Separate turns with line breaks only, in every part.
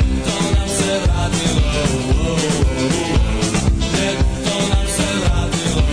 Oh, Ljeto nam se vratilo Ljeto nam se vratilo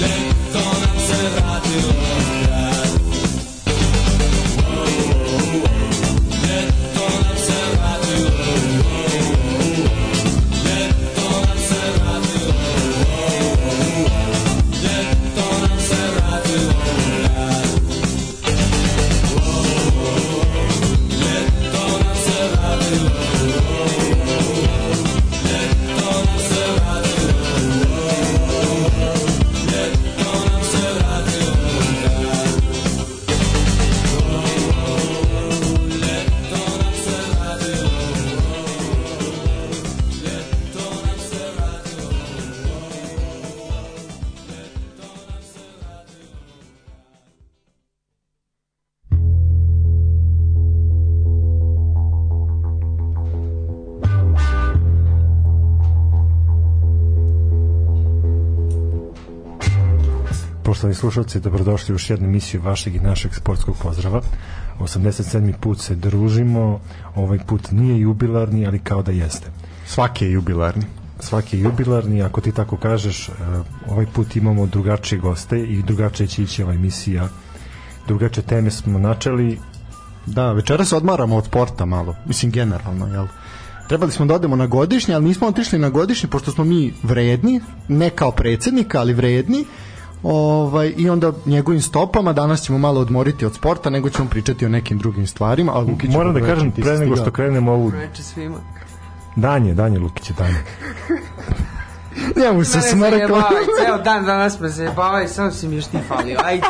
Ljeto nam se vratilo Ljeto nam se vratilo Ljeto nam se vratilo Ljeto nam se vratilo Ljeto nam se vratilo Ljeto nam se vratilo Ljeto nam se vratilo Ljeto nam se vratilo Ljeto nam se vratilo Ljeto nam se vratilo Ljeto nam se vratilo
Poštovani slušalci, dobrodošli u još jednu emisiju vašeg i našeg sportskog pozdrava. 87. put se družimo, ovaj put nije jubilarni, ali kao da jeste.
Svaki je jubilarni.
Svaki je jubilarni, ako ti tako kažeš, eh, ovaj put imamo drugačije goste i drugačije će ići ova emisija. Drugačije teme smo načeli,
Da, večera se odmaramo od sporta malo. Mislim, generalno, jel? Trebali smo da odemo na godišnji, ali nismo otišli na godišnji, pošto smo mi vredni, ne kao predsednika, ali vredni. Ovaj, I onda njegovim stopama danas ćemo malo odmoriti od sporta, nego ćemo pričati o nekim drugim stvarima. A Lukić,
moram da
dobro
kažem
večer, ti
pre
si
nego
stigao.
što krenemo ovu
Reče svima.
Danje, Danje Lukić je Danje.
Njemu se
Danas me
smrkao.
jebala, Ceo dan danas me zajebala i samo si mi još ti falio. Ajde.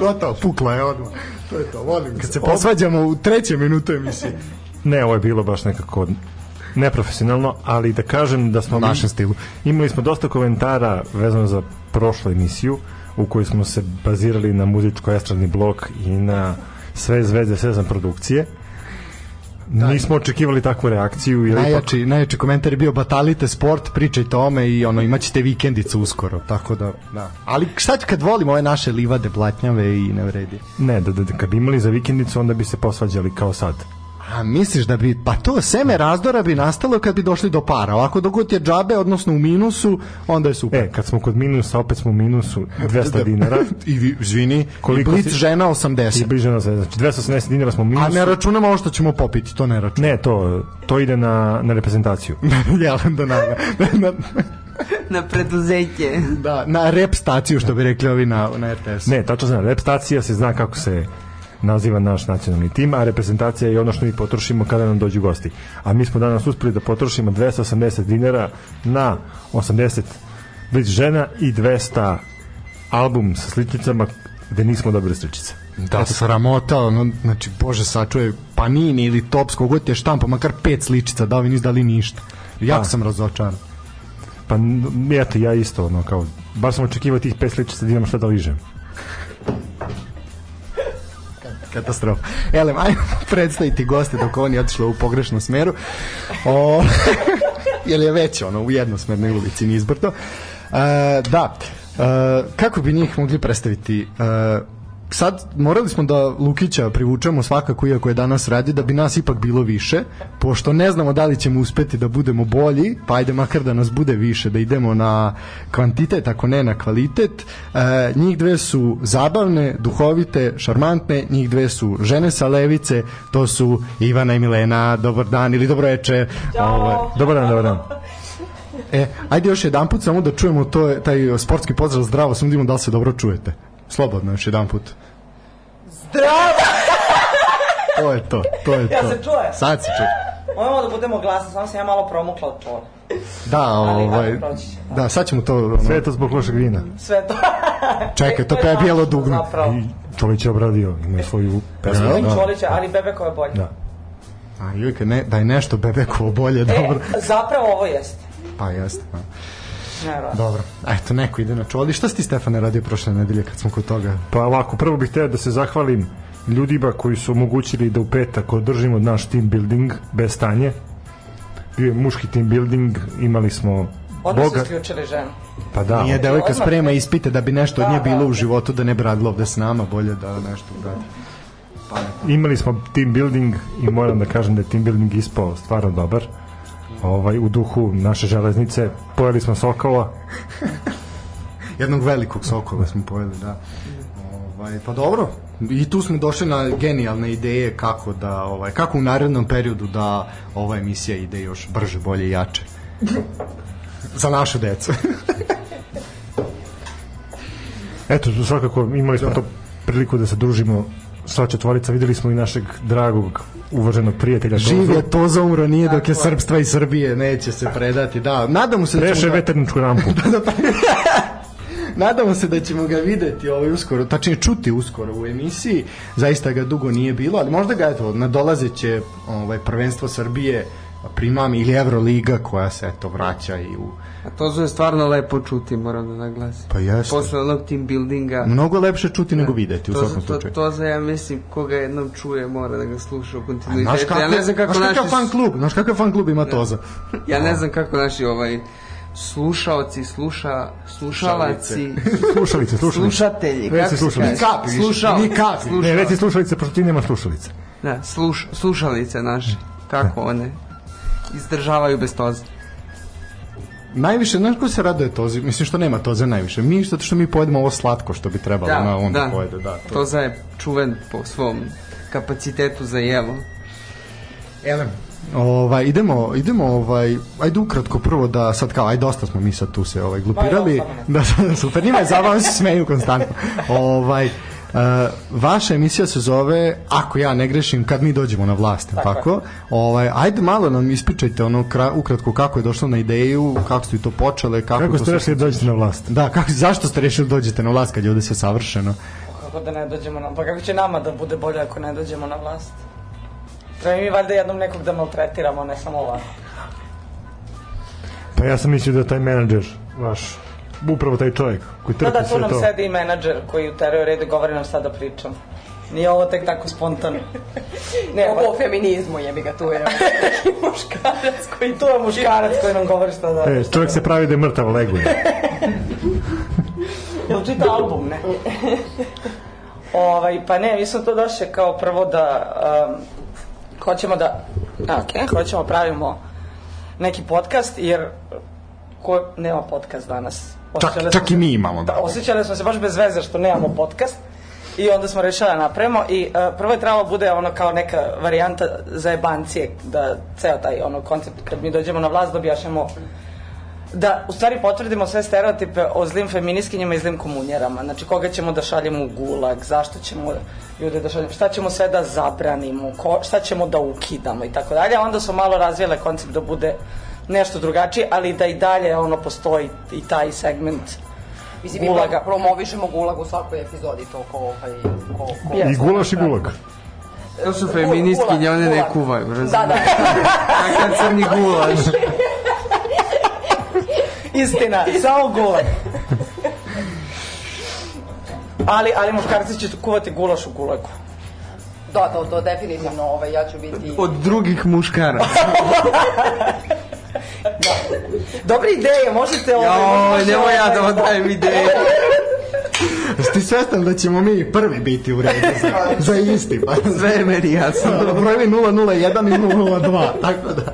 Gotovo, pukla je odmah. To je to, volim. Kad se
Ob-
posvađamo u trećem minutu emisije.
Ne, ovo je bilo baš nekako neprofesionalno, ali da kažem da smo
U našem stilu.
Imali smo dosta komentara vezano za prošlu emisiju u kojoj smo se bazirali na muzičko-estradni blok i na sve zvezde, sve znam produkcije.
Da.
Nismo očekivali takvu reakciju. Jer ipak,
Najjači, najjači komentar je bio batalite sport, pričaj tome i ono imaćete vikendicu uskoro, tako da, da. Ali šta ću kad volim ove naše livade blatnjave i ne vredi?
ne, da, da, da, kad bi imali za vikendicu, onda bi se posvađali kao sad.
A misliš da bi, pa to seme razdora bi nastalo kad bi došli do para, ovako dogod je džabe, odnosno u minusu, onda je super. Da,
E, kad smo kod minusa, opet smo u minusu 200 dinara.
I vi, izvini,
Koliko
koliko blic
si-
žena
I
80.
bliže na sve. Znači, 280 dinara smo u
A
minusu.
ne računamo ovo što ćemo popiti, to ne računamo.
Ne, to, to ide na, na reprezentaciju.
Jel, da, na, na,
Na preduzeće.
da, na rep staciju, što bi rekli ovi na, na RTS-u.
Ne, tačno znam, reprezentacija se zna kako se naziva naš nacionalni tim, a reprezentacija je ono što mi potrošimo kada nam dođu gosti. A mi smo danas uspeli da potrošimo 280 dinara na 80 blic žena i 200 album sa sličicama gde nismo dobili sličice.
Da, Eto, sramota, ono, znači, bože, sačuje Panini ili Tops, kogod ti je štampa, makar pet sličica, da ovi nisu dali ništa. Jak
Da.
sam razočaran.
Pa, n- eto, ja isto, ono, kao, bar sam očekivao tih pet sličica da imam šta da ližem.
Katastrofa. Elem, ajmo predstaviti goste dok oni otišli u pogrešnom smeru. O, jer je već ono u jednosmernoj ulici nizbrdo. E, da, e, kako bi njih mogli predstaviti? E, sad morali smo da Lukića privučemo svakako iako je danas radi da bi nas ipak bilo više pošto ne znamo da li ćemo uspeti da budemo bolji pa ajde makar da nas bude više da idemo na kvantitet ako ne na kvalitet e, njih dve su zabavne, duhovite, šarmantne njih dve su žene sa levice to su Ivana i Milena dobar dan ili dobroveče Ovaj,
Dobar dan, dobar dan.
E, ajde još jedan put samo da čujemo to, taj sportski pozdrav zdravo, sam vidimo da li se dobro čujete. Slobodno još jedan put.
Zdravo!
To je to, to je to.
Ja se čuje?
Sad se čuje.
Moramo da budemo glasni, samo sam ja malo promukla od čora.
Da,
Ali, ali
ovaj,
proći će.
da, sad ćemo to, ono,
Sve je to zbog lošeg vina.
Sve to.
čekaj, to
je
je bijelo
zašto
dugme.
E, da, Zapravo. E,
I Čolić je obradio, ima svoju pesmu.
Da,
Da,
da.
Čolića, ali bebe koja je bolja.
Da.
A jujka, ne, da je nešto bebekovo bolje, Da, dobro.
E, zapravo ovo jeste.
Pa jeste, da.
Nevjerojatno.
Dobro. A eto, neko ide na čoli. Šta si ti, Stefane, radio prošle nedelje kad smo kod toga?
Pa ovako, prvo bih teo da se zahvalim ljudima koji su omogućili da u petak održimo naš team building bez stanje. Bio je muški team building, imali smo
Odmah su
Boga-
isključili ženu.
Pa da.
Nije devojka
odmah-
sprema ispite da bi nešto od nje
Da,
bilo
da.
u životu, da ne bradila ovde s nama, bolje da nešto uradi.
Pa, imali smo team building i moram da kažem da je team building ispao stvarno dobar ovaj, u duhu naše železnice pojeli smo sokola
Jednog velikog sokola smo pojeli, da. Ovaj, pa dobro, i tu smo došli na genijalne ideje kako da ovaj kako u narednom periodu da ova emisija ide još brže, bolje i jače. Za našu decu.
eto svakako imali smo to priliku da se družimo sva četvorica videli smo i našeg dragog uvaženog prijatelja Tozu.
Živ je to za umro nije dok je srpstva i Srbije, neće se predati. Da, nadamo se da
Preše
ćemo ga,
veterničku rampu.
Da, pa- nadamo se da ćemo ga videti ovaj uskoro, tačnije čuti uskoro u emisiji. Zaista ga dugo nije bilo, ali možda ga eto na dolazeće ovaj prvenstvo Srbije primam ili Evroliga koja se eto vraća i u
A to je stvarno lepo čuti, moram da naglasim.
Pa jeste.
Posle onog team buildinga.
Mnogo lepše čuti nego videti u
Da. To,
svakom
to,
slučaju.
to za ja mislim koga jednom čuje mora da ga sluša u
Znaš
kontinuitetu.
kako,
Ja ne znam kako
znaš
naši Da.
kakav fan klub, znaš kakav fan klub ima Toza.
Ja ne znam kako naši ovaj slušaoci, sluša, slušalaci,
Slušalice, slušalice.
slušatelji,
Već
kako
si
se
slušalice.
kaže?
Kapi više,
Slušao-
ni kapi.
slušao-
Ne, reci slušalice, pošto ti nema slušalice.
da, sluš, slušalice naše, kako
Da.
one izdržavaju bez toza.
Najviše, znaš ko se raduje Tozi? Mislim što nema Toza najviše. Mi, zato što mi pojedemo ovo slatko što bi
Pa
trebalo, da, ona onda da. pojede, da. To.
Toza je čuven po svom kapacitetu za jelo.
Elem. Ovaj, idemo, idemo, ovaj, ajde ukratko prvo da sad kao, aj dosta smo mi sad tu se ovaj, glupirali.
Ma, ja,
Da, da, super, njima je zabavno, oni se smeju konstantno. Ovaj, Uh, vaša emisija se zove Ako ja ne grešim, kad mi dođemo na vlast, tako? tako? Ovaj, ajde malo nam ispičajte ono kra, ukratko kako je došlo na ideju, kako ste vi to počele, kako,
Kako
to
ste
sve-
rešili da dođete na vlast?
Da, kako, zašto ste rešili da dođete na vlast kad je ovde sve savršeno?
Kako da ne dođemo na... Pa kako će nama da bude bolje ako ne dođemo na vlast? Treba mi valjda jednom nekog da maltretiramo, ne samo ovako.
Pa ja sam mislio da taj menadžer vaš, upravo taj čovjek koji
Da,
trpi
da, tu
sve
nam
to.
sedi i menadžer koji uteruje red i govori nam šta da pričam. Nije ovo tek tako spontano. Ne,
Ovo o feminizmu jebi ga tu je.
muškarac koji... Tu je muškarac koji nam govori šta da...
E, čovjek se pravi da je mrtav, leguje.
Jel čita album, ne? ovaj, pa ne, mi smo to došli kao prvo da um, hoćemo da okay, hoćemo da pravimo neki podcast, jer ko nema podcast danas?
Čak,
Osjećale
čak
smo
i
se-
mi imamo.
Da, osjećali smo se baš bez veze što nemamo podcast i onda smo rešili da napravimo i uh, prvo je trebalo bude ono kao neka varijanta za jebancije, da ceo taj ono koncept kad mi dođemo na vlast dobijašemo da u stvari potvrdimo sve stereotipe o zlim feminiskinjama i zlim komunjerama. Znači koga ćemo da šaljemo u gulag, zašto ćemo ljude da šaljemo, šta ćemo sve da zabranimo, ko, šta ćemo da ukidamo i tako dalje. A Onda su malo razvijele koncept da bude nešto drugačiji, ali da i dalje ono postoji i taj segment
Mislim, mi
Gulaga.
pro- promovišemo gulag u svakoj epizodi, to ko... Ovaj, ko, ko
I gulaš i gulag.
To su feministkinje, one ne
gulag.
kuvaju, razumiješ?
Da, da.
Kakav crni gulaš.
Istina, samo gulag. Ali, ali muškarci će kuvati gulaš u gulagu.
Da, to, to definitivno, ovaj, ja ću biti...
Od drugih muškara.
Dobre ideje, možete... ovaj,
Joj,
možete
nemoj
ovaj-
ja da vam dajem ideje.
Jesi ti svestan da ćemo mi prvi biti u redu za, za isti? Pa,
Sve je meni jasno.
Brojevi 001 i 002, tako da.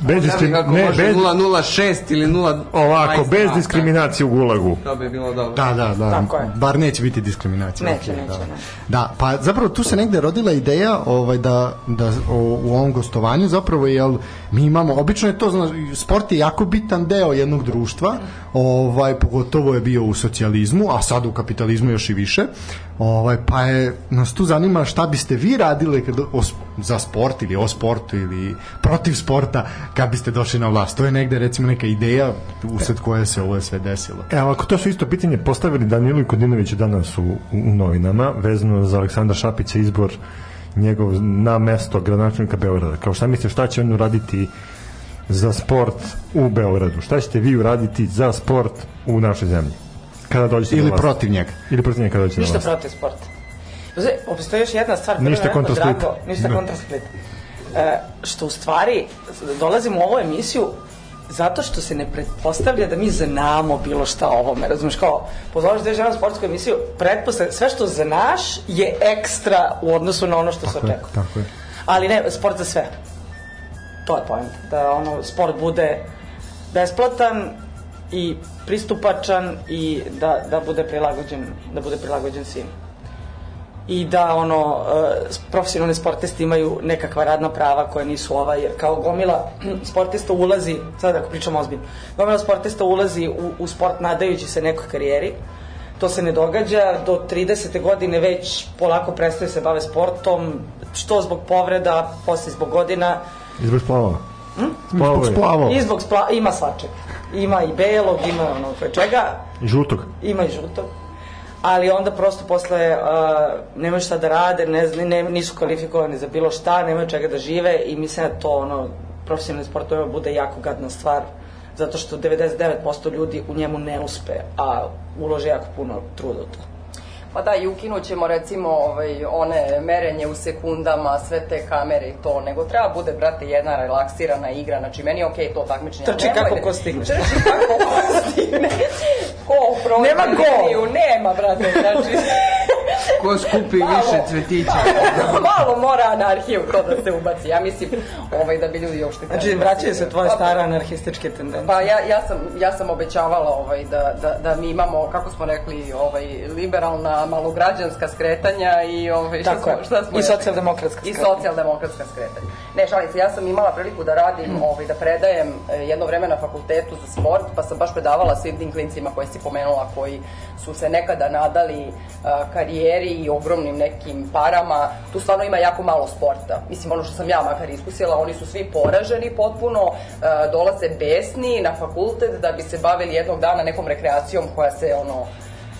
Bez diskri...
Kako
ne,
može
bez...
006 ili 0...
Ovako,
Ajde,
bez
da,
diskriminacije u gulagu.
To bi bilo dobro.
Da, da, da.
Tako je.
Bar neće biti diskriminacija.
Neće,
Ok,
neće,
Da.
ne.
da, pa zapravo tu se negde rodila ideja ovaj, da, da o, u ovom gostovanju zapravo, jel, mi imamo, obično je to, znaš, sport je jako bitan deo jednog društva, ovaj, pogotovo je bio u socijalizmu, a sad u kapitalizmu još i više, ovaj, pa je, nas tu zanima šta biste vi radile kad, o, sp- za sport ili o sportu ili protiv sporta kad biste došli na vlast. To je negde, recimo, neka ideja usled koje se ovo sve desilo.
E, ovako, to su isto pitanje postavili Danilu i Kodinoviću danas u, u u novinama, vezano za Aleksandra Šapića izbor njegov na mesto gradonačelnika Beograda. Kao šta mislite, šta će on uraditi za sport u Beogradu? Šta ćete vi uraditi za sport u našoj zemlji? Kada dođete na
Ili
vlast?
protiv njega.
Ili protiv njega kada dođete na
Ništa
vlast?
protiv sporta. Znači, postoji još jedna stvar. koja mi je
Ništa
jako
kontra Splita.
drago. Ništa
Da.
kontra Splita. e, što u stvari dolazimo u ovu emisiju zato što se ne pretpostavlja da mi znamo bilo šta o ovome, razumiješ, kao pozoveš da na sportsku emisiju, pretpostavlja, sve što znaš je ekstra u odnosu na ono što se
Tako je,
očekuje.
tako je.
Ali ne, sport za sve. To je point. Da ono, sport bude besplatan i pristupačan i da, da bude prilagođen, da bude prilagođen svim. I da ono, e, s- profesionalni sportisti imaju nekakva radna prava koja nisu ova, jer kao gomila sportista ulazi, sad ako pričamo ozbiljno, gomila sportista ulazi u, u sport nadajući se nekoj karijeri, to se ne događa, do 30. godine već polako prestaju se bave sportom, što zbog povreda, poslije zbog godina,
Izbog splavova.
Hm?
Splavova je.
Splavo.
i zbog spla, ima svačeg. Ima i belog, ima ono koje čega,
I žutog.
ima i žutog. Ali onda prosto posle uh, nemaju šta da rade, ne, zna- ne, nisu kvalifikovani za bilo šta, nemaju čega da žive i mislim da to ono, profesionalni sport to bude jako gadna stvar zato što 99% ljudi u njemu ne uspe, a ulože jako puno truda u to.
Pa da, i ukinut ćemo recimo ovaj, one merenje u sekundama, sve te kamere i to, nego treba bude, brate, jedna relaksirana igra, znači meni je okej to takmičenje.
Trči
nemojte-
kako ko stigne.
Trči kako ko stigne. Ko prođe
Nema go.
liniju, nema, brate, znači...
Ko skupi
Malo.
više cvetića?
Malo mora anarhija u to da se ubaci, ja mislim, ovaj, da bi ljudi uopšte... da
Znači, vraćaju se tvoje stare anarhističke tendencije.
Pa ja, ja, sam, ja sam obećavala ovaj, da, da, da mi imamo, kako smo rekli, ovaj, liberalna, malograđanska skretanja i ovaj, šta
Tako
smo,
je.
šta smo
I
rekli?
socijaldemokratska
I
skretanja.
socijaldemokratska skretanja. Ne, šalim se, ja sam imala priliku da
Mm.
radim, ovaj, da predajem e, jedno vreme na fakultetu za sport, pa sam baš predavala svim tim klincima koje si pomenula, koji su se nekada nadali e, karijeri i ogromnim nekim parama. Tu stvarno ima jako malo sporta. Mislim, ono što sam ja makar iskusila, oni su svi poraženi potpuno, e, dolaze besni na fakultet da bi se bavili jednog dana nekom rekreacijom koja se ono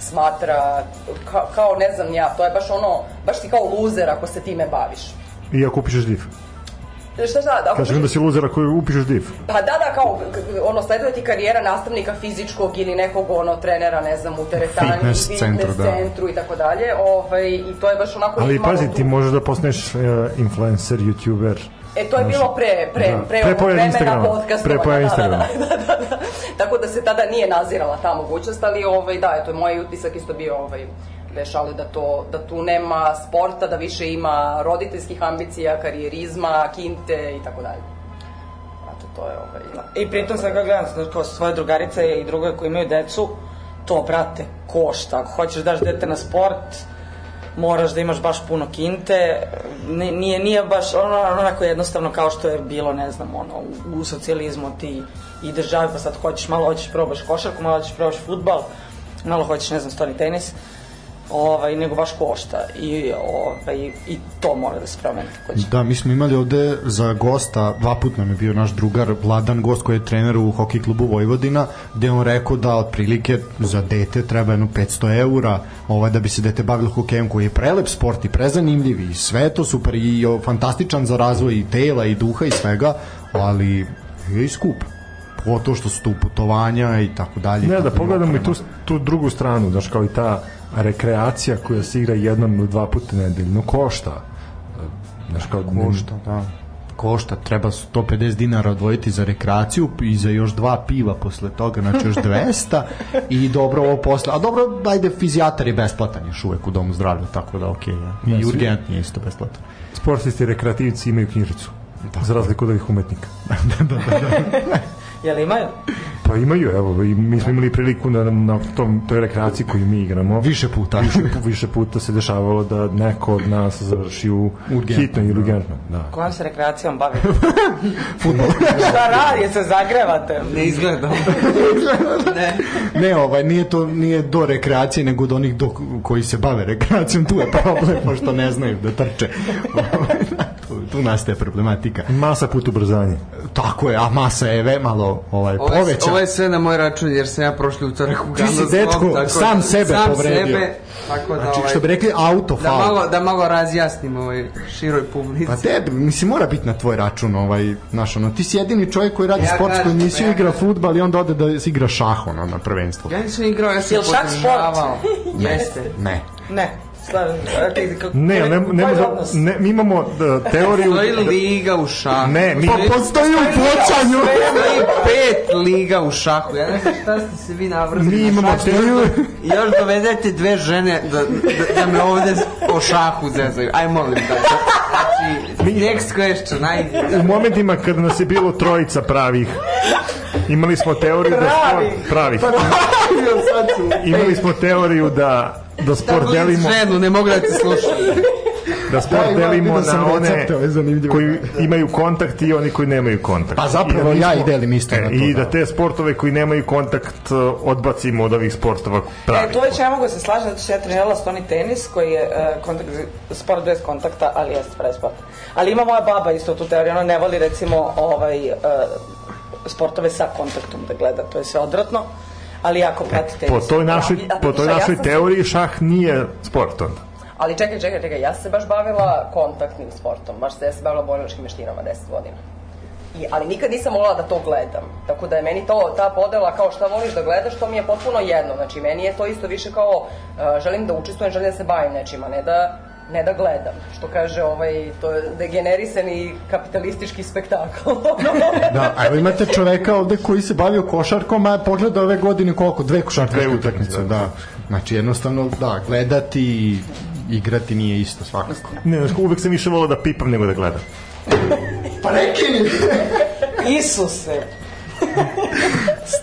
smatra ka- kao ne znam ja, to je baš ono, baš si kao luzer ako se time baviš.
I ako upišeš div.
Jer Šta šta, ako
Kažem da si luzer ako upišeš div.
pa da, da, kao, k- k- ono, sleduje ti karijera nastavnika fizičkog ili nekog, ono, trenera, ne znam, u teretani,
Fitness centru, da.
centru i tako dalje, ovaj, i to je baš onako...
Ali
malo
pazi,
tu-
ti možeš da postaneš e, influencer, youtuber.
E, to je bilo pre, pre,
Da.
pre,
Pre
ovog
pojave
vremena
Instagrama.
podcastovanja,
Pre pojave
da, da, da,
Instagrama.
da, da, da. Tako da se tada nije nazirala ta mogućnost, ali ovaj, da, eto, moj utisak isto bio ovaj, veš, ali da, to, da tu nema sporta, da više ima roditeljskih ambicija, karijerizma, kinte i tako dalje. Znači, to je ovaj...
I pritom sad kad gledam, znači, kao svoje drugarice i druge koji imaju decu, to, brate, košta. Ako hoćeš da daš dete na sport, moraš da imaš baš puno kinte. Ni- Nije, nije baš ono, onako jednostavno kao što je bilo, ne znam, ono, u, u socijalizmu ti i državi, pa sad hoćeš, malo hoćeš probaš košarku, malo hoćeš probaš futbal, malo hoćeš, ne znam, stoni tenis. Ovaj, nego baš košta i, ovaj, i to mora da se promeni takođe.
Da, mi smo imali ovde za gosta, dva put nam je bio naš drugar, Vladan gost koji je trener u hokej klubu Vojvodina, gde je on rekao da otprilike za dete treba jedno 500 eura ovaj, da bi se dete bavilo hokejem koji je prelep sport i prezanimljiv i sve je to super i o, fantastičan za razvoj i tela i duha i svega, ali je i skup. Pogotovo što su tu putovanja i tako dalje.
Ne,
tako
da pogledamo i
oprema.
tu, tu drugu stranu, znaš, kao i ta rekreacija koja se igra jednom ili dva puta nedeljno košta. Znaš, kao,
košta, da. Košta, treba 150 dinara odvojiti za rekreaciju i za još dva piva posle toga, znači još 200 i dobro ovo posle. A dobro, ajde, fizijatar je besplatan još uvek u domu zdravlja, tako da okej. Okay, ja. I urgent je isto besplatan.
sportisti i rekreativci imaju knjižicu. da, Za razliku od ovih umetnika. Da,
Jel imaju?
Pa imaju, evo, i mi smo imali priliku na, na tom, toj rekreaciji koju mi igramo.
Više puta.
Više, više puta se dešavalo da neko od nas završi u
Urgentno,
hitnoj ili urgentno. Da.
Kojom se rekreacijom bavi? Šta radi, se zagrevate?
Ne izgleda. ne.
ne, ovaj, nije to nije do rekreacije, nego do onih do, koji se bave rekreacijom, tu je problem, pošto ne znaju da trče. Ovaj, tu, tu nastaje problematika.
Masa put ubrzanje.
Tako je, a masa je ve malo ovaj,
Ovo je,
poveća.
ovo je sve na moj račun jer sam ja prošli utorak u
Ti si,
Gandalf,
dečko,
tako da-
sam sebe
sam
povredio.
Sebe, tako da,
Znači,
ovaj,
što bi rekli, auto
da,
faul.
malo, da malo razjasnim ovoj široj publici.
Pa tebi, mislim, mora biti na tvoj račun ovaj, znaš, ono, ti si jedini čovjek koji radi
Ja
sportsku
kažem,
emisiju,
ja
igra
kažem.
futbal i onda ode da se igra šah, ono, na prvenstvu.
Ja nisam igrao, ja sam
Jel šah sport?
podržavao. Jeste.
Ne.
Ne. Slažem se. Okay, kako,
Ne, ne, ne,
koji je
ne,
odnos?
ne mi imamo da, teoriju...
Stoji liga u šahu.
Ne, mi...
Stoji-
E, Pa Postoji u pločanju!
Stoji pet liga u šahu. Ja ne znam šta ste se vi navrtili.
Mi
na
imamo
šah.
teoriju.
I još dovedete dve žene da, da, da me ovde o šahu zezaju. Aj molim da. Znači, next question, aj.
U momentima kada nas je bilo trojica pravih, imali smo teoriju da
Pravih.
sport... Pravih. Imali smo teoriju da da sport delimo
Delimo. Ženu, ne mogu da te slušam.
da sport
Da, ima,
delimo
vidio sam
na one
recepte, ovo je zanimljivo.
koji imaju kontakt i oni koji nemaju kontakt.
Pa zapravo
I mi
ja
smo-
i delim isto
E,
na to,
I da
da.
te sportove koji nemaju kontakt e, odbacimo od ovih sportova pravi.
E, tu već ne mogu se slažem, zato što ja trenirala stoni tenis, koji je e, kontakt, sport bez kontakta, ali jeste pravi sport. Ali ima moja baba isto tu teoriju, ona ne voli recimo ovaj, e, sportove sa kontaktom da gleda, to je sve odvratno, ali jako prati tenis.
E, po toj našoj,
pravi, a
po toj
šta, ja
našoj
sam-
teoriji šah nije sport onda.
Ali čekaj, čekaj, čekaj, ja sam se baš bavila kontaktnim sportom, baš se ja se bavila borilačkim veštinama 10 godina. I, ali nikad nisam volila da to gledam. Tako da je meni to, ta podela kao šta voliš da gledaš, to mi je potpuno jedno. Znači, meni je to isto više kao uh, želim da učestvujem, želim da se bavim nečima, ne da ne da gledam, što kaže ovaj, to je degenerisani kapitalistički spektakl.
Da, a evo imate čoveka ovde koji se bavio košarkom, a pogleda ove godine koliko? Dve košarkarske
Dve utakmice,
utakmice, da. Znači jednostavno, da, gledati i igrati nije isto svakako.
Ne, znaš, uvek sam više volao da pipam nego da gledam.
Pa rekini!
Isuse!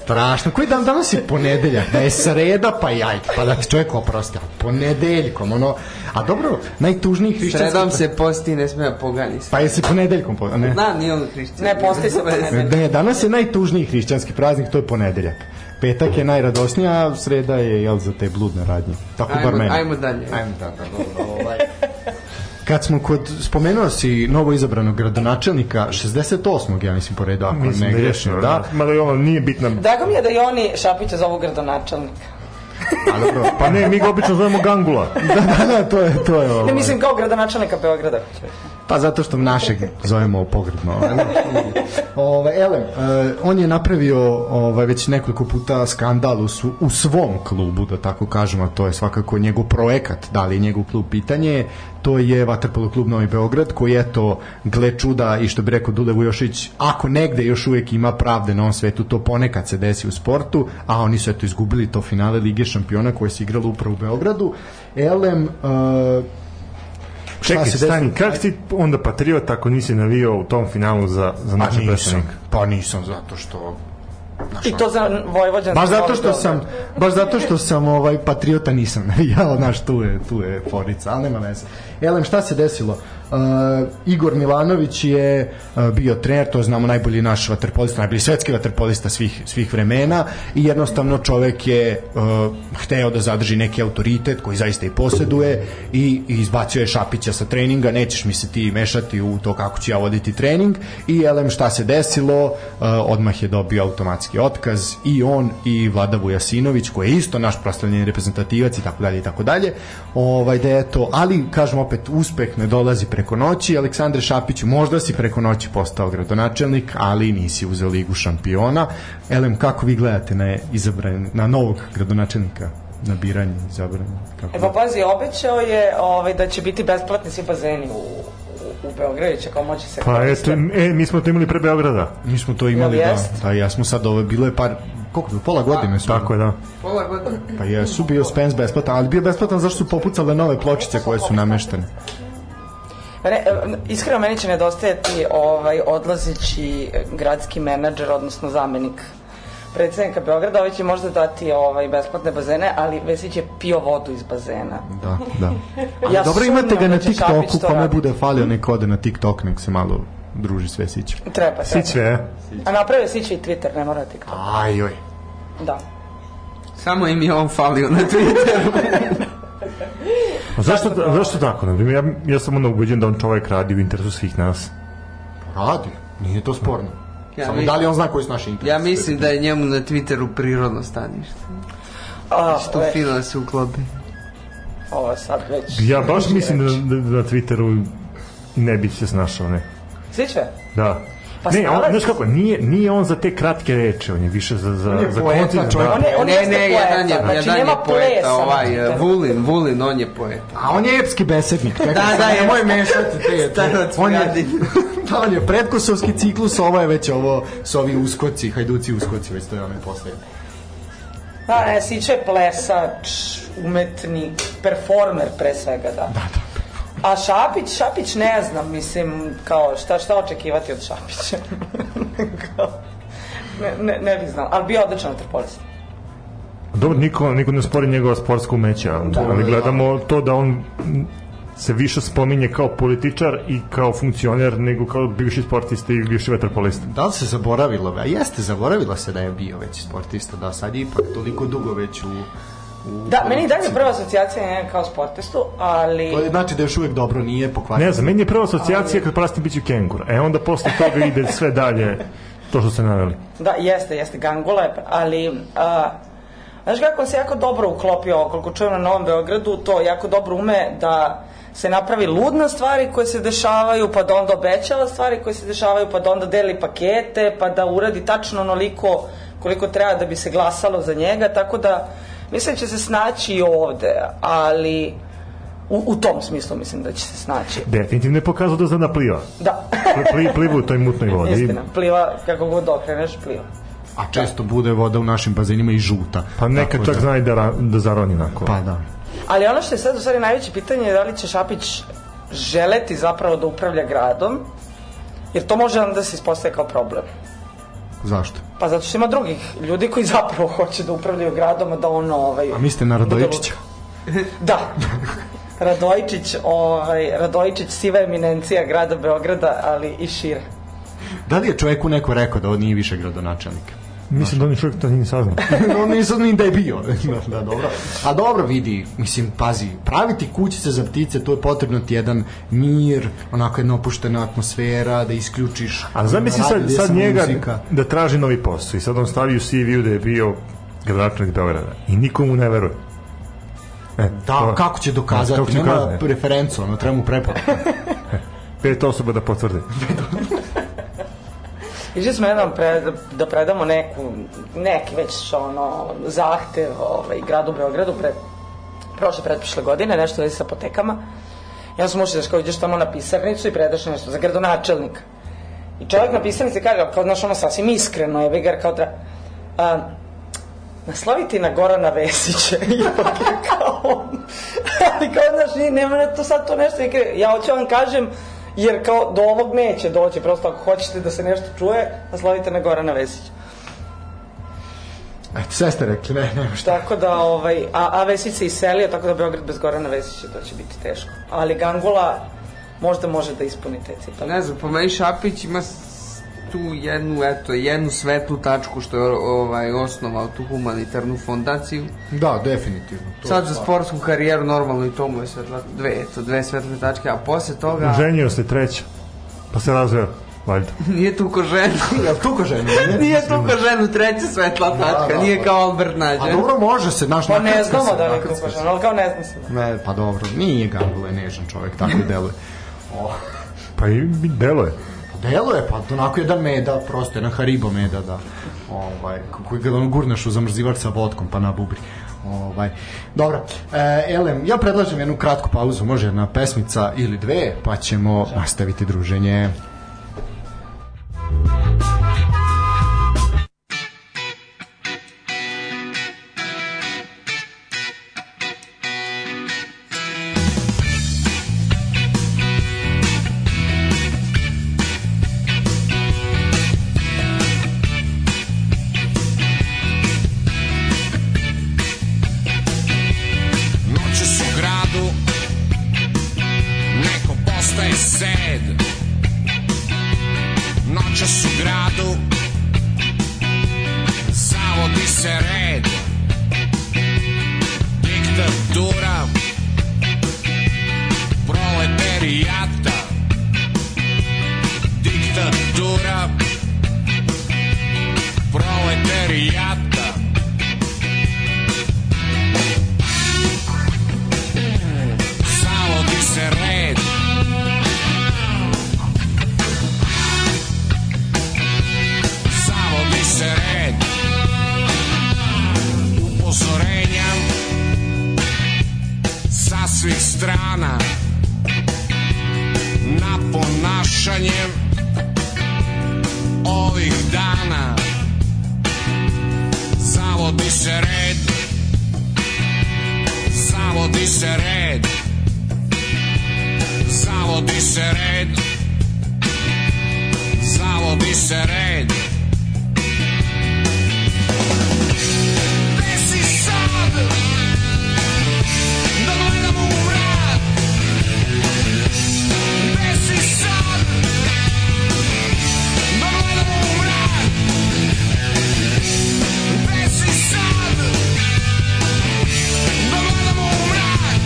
Strašno. Koji dan danas je ponedeljak? Da je sreda, pa jaj, pa da ti čovjek oprosti. A ponedeljkom, ono... A dobro, najtužniji hrišćanski...
Sredom se posti, ne smija pogani se.
Pa jesi ponedeljkom, po- ne?
Na, Da, nije on hrišćan.
Ne, postoji se ponedeljak.
Ne, danas je najtužniji hrišćanski praznik, to je ponedeljak. Petak je najradosnija, a sreda je, jel, za te bludne radnje. Tako bar
Ajmo,
meni.
ajmo dalje.
Ajmo tako, dobro, ovaj. Kad smo kod, spomenuo si novo izabranog gradonačelnika, 68. ja mislim po redu, ako
Mislim
ne
da je,
grešim, da.
Mada i ono nije bitna.
Drago mi je da i oni Šapića zovu gradonačelnik.
A dobro,
Pa ne, mi ga obično zovemo gangula.
da, da, da, to je, to je ovo.
Ovaj.
Ne, mislim kao gradonačelnika Beograda.
Pa zato što našeg zovemo ovaj. pogrebno. Ove, elem, e, on je napravio ovaj, već nekoliko puta skandal u, su, u svom klubu, da tako kažem, a to je svakako njegov projekat, da li je njegov klub pitanje, to je Vaterpolo klub Novi Beograd, koji je to, gle čuda, i što bi rekao Dule Vujošić, ako negde još uvijek ima pravde na ovom svetu, to ponekad se desi u sportu, a oni su eto izgubili to finale Lige šampiona koje se igralo upravo u Beogradu. Elem, e, šta
Čekaj,
se desilo?
stani, kako si onda patriot ako nisi navio u tom finalu za, za
Pa
naša
nisam,
predstavnika?
pa nisam zato što
I to za Vojvođan.
baš zato što sam baš zato što sam ovaj patriota nisam navijao, znaš, tu je tu je forica, al nema veze. Elem šta se desilo? Uh, Igor Milanović je uh, bio trener, to znamo najbolji naš vaterpolista, najbolji svetski vaterpolista svih svih vremena i jednostavno čovek je uh, hteo da zadrži neki autoritet koji zaista i poseduje i, i izbacio je Šapića sa treninga, nećeš mi se ti mešati u to kako ću ja voditi trening i elem šta se desilo, uh, odmah je dobio automatski otkaz i on i Vlada Vujasinović koji je isto naš proslavljeni reprezentativac i tako dalje i tako dalje. Ovaj da eto, ali kažem opet uspeh ne dolazi preko noći. Aleksandre Šapiću, možda si preko noći postao gradonačelnik, ali nisi uzeo ligu šampiona. Elem kako vi gledate na izabran na novog gradonačelnika? na biranje, izabranje. Kako?
E pa pazi, obećao je ovaj, da će biti besplatni svi bazeni u, u, u Beogradu, će kao moći se...
Pa eto, e, mi smo to imali pre Beograda.
Mi smo to imali,
Jel
da,
jest?
da, ja smo sad, ovo je bilo je par, koliko je bilo, pola godine smo.
Tako je, da.
Pola godine.
Pa jesu bio Spence besplatan, ali bio besplatan zašto su popucale nove pločice koje su nameštene.
Re, e, iskreno, meni će nedostajati ovaj, odlazeći gradski menadžer, odnosno zamenik predsednika Beograda, ovaj će možda dati ovaj, besplatne bazene, ali Vesić je pio vodu iz bazena.
Da, da. Ali
Ja
dobro imate ga
sumnjam
na
da će Šapić
TikToku,
to
kome
raditi.
bude falio nek ode na TikTok, nek se malo druži sve siće. e?
Treba,
Ti
treba.
sve.
A napravio Sić i Twitter, ne mora TikTok.
Ajoj.
Da.
Samo im je on falio na Twitteru.
A zašto, zašto tako? Na primjer, ja, ja sam ono ubeđen da on čovjek radi u interesu svih nas.
Radi, nije to sporno.
Ja
Samo
mi-
da li on zna koji su naši interesi?
Ja mislim da je njemu na Twitteru prirodno stanište.
A,
Što
e,
fino da se uklopi.
Ovo sad već...
Ja baš
da-
mislim da, da, da na Twitteru ne bi se snašao, ne.
Sićve?
Da.
Pa
ne, on,
stvarno-
znaš kako, nije, nije on za te kratke reče, on je više za, za,
je
za
poeta,
koncizam,
čovjek.
da.
On je- on
ne,
jeste
ne,
poeta,
jedan je,
znači
jedan je
nema
poeta,
plesa,
ovaj,
znači,
eh, Vulin, Vulin, on je poeta.
A on je epski besednik. Tako,
Da,
sad
da, je.
nemoj mešati te.
Starac
on je,
Gadi.
da, on je predkosovski ciklus, ovo je već ovo s ovi uskoci, hajduci uskoci, već to je onaj poslednji.
Da, ne, Sića je plesač, umetnik, performer pre svega, da. A Šapić, Šapić ne znam, mislim, kao, šta, šta očekivati od Šapića? Kao, ne, ne, ne bih znala, ali bio je odličan vaterpolist.
Dobro, niko, niko ne spori njegova sportska umeća, ali gledamo to da on se više spominje kao političar i kao funkcioner nego kao bivši sportista i bivši vaterpolista.
Da li se zaboravilo? A jeste, zaboravilo se da je bio već sportista, da sad je ipak toliko dugo već u... u
Da, meni je dalje prva asocijacija njega kao sportistu, ali...
To je, znači da još uvek dobro nije pokvarjeno.
Ne znam, meni je prva asocijacija kad prastim biću kengura. E onda posle toga ide sve dalje to što ste naveli.
Da, jeste, jeste, Gangola je, pra- ali... A, znaš kako on se jako dobro uklopio, koliko čujem na Novom Beogradu, to jako dobro ume da se napravi lud na stvari koje se dešavaju, pa da onda obećava stvari koje se dešavaju, pa da onda deli pakete, pa da uradi tačno onoliko koliko treba da bi se glasalo za njega, tako da mislim će se snaći i ovde, ali u, u tom smislu mislim da će se snaći.
Definitivno je pokazao da zna da pliva.
Da,
Pli, pli, pliva u toj mutnoj vodi.
istina, pliva, kako god okreneš, pliva.
A eh, često bude voda u našim bazenima i žuta.
Pa
Tako
neka čak
da-
zna i da, ra- da zaroni onako.
Pa da.
Ali ono što je sad u stvari najveće pitanje je da li će Šapić želeti zapravo da upravlja gradom, jer to može onda da se ispostaje kao problem.
Zašto?
Pa zato što ima drugih ljudi koji zapravo hoće da upravljaju gradom, a da ono... Ovaj,
A mislite na Radojičića?
Da. Radojičić, ovaj, Radojičić siva eminencija grada Beograda, ali i šire.
Da li je čoveku neko rekao da on nije više gradonačelnik?
Mislim da on još uvijek to nije ni saznao.
no nisam ni da je bio. da, da, dobro. A dobro vidi, mislim, pazi, praviti kućice za ptice, to je potrebno ti jedan mir, onako jedna opuštena atmosfera, da isključiš...
A zamisli sad,
radio
sad
samo
njega
muzika.
da traži novi posao i sad on stavi u CV-u da je bio gradonačelnik Beograda i niko mu ne veruje. E,
Da,
to-
kako će dokazati?
Kako će
Nema
dokazati?
referencu, ono, treba mu preporuku.
Pet osoba da potvrde.
Išli smo jednom pre, da predamo neku, neki već ono, zahtev ovaj, gradu Beogradu pre, prošle, pretprošle godine, nešto vezi sa apotekama. Ja sam ušli, znaš, kao ideš tamo na pisarnicu i predaš nešto za gradonačelnika. I čovjek na pisarnici kaže, kao, znaš, ono, sasvim iskreno je, bigar, kao, tra... A, nasloviti na Gorana Vesića ipak je kao on. ali kao znaš nije, nema ne, to sad to nešto neke, ja hoću da vam kažem jer kao do ovog neće doći prosto ako hoćete da se nešto čuje naslovite na Gorana Vesića
Eto, sve ste rekli, ne, ne, šta.
tako da ovaj, a, a Vesić se iselio tako da Beograd bez Gorana Vesića to će biti teško ali Gangula možda može da ispuni te cipele
Ne znam, po meni Šapić ima s- tu jednu, eto, jednu svetlu tačku što je ovaj, osnovao tu humanitarnu fondaciju.
Da, definitivno. To
Sad
je
za
stvar.
sportsku karijeru normalno i to mu je svetla, dve, eto, dve svetle tačke, a posle
Da.
toga
Ženio se treća, pa se razveo, valjda.
nije tu ko ženu.
Jel tu ko ženi?
Nije tu
da.
ko ženu treća svetla tačka, nije kao Albert
pa- A
nađen.
dobro, može se, naš
pa ne znamo da li je kupažan ali kao ne znam se
Ne, pa dobro, nije Gangula je nežan čovjek, tako deluje. O,
Pa i delo je.
deluje, pa onako jedan meda, prosto jedan haribo meda, da. Ovaj, koji ga on gurneš u zamrzivač sa vodkom, pa nabubri. Ovaj. Dobro, e, Elem, ja predlažem jednu kratku pauzu, može jedna pesmica ili dve, pa ćemo nastaviti druženje.
Noće su
е
u gradu Neko postaje sed
strana na ponašanjem ovih dana zavodi se red zavodi se red zavodi se red zavodi se red Desi sad da gledam u vrat Desi sad da gledam u vrat Desi sad da gledam u vrat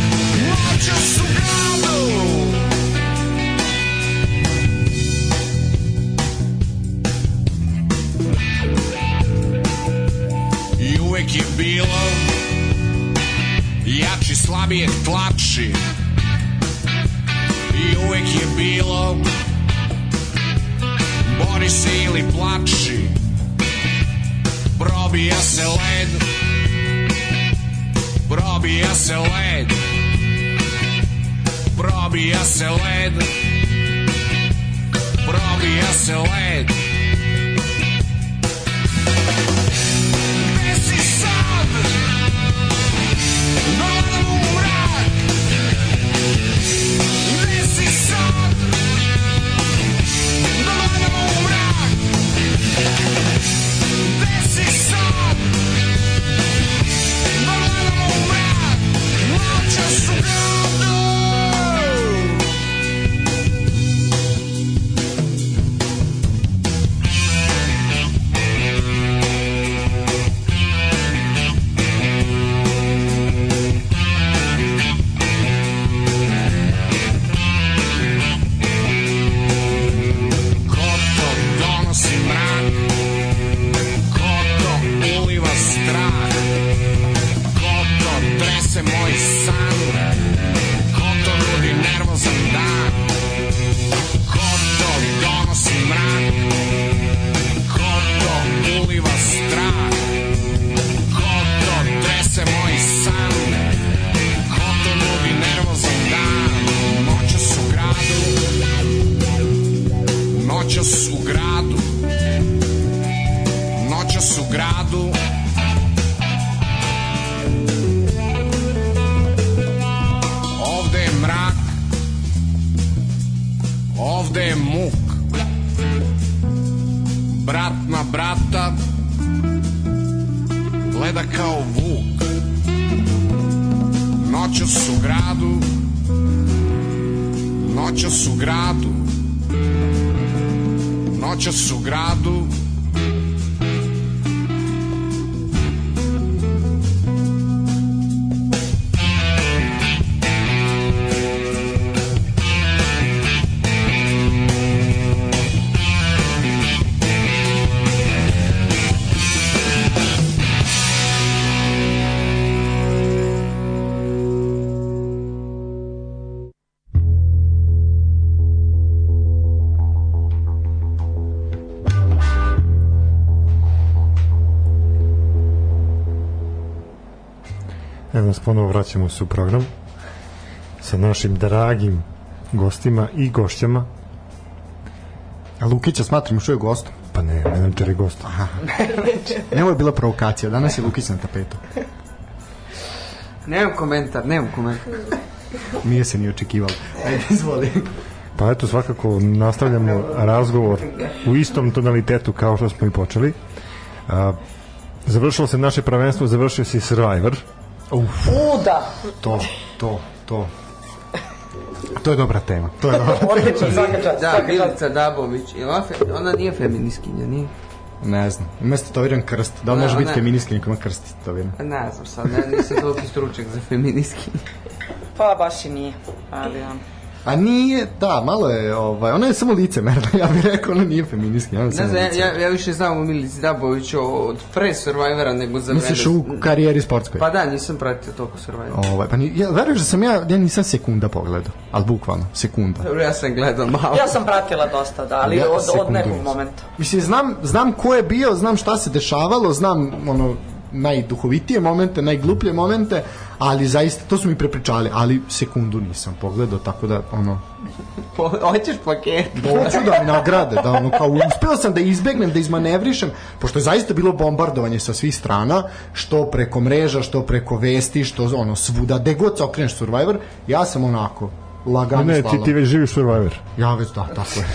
Noćas u gradu i uvek je bilo jači slabijeg tlači i uvek je bilo bori se ili plači probija se led probija se led probija se led probija se led Desi sad Da gledam u mrak Desi sad Da gledam u mrak Desi sad Da gledam u mrak Noćas u gradu Ko to donosi mrak? Ko to uliva strah? Ko to trese moj san? Ko to nudi nervozan dan? Ko to donosi mrak? Ko to uliva strah? Ko to trese moj san? Ko to nudi nervozan dan? Noćas u gradu noćas u gradu noćas u gradu ovde je mrak ovde je muk brat na brata gleda kao vuk noćas u gradu noćas u gradu noćas u gradu
Evo E, nas ponovo vraćamo se u program sa našim dragim gostima i gošćama.
A Lukića smatram što je gostom.
Pa ne, menadžer je gost.
Ne, ovo je bila provokacija, danas je Lukić na tapetu.
Nemam komentar, nemam komentar.
Nije se ni očekivalo. Ajde, izvoli.
Pa eto, svakako nastavljamo razgovor u istom tonalitetu kao što smo i počeli. A, završilo se naše prvenstvo, završio se i Survivor.
Uda!
To, to, to. To je dobra tema. To je dobra.
Odlično, svaka čast.
Da,
svaka čast.
Milica Dabović, jel ona, fe, ona nije feminiskinja, nije?
Ne znam. Ima statoviran krst. Da li
Ne,
može biti
ne.
feministki nekom krst statoviran?
A Pa Ne znam sad, ne, nisam toliki stručak za feminiskinje.
Pa baš i nije. Ali, um,
A nije, da, malo je, ovaj, ona je samo licemerna, ja bih rekao, ona nije feministkinja, ona je
Ne
samo
znam, ja,
licemerna.
ja, ja više znam o Milici Dabović o- od pre Survivora nego za
Misliš
mene.
u karijeri sportskoj?
Pa da, nisam pratio toliko Survivora.
Ovaj, pa ni, ja, veruješ da sam ja, ja nisam sekunda pogledao, ali bukvalno, sekunda.
Dobro, ja sam gledao malo.
ja sam pratila dosta, da, ali
Ja,
od, od
sekundu.
nekog momenta.
Mislim, znam, znam ko je bio, znam šta se dešavalo, znam ono najduhovitije momente, najgluplje momente, ali zaista, to su mi prepričali, ali sekundu nisam pogledao, tako da, ono,
Po, hoćeš paket?
hoću da mi nagrade, da ono, kao uspeo sam da izbegnem, da izmanevrišem, pošto je zaista bilo bombardovanje sa svih strana, što preko mreža, što preko vesti, što ono, svuda, gde god se okreneš Survivor, ja sam onako, lagano
Ne,
slala.
ti, ti već živiš Survivor.
Ja već da, tako je.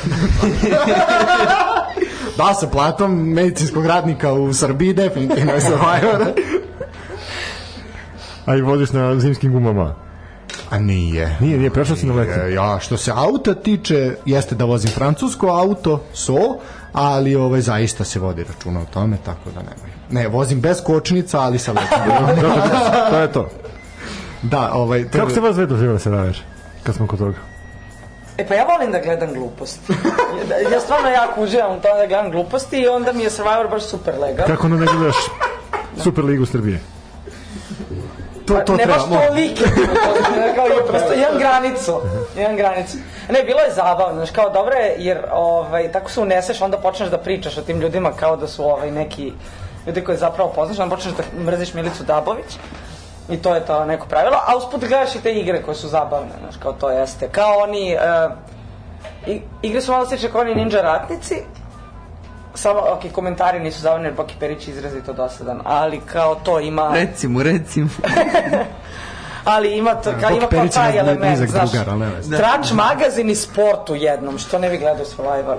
da, sa platom medicinskog radnika u Srbiji definitivno je Survivor.
A i voziš na zimskim gumama.
A nije.
Pa, Nije, nije, prešao si na leti.
E, Ja, što se auta tiče, jeste da vozim francusko auto, so, ali ovaj, zaista se vodi računa o tome, tako da nemoj. Ne, vozim bez kočnica, ali sa letom.
To je to.
da, ovaj... to-
Kako ste vas dve doživjeli da se naver? Kad smo kod toga.
E pa ja volim da gledam gluposti. Ja stvarno jako uživam u tome da gledam gluposti i onda mi je Survivor baš super legal.
Kako onda ne gledaš Superligu Srbije?
to, to
Pa ne baš
trebamo.
tolike. kao, je prosto, imam granicu. Imam granicu. Ne, bilo je zabavno, znaš, kao dobro je, jer ovaj, tako se uneseš, onda počneš da pričaš o tim ljudima kao da su ovaj, neki ljudi koje zapravo poznaš, onda počneš da mrziš Milicu Dabović. I to je to neko pravilo, a usput gledaš i te igre koje su zabavne, znaš, kao to jeste. Kao oni, e, i, igre su malo slične kao oni ninja ratnici, samo, ok, komentari nisu zabavni jer Boki Perić je izrazito dosadan, ali kao to ima...
Recimo, recimo.
ali ima to, kao,
Bog
ima kao
Perić je
taj
nizak
element, znaš,
drugar, ali ne veze.
Da. trač magazin i sport u jednom, što ne bi gledao Survivor.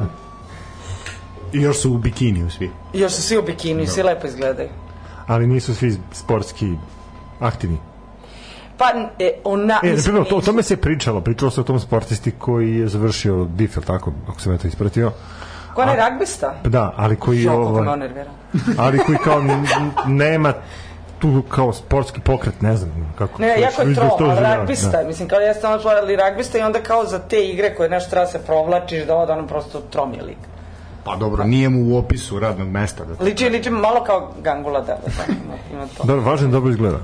I još su u bikiniju svi.
I Još su svi u bikini,
Da.
svi lepo izgledaju.
Ali nisu svi sportski aktivni.
Pa, n- e, ona,
E, na
mislim,
primjer, o to- o tome se pričalo. Pričalo se o tom sportisti koji je završio DIF, ili tako, ako sam ja to ispratio.
ko je onaj ragbista?
Pa Da, ali koji
Jo, kako me on
ovaj,
nervira.
ali koji kao n- n- nema tu kao sportski pokret, ne znam kako.
Ne, jako je
izgleda
trom,
to
ali
za-
ragbista,
da.
je, mislim, kao jeste ono čvar, ali ragbista i onda kao za te igre koje nešto treba se provlačiš, da ovo da ono prosto trom je lik.
Pa dobro, nije mu u opisu radnog mesta. Da
Liči, liči malo kao Gangula Dela, tako, ima, ima to.
Dobro, važno je dobro izgleda.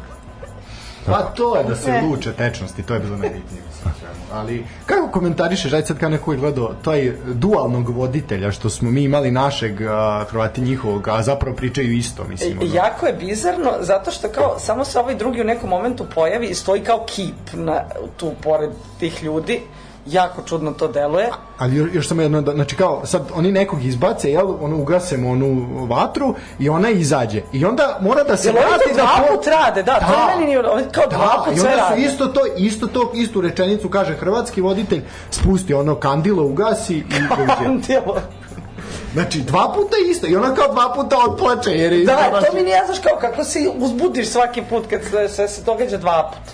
Pa to je da se
Ne.
luče tečnosti, to je bilo najbitnije. mislim, svemu. Ali kako komentarišeš, ajde sad kao neko je gledao, taj dualnog voditelja što smo mi imali našeg, a, Hrvati njihovog, a zapravo pričaju isto, mislim. ono.
E, Jako je bizarno, zato što kao samo se ovaj drugi u nekom momentu pojavi i stoji kao kip na, tu pored tih ljudi. Jako čudno to deluje.
Ali još, još samo jedno, da, znači kao, sad oni nekog izbace, jel, ono, ugasemo onu vatru i ona izađe. I onda mora da se
Jel oni to
vrati da...
dva
po-
put rade, da, to meni nije, oni kao dva
Da,
put
i
sve
onda
rade.
su isto to, isto to, istu rečenicu kaže hrvatski voditelj, spusti ono kandilo, ugasi i dođe.
Djelo.
Znači, dva puta isto. I ona kao dva puta otplače. Jer je
Da, to mi nije znaš kao kako se uzbudiš svaki put kad se, sve se događa dva put.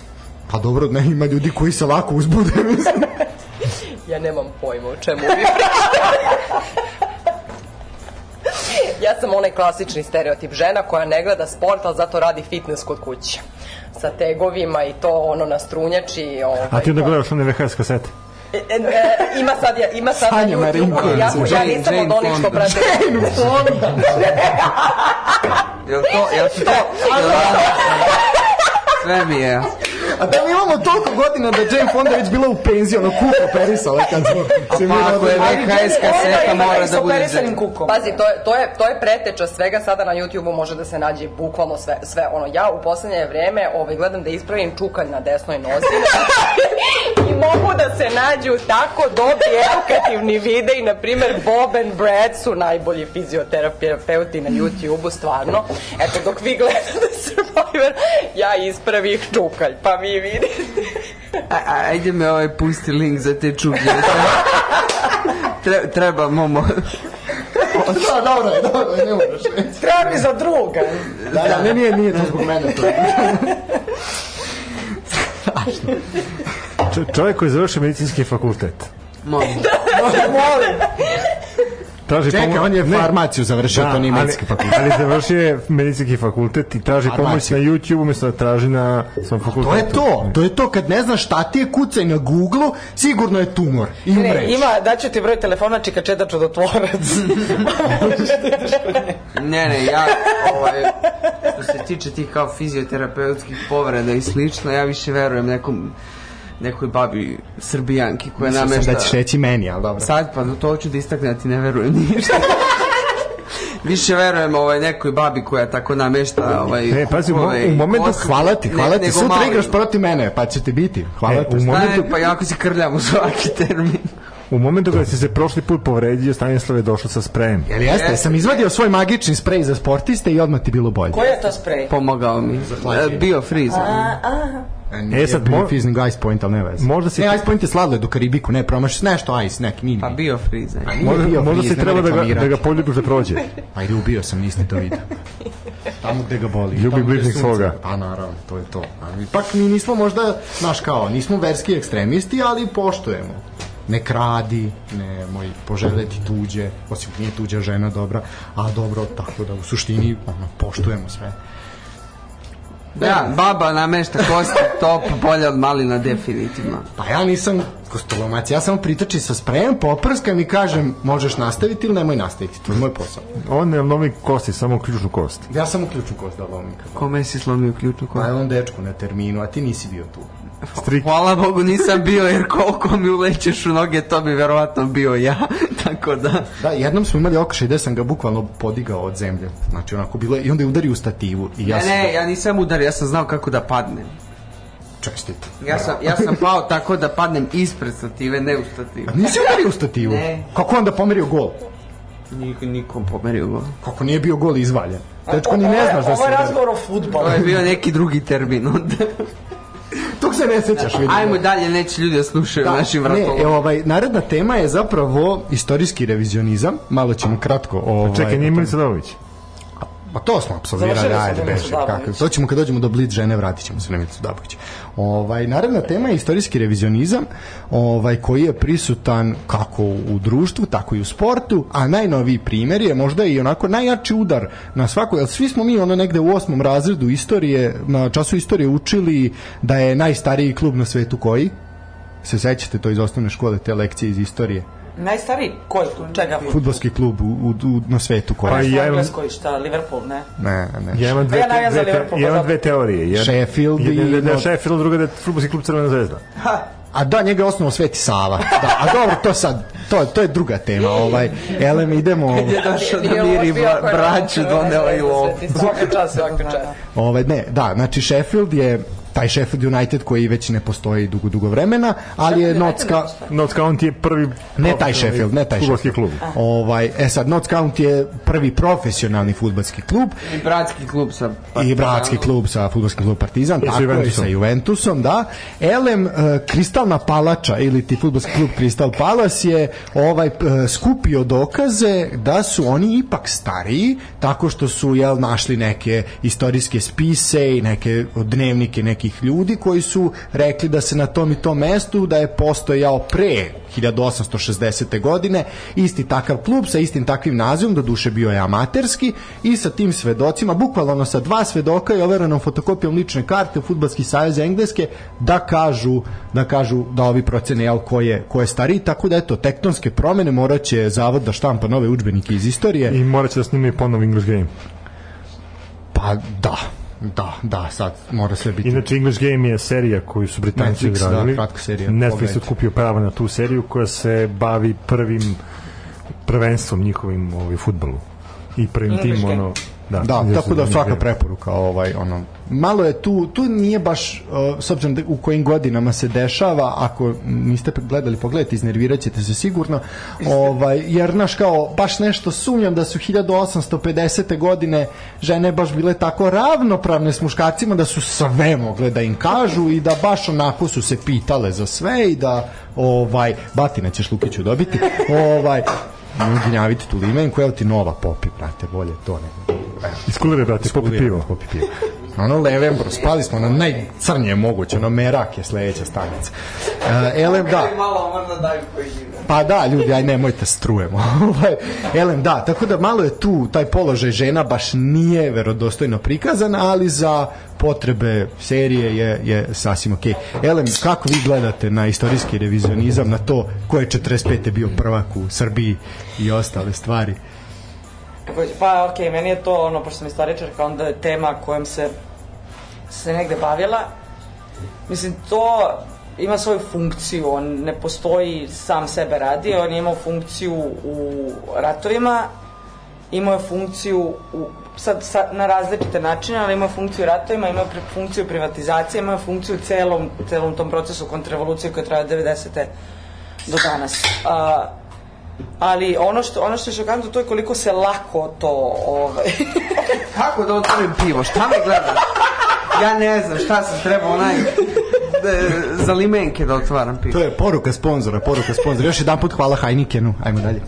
Pa dobro, ne, ima ljudi koji se lako uzbude. mislim.
Ja nemam pojma o čemu vi pričate. ja sam onaj klasični stereotip žena koja ne gleda sport, ali zato radi fitness kod kuće. Sa tegovima i to ono na strunjači. Ovaj,
A ti onda gledaš one VHS kasete.
E, e, e, ima sad, ja, ima sad
Sanja Marinković.
Ja, ja
Jane-
nisam
Jane
od onih što
Fonda.
prate.
Jel to, jel to, jel to, sve mi je.
A da mi imamo toliko godina da Jane Fonda je već bila u penziji, ono kupo perisala kad smo se mi
Pa ako je
rodili.
VHS kaseta mora da bude
žena.
žena.
Kukom.
Pa
Pazi, to je, to, je, to je preteča svega, sada na YouTube-u može da se nađe bukvalno sve, sve ono. Ja u poslednje vreme ovaj, gledam da ispravim čukalj na desnoj nozi i mogu da se nađu tako dobri edukativni videi, na primer Bob and Brad su najbolji fizioterapeuti na YouTube-u, stvarno. Eto, dok vi gledate Survivor, ja ispravih čukalj, pa vi vidite.
A- a- Ajde me ovaj pusti link za te čuge. Treba, treba momo.
Da, dobro je, dobro je, ne moraš.
Treba mi za druga.
Da, da, ne, nije, nije to zbog mene. To je.
Č- čovjek koji je završio medicinski fakultet.
Momo.
Traži
Čekaj,
pomo-
on je
Ne, Da,
farmaciju završio, to nije
ali-
medicinski fakultet.
Ali završio je medicinski fakultet i traži
Farmaciju.
pomoć na YouTube umjesto da traži na svom fakultetu.
To je to, to je to kad ne znaš šta ti je kucaj na Google, sigurno je tumor i
Ne,
umreš.
ima, daću ti broj telefona čika čeda čudotvorac.
Ne, ne, ja, ovaj, što se tiče tih kao fizioterapeutskih povreda i slično, ja više verujem nekom, nekoj babi srbijanki koja
Mislio sam
namešta...
da ćeš reći meni, ali dobro.
Sad, pa to hoću da istaknem, da ti ne verujem ništa. više verujem ovaj, nekoj babi koja tako namešta ovaj,
E, pazi, u mo-
kukove i
u momentu
kosu,
Hvala ti, hvala
ne-
ti.
nego
Sutra
malo.
igraš protiv mene, pa će ti biti. Hvala
E,
ti.
u
Da,
momentu,
ne, pa jako se krljam u svaki termin.
u momentu kada si se prošli put povredio, Stanislav je došao sa sprejem.
Jel jeste? Sam izvadio svoj magični sprej za sportiste i odmah ti bilo bolje.
Koji je to sprej?
Pomogao mi. E, Bio friza.
E, sad
bio
mo-
Fizzing Ice Point, ali ne veze.
Možda si-
Ne, Ice Point je sladoled u Karibiku, ne, promašiš nešto Ice, neki mini.
Pa bio friza.
Nije
Možda,
bio
možda
Fizz,
si
nemoj
treba da ga, da
reklamirati. Da
ga poljubiš da prođe.
Ajde, ubio sam, niste to vidio. Tamo gde ga boli.
Ljubi
tamo gde
bližnjeg
sunce-
svoga.
Pa naravno, to je to. A mi- Ipak mi nismo možda, znaš kao, nismo verski ekstremisti, ali poštujemo. Ne kradi, ne moj poželeti tuđe, osim nije tuđa žena dobra, a dobro, tako da u suštini ono, poštujemo sve.
Da, baba namešta kosti, top, bolje od malina definitivno.
Pa ja nisam kostolomac, ja samo pritoči sa sprejem, poprskam i kažem možeš nastaviti ili nemoj nastaviti, to je moj posao.
On ne lomi kosti, samo ključnu kost.
Ja sam uključu kost da lomim kad
Kome si slomio ključnu
Pa je
kost?
on dečku na terminu, a ti nisi bio tu.
Strik.
Hvala Bogu nisam bio jer koliko mi ulećeš u noge to bi verovatno bio ja, tako da...
Da, jednom smo imali okršaj gde sam ga bukvalno podigao od zemlje. Znači onako bilo je, i onda je udario u stativu. I ja
Ne,
sam da-
ne, ja nisam udar, ja sam znao kako da padnem.
čestit.
Ja sam, ja sam pao tako da padnem ispred stative, ne u stativu.
A nisi udario u stativu?
Ne.
Kako je onda pomerio gol?
Niko, nikom pomerio go.
Kako nije bio gol izvaljen? Dečko ni ne znaš da se
Ovo je
udario.
razgovor o futbolu.
To je bio neki drugi termin onda.
Tog se ne sećaš. vidim.
Ajmo dalje, neće ljudi da slušaju da, našim
ne,
vratom.
e, ovaj, naredna tema je zapravo istorijski revizionizam. Malo ćemo kratko. Ovaj,
Čekaj, nije Milica Dović.
Pa to smo absolvirali,
Završili smo
ajde,
Milicu
beže.
Dabović.
Kako, to ćemo kad dođemo do Blitz žene, vratit ćemo se na Milicu Dabović. Ovaj, naravna tema je istorijski revizionizam, ovaj, koji je prisutan kako u društvu, tako i u sportu, a najnoviji primer je možda i onako najjači udar na svako, jer svi smo mi ono negde u osmom razredu istorije, na času istorije učili da je najstariji klub na svetu koji? Se sećate to iz osnovne škole, te lekcije iz istorije?
Najstariji? Koji? klub? Čega?
Futbalski klub u, u, u, na svetu koji?
Pa i ja imam,
Engleskoj, šta? Liverpool, ne?
Ne, ne.
ja imam dve,
A ja navijam za
dve, te,
Liverpool,
ja imam
pa
dve teorije. Jedan,
Sheffield i-
jedan, da je Sheffield, druga da je futbolski klub Crvena zvezda.
A da, njega je osnovao Sveti Sava. Da, a dobro, to sad, to, to je druga tema. Ovaj. Elem, idemo...
je došao
Nije
da miri
loš bio ako
bra-
je
braću,
napravio
doneo i
sve
lov.
ti Svaka čast, svaka čast.
Ovaj, ne, da, znači Sheffield je taj Sheffield United koji već ne postoji dugo, dugo vremena, ali je Notts County...
Notts County je prvi...
Ne taj Sheffield, ne taj
Futbolski
Sheffield.
klub.
Ovaj, e sad, Notts County je prvi profesionalni futbalski klub
I bratski klub Pa- sa...
i bratski klub sa futbolskim klub Partizan,
I sa
tako je, i
Juventusom.
sa Juventusom, da. Elem, e, Kristalna palača ili ti futbolski klub Kristal Palas je ovaj e, skupio dokaze da su oni ipak stariji, tako što su jel, našli neke istorijske spise i neke dnevnike nekih ljudi koji su rekli da se na tom i tom mestu da je postojao pre 1860. godine isti takav klub sa istim takvim nazivom, do duše bio je amaterski i sa tim svedocima, bukvalno ono sa dva svedoka i overenom fotokopijom lične karte Futbalski savez Engleske da kažu da kažu da ovi procene jel, ko je, ko je stariji, tako da eto tektonske promene moraće zavod da štampa nove udžbenike iz istorije.
I morat će da snime ponovo English Game.
Pa da, da, da, sad mora sve biti.
Inače, English Game je serija koju su Britanci
Netflix, da,
odradili.
kratka serija.
Netflix
Pogledajte.
otkupio prava na tu seriju koja se bavi prvim prvenstvom njihovim ovaj, futbolu. I prvim tim,
Game.
ono... Da,
Da,
jesu
tako da
English
svaka
Game.
preporuka ovaj ono malo je tu tu nije baš uh, s obzirom da u kojim godinama se dešava ako niste gledali pogledajte iznerviraćete se sigurno ovaj jer naš kao baš nešto sumnjam da su 1850. godine žene baš bile tako ravnopravne s muškarcima da su sve mogle da im kažu i da baš onako su se pitale za sve i da ovaj batina ćeš Lukiću dobiti ovaj nemoj ginjaviti tu limenku, evo ti nova popi, brate, bolje to nego.
Iskulire, brate, popi pivo.
Popi pivo. Ono Levenbro, spali smo na najcrnije moguće, ono Merak je sledeća stanica. Uh, elem, da,
Malo možda daju koji
pa da, ljudi, aj nemojte strujemo. Ovaj, elem, da, tako da malo je tu, taj položaj žena baš nije verodostojno prikazan, ali za potrebe serije je, je sasvim okej. Elem, kako vi gledate na istorijski revizionizam, na to ko je 45. bio prvak u Srbiji i ostale stvari?
Takođe, Pa okej, meni je to ono, pošto sam istoričarka, onda je tema kojom se se negde bavila. Mislim, to ima svoju funkciju, on ne postoji sam sebe radi, on je imao funkciju u ratovima imao je funkciju u, sad, sad na različite načine, ali imao je funkciju u ratovima, imao je pri- funkciju privatizacije, imao je funkciju u celom, celom tom procesu kontrarevolucije koja je trajala od 90. do danas. A, ali ono što, ono što je šokantno to je koliko se lako to ovaj,
Kako da otvorim pivo? Šta me gledaš? Ja ne znam šta sam trebao onaj da- za limenke da otvaram pivo.
To je poruka sponzora, poruka sponzora. Još jedan put hvala Heinekenu. Ajmo dalje.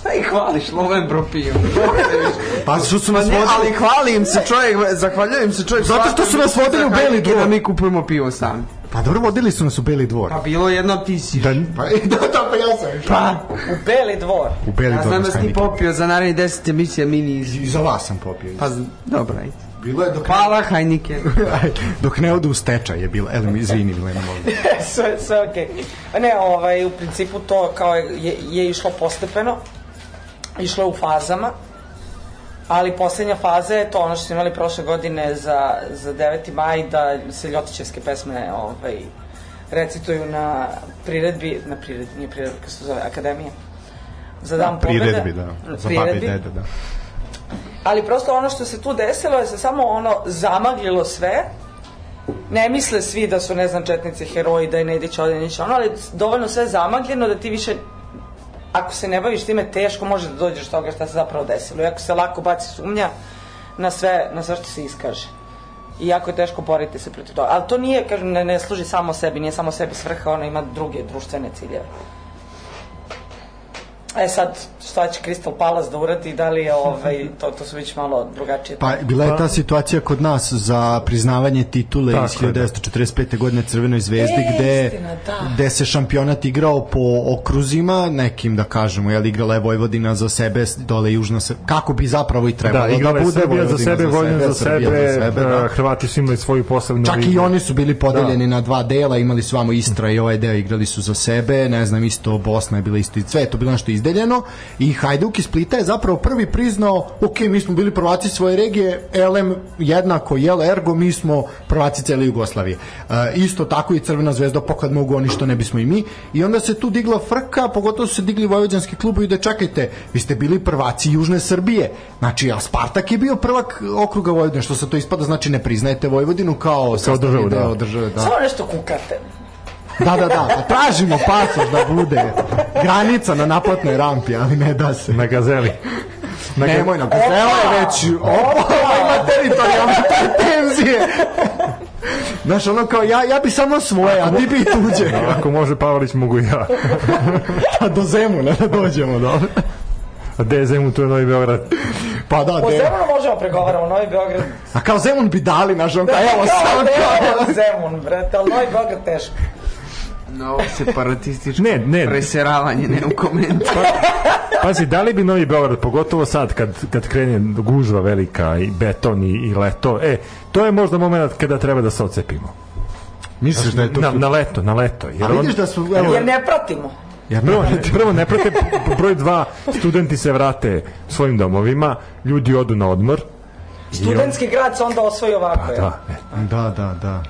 Šta ih hvališ novembro pivo?
Pa što su
Pa
nas
ne, ali
vodili...
hvali im se čovjek, zahvaljujem se čovjek.
Zato što su nas vodili u
Svaka
Beli
prilika Da
dvor.
mi kupujemo pivo sami.
Pa dobro, vodili su nas u Beli dvor.
Pa bilo je jedno ti si.
Da, pa, da, da, pa ja sam. Pa,
u beli dvor.
u Beli
Ja
dvor.
znam da
s
si ti
Heinekenom.
popio za narednih 10 emisija mini iz...
I za vas sam popio.
Pa, z- dobra, ajde.
bilo je dok...
Hvala, Hajnike.
Ajde, dok ne odu u stečaj je bilo. Elem, izvini, Milena, molim.
sve, sve okej. Ne, ovaj, u principu to kao je, je išlo postepeno, išlo je u fazama, ali posljednja faza je to ono što smo imali prošle godine za, za 9. maj, da se Ljotićevske pesme ovaj, recituju na priredbi, na priredbi, nije priredbi, kako se to zove, akademija. Za dan pobede.
Priredbi, da. Za babi i
Priredbi.
dede, da.
Ali prosto ono što se tu desilo je se samo ono zamaglilo sve. Ne misle svi da su, ne znam, četnici heroji, da je Nedić ovdje ništa ono, ali dovoljno sve zamagljeno da ti više, ako se ne baviš time, teško može da dođeš do toga šta se zapravo desilo. I ako se lako baci sumnja na sve, na sve što se iskaže. I jako je teško boriti se protiv toga. Ali to nije, kažem, ne, ne služi samo sebi, nije samo sebi svrha, ono ima druge društvene ciljeve. E sad, šta će Crystal Palace da uradi, da li je, ovaj, to, to su već malo drugačije.
Pa bila je ta situacija kod nas za priznavanje titule
Tako
iz
je, da.
1945. godine Crvenoj zvezdi
E,
gde,
istina, da.
gde se šampionat igrao po okruzima, nekim da kažemo, jel igrala je Vojvodina za sebe, dole Južna se, kako bi zapravo i trebalo
Da, igrala je
bude
Srbija za sebe, Vojvodina za
Srbija
sebe,
da.
e, Hrvati su imali svoju posebnu
Čak i
ligu. Da.
oni su bili podeljeni na dva dela, imali su vamo Istra i ovaj deo igrali su za sebe, ne znam, isto Bosna je bila isto, sve je to bilo nešto izdeljeno i Hajduk iz Splita je zapravo prvi priznao, ok, mi smo bili prvaci svoje regije, LM jednako, jel, ergo, mi smo prvaci cele Jugoslavije. E, isto tako i Crvena zvezda, pokad mogu oni što ne bismo i mi. I onda se tu digla frka, pogotovo su se digli vojvođanski klubovi da čekajte, vi ste bili prvaci Južne Srbije. Znači, a Spartak je bio prvak okruga Vojvodine, što se to ispada, znači ne priznajete Vojvodinu kao kao
državu, da.
deo države, da.
Pa, Samo nešto kukate.
Da, da, da, pa tražimo pasoš da bude granica na naplatnoj rampi, ali ne da se.
Na gazeli. Na ga-
Nemoj nam, zelo je već, opa, ovo ima teritorijalne pretenzije. Znaš, ono kao, ja, ja bi samo svoje, a ti bi i tuđe.
Ako može Pavlić, mogu i ja.
A do Zemuna da dođemo, dobro.
A gde je Zemun, tu je Novi Beograd.
Pa da,
O
de.
Zemunu možemo pregovaramo, Novi Beograd.
A kao Zemun bi dali, znaš, ono kao, Da, evo
Kao
sam, kao,
Zemun, Zemun, brate, ali Novi Beograd teško.
No, separatističko
Ne, ne.
preseravanje, ne u komentu.
Pazi, da li bi Novi Beograd, pogotovo sad kad, kad krene gužva velika i beton i, i leto, e, to je možda moment kada treba da se ocepimo.
Misliš da je
Na, na leto, na leto. Jer
A vidiš da su, evo,
Jer ne pratimo.
ja
Prvo, prvo ne prate, broj dva, studenti se vrate svojim domovima, ljudi odu na odmor.
Studentski grad se onda osvoji ovako. jel?
Da, e,
Da, da, da,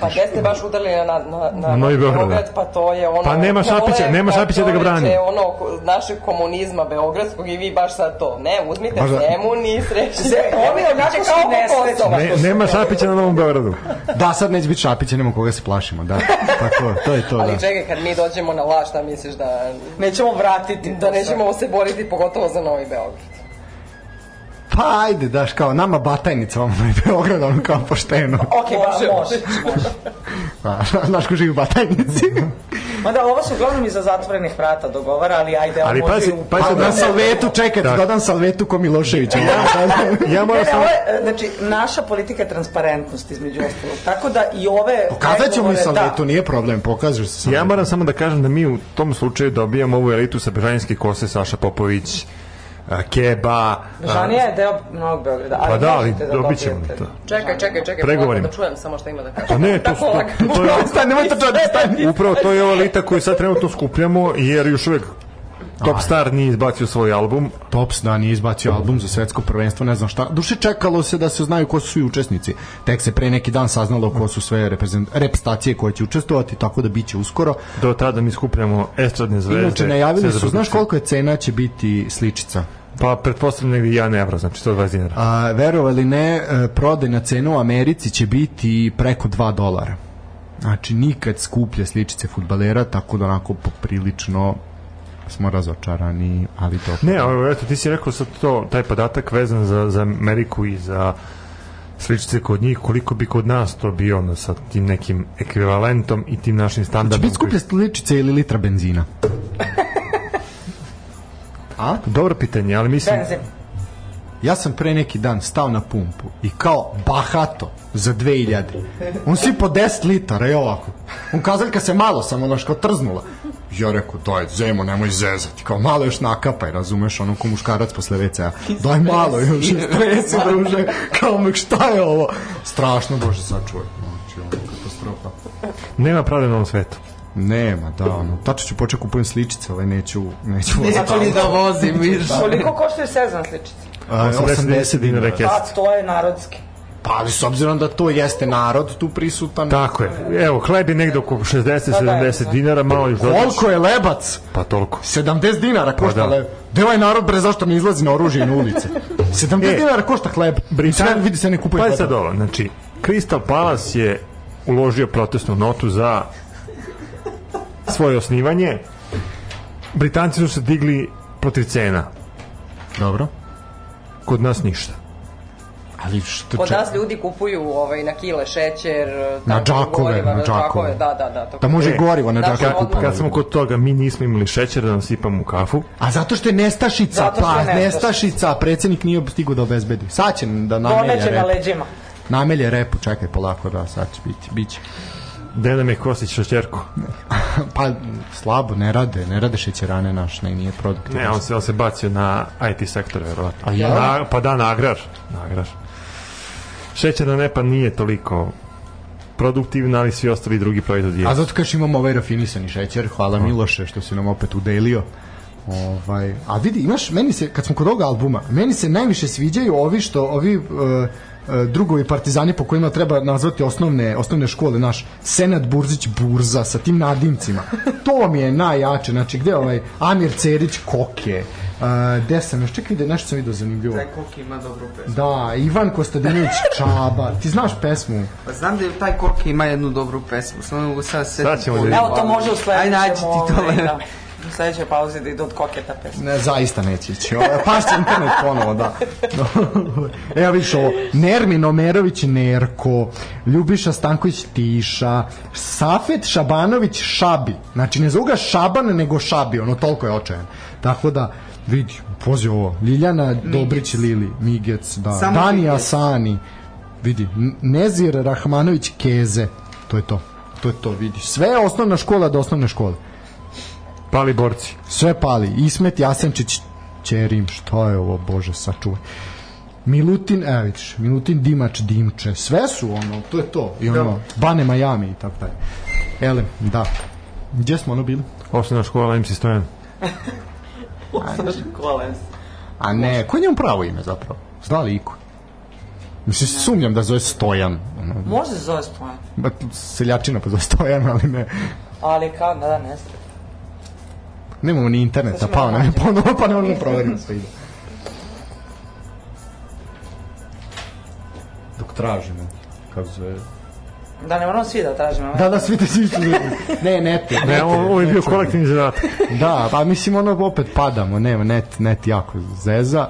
Pa gde ste baš udarili na, na, na,
Novi Beograd, da.
pa to je ono...
Pa nema
to je
Šapića, nema Šapića da ga brani.
čoveče, ono ko- našeg komunizma beogradskog i vi baš sad to. Ne, uzmite
Baš da-
Zemun i srećite.
Oni onako su nesrećni.
ne, nema Šapića na Novom Beogradu.
Da, sad neće biti Šapića, nema koga se plašimo, da. Pa to, to je to, da.
Ali čekaj, kad mi dođemo na laž, šta misliš da...
Nećemo vratiti.
Da nećemo se boriti pogotovo za Novi Beograd.
Pa ajde, daš, kao, nama Batajnica, vam je Beograd, ono kao pošteno.
Ok, može, može.
Pa, znaš ko živi u Batajnici?
Mada da, ovo su uglavnom iza zatvorenih vrata dogovara, ali ajde,
Ali
može
pazi,
i u-
pazi,
Pa
da,
na salvetu, čekaj,
Da.
dodam salvetu ko Miloševića.
pa- ja moram
Ne, ne,
samo...
ovo je, e, znači, naša politika je transparentnost između ostalog. Tako da i ove...
Pokazat ćemo i
pregovore- da.
salvetu, nije problem, pokažeš se
Ja
salvetu.
moram samo da kažem da mi u tom slučaju dobijamo ovu elitu sa bežanijske kose Saša Popović, a, Keba,
Žanija Da, je deo Novog Beograda. ali
Pa da, ali
možete
dobit ćemo
dobijete.
to.
Čekaj, čekaj, čekaj,
Pregovorima.
polako da čujem samo šta ima da
Pa
kažem.
ne, to, su- to, to, to je,
Stani, nemoj to čuti, stani.
upravo to je ova lita koju sad trenutno skupljamo, jer još uvek Topstar nije izbacio svoj album,
Tops da nije izbacio album za svetsko prvenstvo, ne znam šta. Duše čekalo se da se znaju ko su svi učesnici. Tek se pre neki dan saznalo ko su sve reprezent- reprezentacije koje će učestvovati, tako da biće uskoro.
do tada mi skupljamo estradne zvezde.
Inače, najavili
sve
su,
za
znaš
produkciju.
koliko je cena će biti sličica?
Pa pretpostavljam negdje 1 evro, znači 120 dinara.
A, verovali ne, e, prodajna cena u Americi će biti preko 2 dolara. Znači, nikad skuplja sličice futbalera, tako da onako poprilično smo razočarani, ali to...
Ne, ali eto, ti si rekao sad to, taj podatak vezan za, za Ameriku i za sličice kod njih, koliko bi kod nas to bio ono, sa tim nekim ekvivalentom i tim našim standardom.
Će biti Znači, skuplje sličice ili litra benzina? A?
Dobro pitanje, ali mislim...
Benzin.
Ja sam pre neki dan stao na pumpu i kao bahato za 2000. On si po 10 litara i ovako. On kazaljka se malo samo naš kao trznula. Ja rekao, daj, zemo, nemoj zezati. Kao malo još nakapaj, razumeš, ono ko muškarac posle WC-a. Daj malo još, stresi, druže. Kao me, šta je ovo? Strašno, bože, sačuvaj. Znači, ono, katastrofa.
Nema pravde na ovom svetu.
Nema, da, ono, tačno ću početi kupujem sličice, ali neću, neću
Neću ni da vozim, viš.
Koliko koštaju sezon sličice?
A,
80 dinara
Pa
kesica.
to je narodski.
Pa, ali s obzirom da to jeste narod tu prisutan,
Tako je. Evo, hleb je negde oko
Da,
60-70 dinara, malo još dodaš.
Koliko je lebac?
Pa toliko.
70 dinara košta
Pa da.
hleb. Gde ovaj narod bre zašto ne izlazi na oružje i na ulice? 70
E,
dinara košta hleb. Britan... Sve, vidi se ne kupuje
Pa
hleba.
sad ovo, znači, Crystal Palace je uložio protestnu notu za svoje osnivanje. Britanci su se digli protiv cena.
Dobro.
Kod nas ništa.
Ali što
Kod
če...
nas ljudi kupuju ovaj, na kile šećer,
Na
tako,
džakove,
goriva,
na džakove.
Da, da, da. To
Da može
E,
gorivo na
znači,
džaku
odmah-
kupiti.
Kad smo kod toga, mi nismo imali šećer da nasipamo u kafu.
A zato što je nestašica,
Zato što
pa
je nestašica.
nestašica, predsednik nije stigao da obezbedi. Sad će da namelje
Pomeće na
repu.
leđima.
Namelje repu, čekaj polako, da, sad će biti, biće.
Gde nam je Kosić šećerku?
Pa, slabo, ne rade, ne rade šećerane naš, ne, nije produktivno.
Ne, on se, on se bacio na IT sektor, verovatno.
A ja?
Na, pa da, na agrar. Na agrar. Šećerna nepa nije toliko produktivna, ali svi ostali drugi proizvodi je.
A zato kažeš imamo ovaj rafinisani šećer, hvala Miloše što si nam opet udelio. Ovaj, a vidi, imaš, meni se, kad smo kod ovoga albuma, meni se najviše sviđaju ovi što, ovi uh, drugovi partizani po kojima treba nazvati osnovne, osnovne škole, naš Senad Burzić Burza sa tim nadimcima. To mi je najjače, znači gde je ovaj Amir Cerić Koke, uh, gde sam još, čekaj da nešto sam vidio zanimljivo.
Taj kok ima dobru pesmu.
Da, Ivan Kostadinović Čaba, ti znaš pesmu?
Pa znam da je taj kok ima jednu dobru pesmu, samo ne mogu sad se...
Sad ćemo da vidimo.
Evo, to može u sledećem.
Aj, nađi ti to.
ovaj, da. U sledećoj pauzi da idu od koketa pesma.
Ne, zaista neće ići. Ovo, Pašće internet ponovo, da. Evo vidiš ovo. Nermin Omerović Nerko, Ljubiša Stanković Tiša, Safet Šabanović Šabi. Znači, ne zovu ga Šaban, nego Šabi. Ono, toliko je očajan. Tako da, vidi, pozi ovo. Ljiljana Dobrić Lili, Migec, da.
Samo
Dani
Migec.
Asani, vidi. N- Nezir Rahmanović Keze. To je to. To je to, vidi. Sve je osnovna škola do osnovne škole.
Pali borci.
Sve pali. Ismet Jasenčić Čerim, šta je ovo, bože, sačuvaj. Milutin, evo vidiš, Milutin Dimač Dimče, sve su ono, to je to. I ono,
Da.
Bane Miami i tako dalje. Ele, da. Gdje smo ono bili?
Osnovna škola MC Stojan.
A ne, koje je njemu pravo ime zapravo? Zna li iko? Mislim, sumnjam da zove Stojan. Ono,
Može se zove Stojan.
ma, seljačina pa zove Stojan, ali ne.
Ali kao, da, da, ne znam.
Nemamo ni interneta,
Sad ćemo da
pa ne,
naći.
ponovo, pa ne možemo proveriti sve ide. Dok tražimo, kako zove,
Da, ne moramo svi da tražimo.
Da, da, svi te svi su... Ne, net. je, net
Ne,
je,
ovo ovo je
net
bio
je.
kolektivni zadatak.
Da, pa mislim, ono, opet padamo, ne, net, net jako zeza.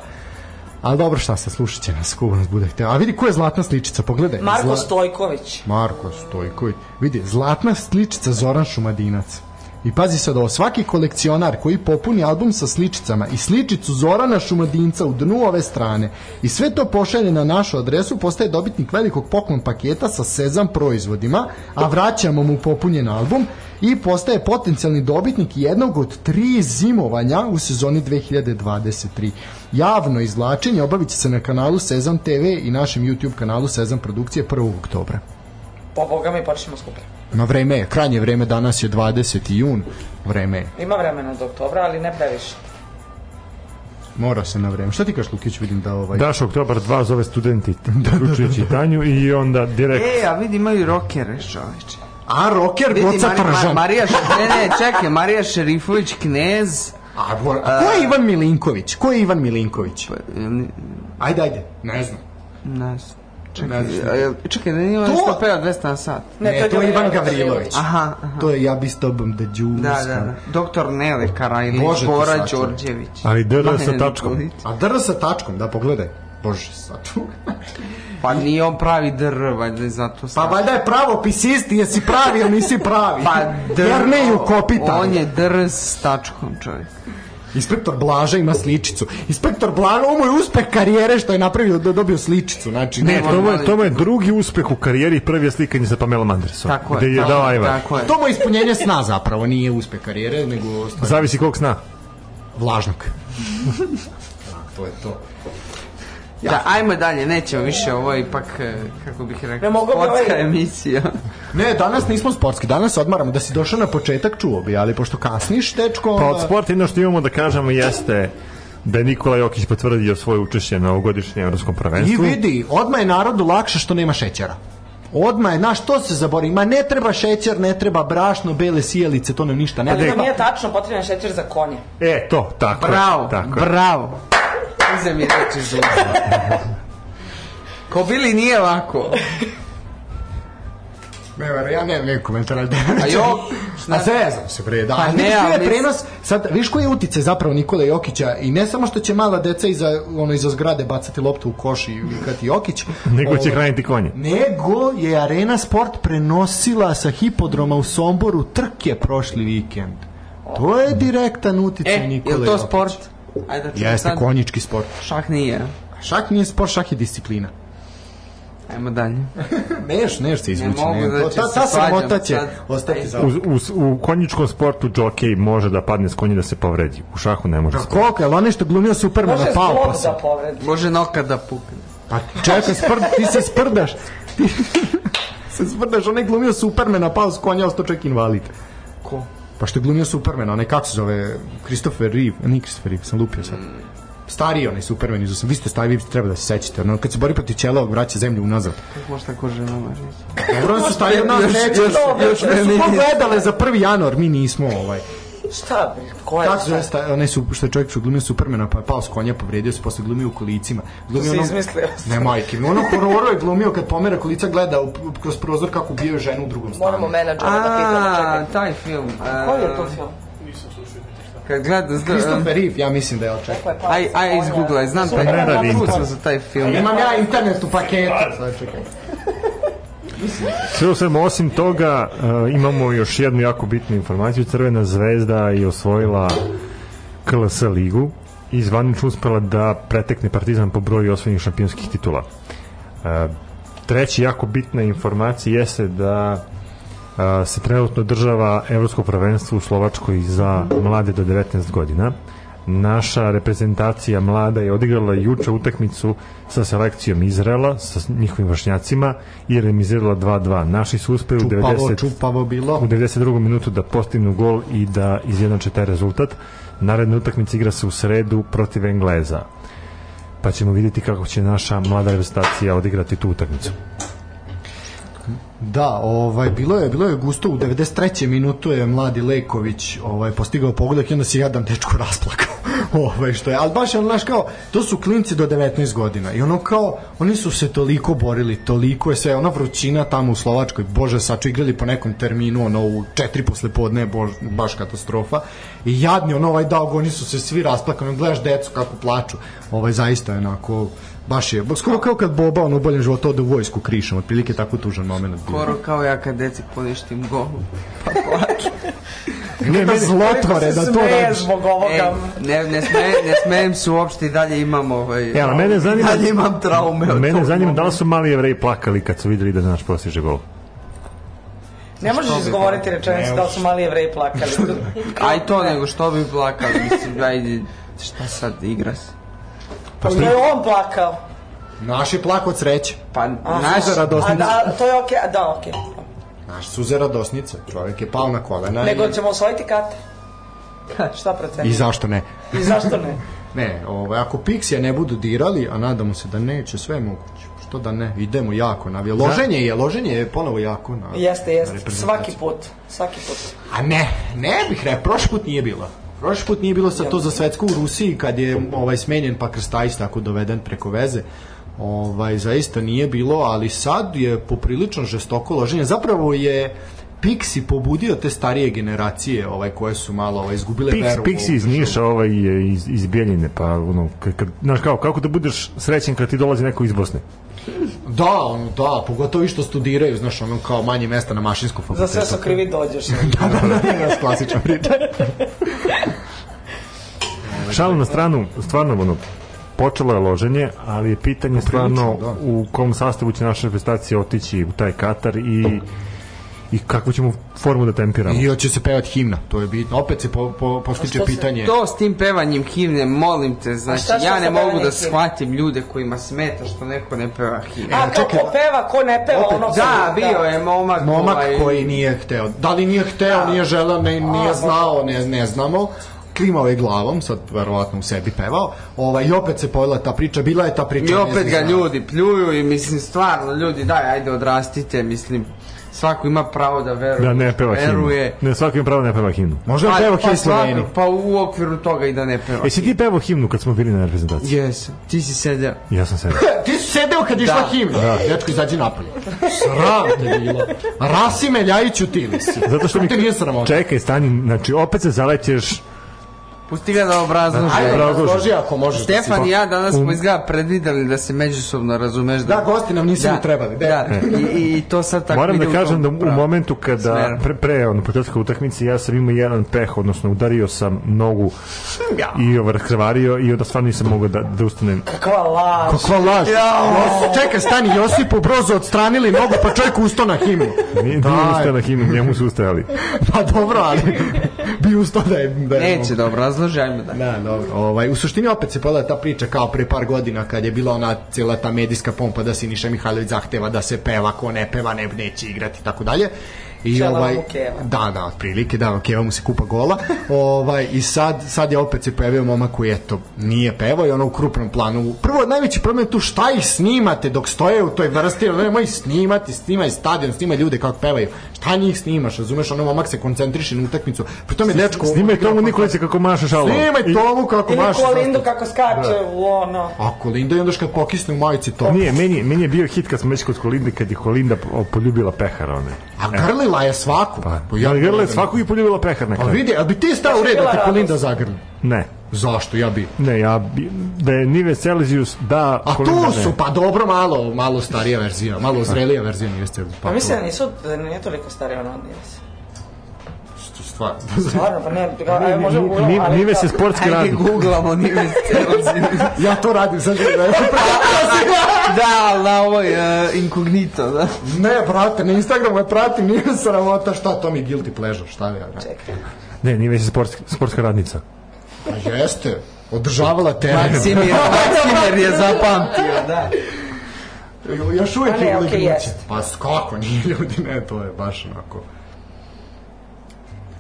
Ali dobro, šta se, slušat će nas, kubo nas bude hteo. A vidi, ko je zlatna sličica, pogledaj.
Marko
Zla-
Stojković.
Marko Stojković. Vidi, zlatna sličica Zoran Šumadinac. I pazi sad ovo, svaki kolekcionar koji popuni album sa sličicama i sličicu Zorana Šumadinca u dnu ove strane i sve to pošalje na našu adresu postaje dobitnik velikog poklon paketa sa Sezam proizvodima, a vraćamo mu popunjen album i postaje potencijalni dobitnik jednog od tri zimovanja u sezoni 2023. Javno izvlačenje obavit će se na kanalu Sezam TV i našem YouTube kanalu Sezam Produkcije 1. oktobra.
Po boga mi počnemo skuplje.
Ma vreme je, krajnje vreme, danas je 20. jun, vreme je,
Ima vremena do oktobra, ali ne previše.
mora se na vreme. Šta ti kažeš Lukić, vidim da ovaj... Da,
Daš oktobar 2 zove studenti, uključujući Tanju i onda direkt
E, a vidi imaju rokere, čoveče.
A rocker
Vidi,
Goca
Mari, Ma-
Tržan.
Marija, Š- ne, ne, čekaj, Marija Šerifović Knez,
A, gor- a ko je Ivan Milinković? Ko je Ivan Milinković?
Ili-
Ajde, ajde. Ne znam.
Pa, Ne znam.
Ne znaš šta
A jel- Čekaj, da nije on
To-
peo 200 na sat?
Ne, to je Ivan Gavrilović.
Aha, aha.
To je Ja bi s tobom da džuskam.
Da, da, da. Doktor Nele Karajlić,
Bože, to
Bora
svačam.
Đorđević.
Ali DR sa
Mladen
tačkom.
Nikolić.
A dr sa tačkom, da pogledaj. Bože, sad tu.
Pa nije on pravi dr, valjda je zato
Pa
sad.
valjda je pravo pisisti, jesi pravi ili nisi pravi.
Pa
dr-
Jer ne ju kopita.
On je dr s tačkom, čovjek.
Inspektor Blaža ima sličicu. Inspektor Blaža, ovo mu je uspeh karijere što je napravio da je dobio sličicu. Znači,
Ne,
ne,
to mu je, to mu je drugi uspeh u karijeri, prvi je slikanje sa Pamelom Anderson.
Tako je.
Gde je
tako
dao
je,
Ajvar.
Tako je.
to mu je ispunjenje sna zapravo, nije uspeh karijere, nego stvar
Zavisi kog sna.
vlažnog. Tak, to je to.
Da, ajmo dalje, nećemo više, ovo je ipak, e, kako bih
Ne
rekao,
mogu bi
sportska
ovaj-
emisija.
Ne, danas nismo sportski, danas se odmaramo. Da si došao na početak, čuo bi, ali pošto kasniš, tečko...
Pa
onda-
od sporta jedno što imamo da kažemo jeste da je Nikola Jokić potvrdio svoje učešće na ovogodišnjem evropskom
I
prvenstvu.
vidi, odma je narodu lakše što nema šećera. Odma je, znaš, to se zabori. Ma ne treba šećer, ne treba brašno, bele sijalice, to nam ništa ne da
Ali
treba.
to nije tačno, potreban je šećer za konje.
Pa E, to, tako
Bravo,
je. Tako je.
bravo. Uzem je da reći žuza. Ko bili nije lako.
Ne, ver, ja nemam neki komentar, ali da.
A jo,
A zezam se bre, da.
Pa
Pa
ne,
ne, ali
ali-
je prenos, sad, viš koji je utice zapravo Nikole Jokića i ne samo što će mala deca iza, ono, iza zgrade bacati loptu u koš i vikati Jokić,
Nego će
ovaj,
hraniti konje.
Nego je Arena Sport prenosila sa hipodroma u Somboru trke prošli vikend. To je direktan uticaj
E,
Nikole
je to
Jokića.
sport? Ajde da čujem
Jeste
sad.
konjički sport.
Šah nije.
Šah nije sport, šah je disciplina.
Ajmo dalje.
Neš, neš se izvući.
mogu,
Ne, to,
znači,
ta,
se
ta sramota
svađam
će
sad.
ostati za...
U, u, u konjičkom sportu džokej može da padne s konja da se povredi. U šahu ne može.
Koliko je, ali onaj što je glumio Supermana,
Može
pao pa
zlog
se.
da povredi.
Može noka da pukne.
Pa čekaj, sprd, ti se sprdaš. Ti se sprdaš, onaj glumio Supermana, pao s konja, ostao čovjek invalid.
Ko?
Pa što je glumio Supermana, onaj kako se zove, Christopher Reeve, a nije Christopher Reeve, sam lupio sad. Stariji onaj Superman, iz osam- vi ste stari, vi treba da se sećate, ono, kad se bori protiv ćelovog, vraća zemlju unazad.
Kako može tako ženama reći?
Dobro, oni su stariji od nas,
Još-
neće.
još- još
Oni su
meni-
pogledale za 1. januar, mi nismo ovaj.
Šta bre, ko je?
Kako se zove, sta- onaj su, što je čovjek što glumio Supermana, pa je pao s konja, povredio se, posle glumio u kolicima. Glumio
se
ono-
izmislio.
Ne, majke, mi ono hororu je glumio kad pomera kolica gleda u, kroz prozor kako ubijaju ženu u drugom stanu.
Moramo menadžera da pitamo,
A,
čekaj.
taj film. a,
Koji je to film?
Kad gleda, zna,
Christopher Reeve, ja mislim da je oček.
aj, aj iz Google, znam taj
Ne radi
film.
internet.
Čuo sam za taj film.
Imam ja internet u paketu. Sad čekaj.
Sve u svemu, osim toga, uh, imamo još jednu jako bitnu informaciju. Crvena zvezda je osvojila KLS ligu i zvanično uspela da pretekne Partizan po broju osvojenih šampionskih titula. Uh, treći jako bitna informacija jeste da uh, se trenutno država Evropsko prvenstvo u Slovačkoj za mlade do 19 godina. Naša reprezentacija mlada je odigrala juče utakmicu sa selekcijom Izrela, sa njihovim vršnjacima i remizirala 2-2. Naši su uspeli u
Čupavo,
90
čupavo bilo.
u 92. minutu da postignu gol i da izjednače taj rezultat. Naredna utakmica igra se u sredu protiv Engleza. Pa ćemo vidjeti kako će naša mlada reprezentacija odigrati tu utakmicu.
Da, ovaj bilo je bilo je gusto u 93. minutu je mladi Leković ovaj postigao pogodak i onda se jadan dečko rasplakao. ovaj što je, al baš je ono, znaš kao to su klinci do 19 godina i ono kao oni su se toliko borili, toliko je sve ona vrućina tamo u Slovačkoj. Bože, saču igrali po nekom terminu ono u 4 poslepodne, bož, baš katastrofa. I jadni ono ovaj dao, oni su se svi rasplakali, ono, gledaš decu kako plaču. Ovaj zaista je onako baš je skoro kao kad Boba ono u boljem životu ode u vojsku krišom, otprilike tako tužan momenat bio.
Skoro kao ja kad deci poništim golu. pa
Ne, da zlotvore da to
Smeje
radiš.
zbog
E,
ovoga.
ne, ne, sme, ne smejem se uopšte i dalje imam ovaj...
Evo, mene zanima-
Dalje imam traume. od
Mene
tog
zanima da li
momenta.
su mali jevreji plakali kad su videli da naš postiže gol.
Ne možeš izgovoriti rečenicu da li su mali jevreji plakali.
A i to nego što bi plakali, mislim, ajde, šta sad igra se?
Pa što je on plakao?
Naši plak od sreće.
Pa naš,
Suze
A
radosnice.
da, to je okej, a da okej.
Naš suze radosnice. Čovjek Da, je pao na kolena.
Nego
i,
ćemo osvojiti kate. Šta proceni?
I zašto ne?
I zašto ne?
Ne, ovaj, ako Pixija ne budu dirali, a nadamo se da neće, sve je moguće. Što da ne, idemo jako na Loženje je, loženje je ponovo jako na
Jeste,
na
jeste.
reprezentaciju.
Svaki put. Svaki put.
A ne, ne bih rekao, prošli put nije bila. Prošli put nije bilo sad to za svetsko u Rusiji kad je ovaj smenjen pa Krstajs tako doveden preko veze. Ovaj zaista nije bilo, ali sad je poprilično žestoko loženje. Zapravo je Pixi pobudio te starije generacije, ovaj koje su malo ovaj izgubile
Pix,
veru. u
Pix
ovu
iz
državu.
Niša, ovaj je iz, iz Bjeljine, pa ono, kad, kad, znaš kao, kako da budeš srećen kad ti dolazi neko iz Bosne?
Da, ono, da, pogotovo i što studiraju, znaš, ono kao manje mesta na mašinskom
Za
fakultetu.
sve su krivi dođeš.
da, da, da, da, klasična priča.
Šalu na stranu, stvarno ono, počelo je loženje, ali je pitanje stvarno
da.
u kom sastavu će naša reprezentacija otići u taj Katar i i kakvu ćemo formu da tempiramo.
I hoće se pevat himna, to je bitno. Opet se po, po, postiče
A što se-
pitanje.
To s tim pevanjem himne, molim te, znači,
šta- šta
ja
sa
ne mogu da
pevanjem himne?
shvatim ljude kojima smeta što neko ne peva himne.
E,
A kao ko peva, ko ne peva,
Opet,
ono...
Da, bio je momak,
Momak
ovaj,
koji nije hteo. Da li nije hteo, nije želeo, ne, nije znao, ne, ne znamo. Klimao je glavom, sad verovatno u sebi pevao. Ovaj, I opet se pojela ta priča, bila je ta priča.
I
ne
opet
znam
ga
znao.
ljudi pljuju i mislim stvarno ljudi daj ajde odrastite mislim svako ima pravo da veruje.
Da ne peva himnu.
veruje.
Ne, svaki ima pravo da ne peva himnu.
Možda je pevao
svako-
Hej Sloveni.
pa u okviru toga i da ne peva.
Jesi E, ti pevao himnu kad smo bili na reprezentaciji?
Jesam, ti si sedeo.
Ja sam sedao.
Ti si sedeo kad je išla
Da.
himna. Da. Dečko, izađi napolje. Sram te bilo. Rasime Ljajiću ti li si.
Zato što mi...
te nije sramota.
Čekaj, stani, znači opet se zalećeš Znači,
Pusti ga da
Ajde,
obrazlože.
Obrazloži.
razloži ako možeš. da si-
Stefan i ja danas
Um.
smo izgleda predvideli da se međusobno razumeš.
Da, gosti nam nisu ni trebali. De.
Da, i, i to sad tako
Moram
ide
da
u tom
kažem da u
pravu.
momentu kada
smeru.
pre, pre ono početka utakmice ja sam imao jedan peh, odnosno udario sam nogu i ovaj raskrvario i onda stvarno nisam mogao da, da ustanem.
Kakva laž.
Kakva laž. Jos- Čekaj, stani, Josipu Brozu odstranili nogu, pa čovjek ustao na himnu.
Nije, nije
Daj.
ustao na himnu, njemu su ustajali.
Pa dobro, ali bi ustao da je... Da je
Neće da obrazlože, ajmo da.
Da, dobro. Ovaj, u suštini opet se pojela ta priča kao pre par godina kad je bila ona cijela ta medijska pompa da Siniša Mihajlović zahteva da se peva, ko ne peva ne, neće igrati i tako dalje. I
Čela mu keva.
Da, da, otprilike, da, keva mu se kupa gola. ovaj, I sad, sad je opet se pojavio momak koji, eto, nije pevao i ono u krupnom planu. Prvo, najveći problem je tu šta ih snimate dok stoje u toj vrsti, ono nemoj snimati, snimaj stadion, snimaj ljude kako pevaju. Šta njih snimaš, razumeš, ono momak se koncentriše na utakmicu. Pri tome, dečko...
Snimaj Tomu Nikolića kako maše šalom.
Snimaj Tomu kako
Ili
maš. Da.
Kolindu kako skače u ono...
A Kolinda i onda još kad pokisne u majici to.
Pa Nije, meni, je- meni je bio hit kad smo već kod Kolinde, kad je Kolinda po- poljubila pehar one.
A grlila je svaku.
Pa,
Pa ja-
ja, grle svakog i poljubila pehar na
Pa
kraju.
vidi, a bi ti stao u redu da te
bila
Kolinda zagrli?
Ne,
Zašto, ja bi.
ne, ja, bi- da je Nive Celsius, da,
A
Kolinda
tu
ne.
su, pa dobro, malo, malo starija verzija, malo zrelija verzija nije ste.
Pa mislim da
to-
nisu, da nije toliko stari ono od Nivesa.
što stvar.
Stvarno, pa ne, ga, ajde, možemo
Ni-
uglavnom,
Ni-
ali...
Nive se
kao-
sportski
Ajde,
radi.
googlamo Nive Celsius.
ja to radim, sad da je
da, ali na ovoj uh, inkognito, da.
Ne, brate, na Instagramu me pratim, nije sramota, šta to mi je guilty pleasure, šta ja radim?
Ne, Nive se sportska, sportska radnica.
Pa jeste, održavala teren.
Maksimir, Maksimir je zapamtio, da.
Još uvijek
A ne,
je
okej,
okay,
jest.
Pa s- kako nije ljudi, ne, to je baš onako.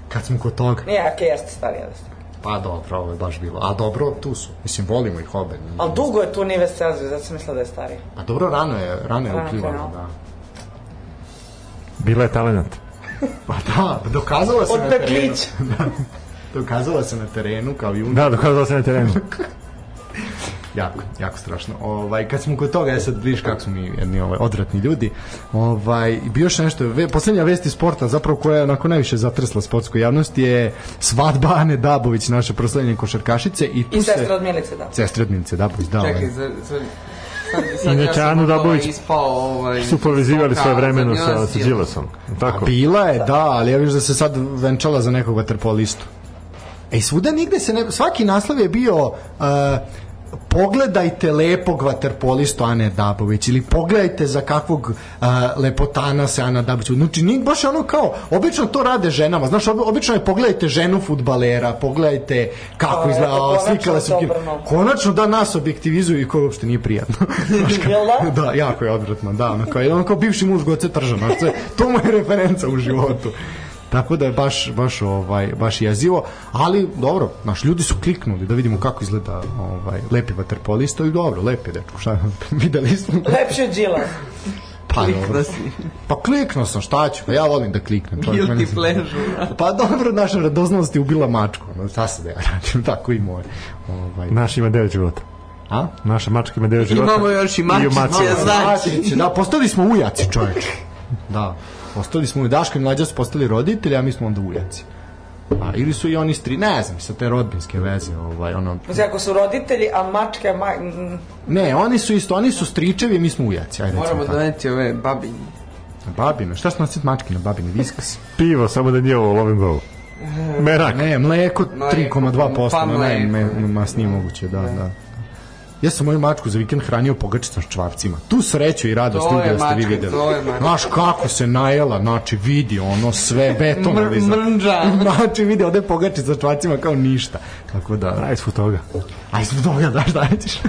Kad smo kod toga,
Nije, ok, jeste starija da ste.
pa dobro, ovo je baš bilo. A dobro, tu su. Mislim, volimo ih obe. nije-
Ali dugo je tu Nives Celsius, zato sam mislila da je starija.
Pa dobro, rano je, rano je
Rano
uplivalo,
krenulo.
da.
Bila je talenat.
Pa da, dokazala se
Od
na terenu.
Peklića.
Dokazala se na terenu kao junior.
Da, dokazala se na terenu.
Jako, jako strašno. Ovaj, kad smo kod toga, ja sad vidiš kako smo mi jedni ovaj, odvratni ljudi. Ovaj, i bio još nešto, ve, poslednja vest iz sporta, zapravo koja je onako najviše zatresla sportsku javnost, je svadba Ane Dabović, naše proslednje košarkašice. I, tu
I
se-
sestra od Milice, da.
Sestra od Milice Dabović, da. ovaj.
Čekaj, za, za, sad,
Inače,
sam
Anu
od toga
Dabović
ispao, ovaj,
Su povezivali
stoka,
svoje vremeno
za
sa,
Milan
sa
Silas.
Đilasom. Tako?
Bila je, da, ali ja viš da se sad venčala za nekog vaterpolistu. E, svuda nigde se ne... Svaki naslov je bio... Uh, pogledajte lepog vaterpolistu Ane Dabović ili pogledajte za kakvog uh, lepotana se Ana Dabović znači nije baš ono kao obično to rade ženama znaš obi- obično je pogledajte ženu futbalera pogledajte kako
A,
izgleda a,
eto, konačno
slikala se u kinu.
obrnuto.
konačno da nas objektivizuju i koje uopšte nije prijatno Znaš kao-
Jel da?
da, jako je odvratno, da, ono kao, ono kao bivši muž Goce Tržana, to, je- to mu je referenca u životu. Tako da je baš, baš, ovaj, baš jezivo, ali dobro, naš ljudi su kliknuli da vidimo kako izgleda ovaj, lepi vaterpolista i dobro, lepi, dečko, šta, videli smo.
Lepši od Đilas.
Pa, dobro.
Klikno si.
Pa kliknuo sam, šta ću? Pa ja volim da kliknem. čovjek, meni
Guilty
se-
pleasure.
Pa dobro, naša radoznalost je ubila mačku. No, šta se da ja radim, tako i moje. Ovaj.
Naš ima 9 života.
A?
Naša mačka ima 9 života.
Imamo još i mačić,
mačića.
ja znam.
Znači, da, postali smo ujaci, čoveče. Da, postali smo, Daško i mlađa su postali roditelji, a mi smo onda ujaci. A, ili su i oni stri, ne znam, sa te rodbinske veze, ovaj, ono...
Znači, ako su roditelji, a mačke... Ma... mm,
Ne, oni su isto, oni su stričevi, mi smo ujaci, ajde recimo
Moramo da
tako.
doneti Znači, ove babinje.
Na babine, šta smo nasjeti mačke na babine, viskas?
Pivo, samo da nije ovo lovim govu. Merak.
Ne, mleko
Mleko,
3,2%,
pa
pa ne,
mleko.
me, masnije moguće, da, da. Ja sam moju mačku za vikend hranio pogačicom s čvarcima. Tu sreću i radost
To je
ljudi da ste vi
mačka,
videli.
to je mačka.
Znaš kako se najela, znači vidi ono sve beton.
Mr- mrnđa.
Znači vidi, ode pogačica sa čvarcima kao ništa. Tako da,
Aj, svu toga.
aj zbog toga, da, šta ćeš?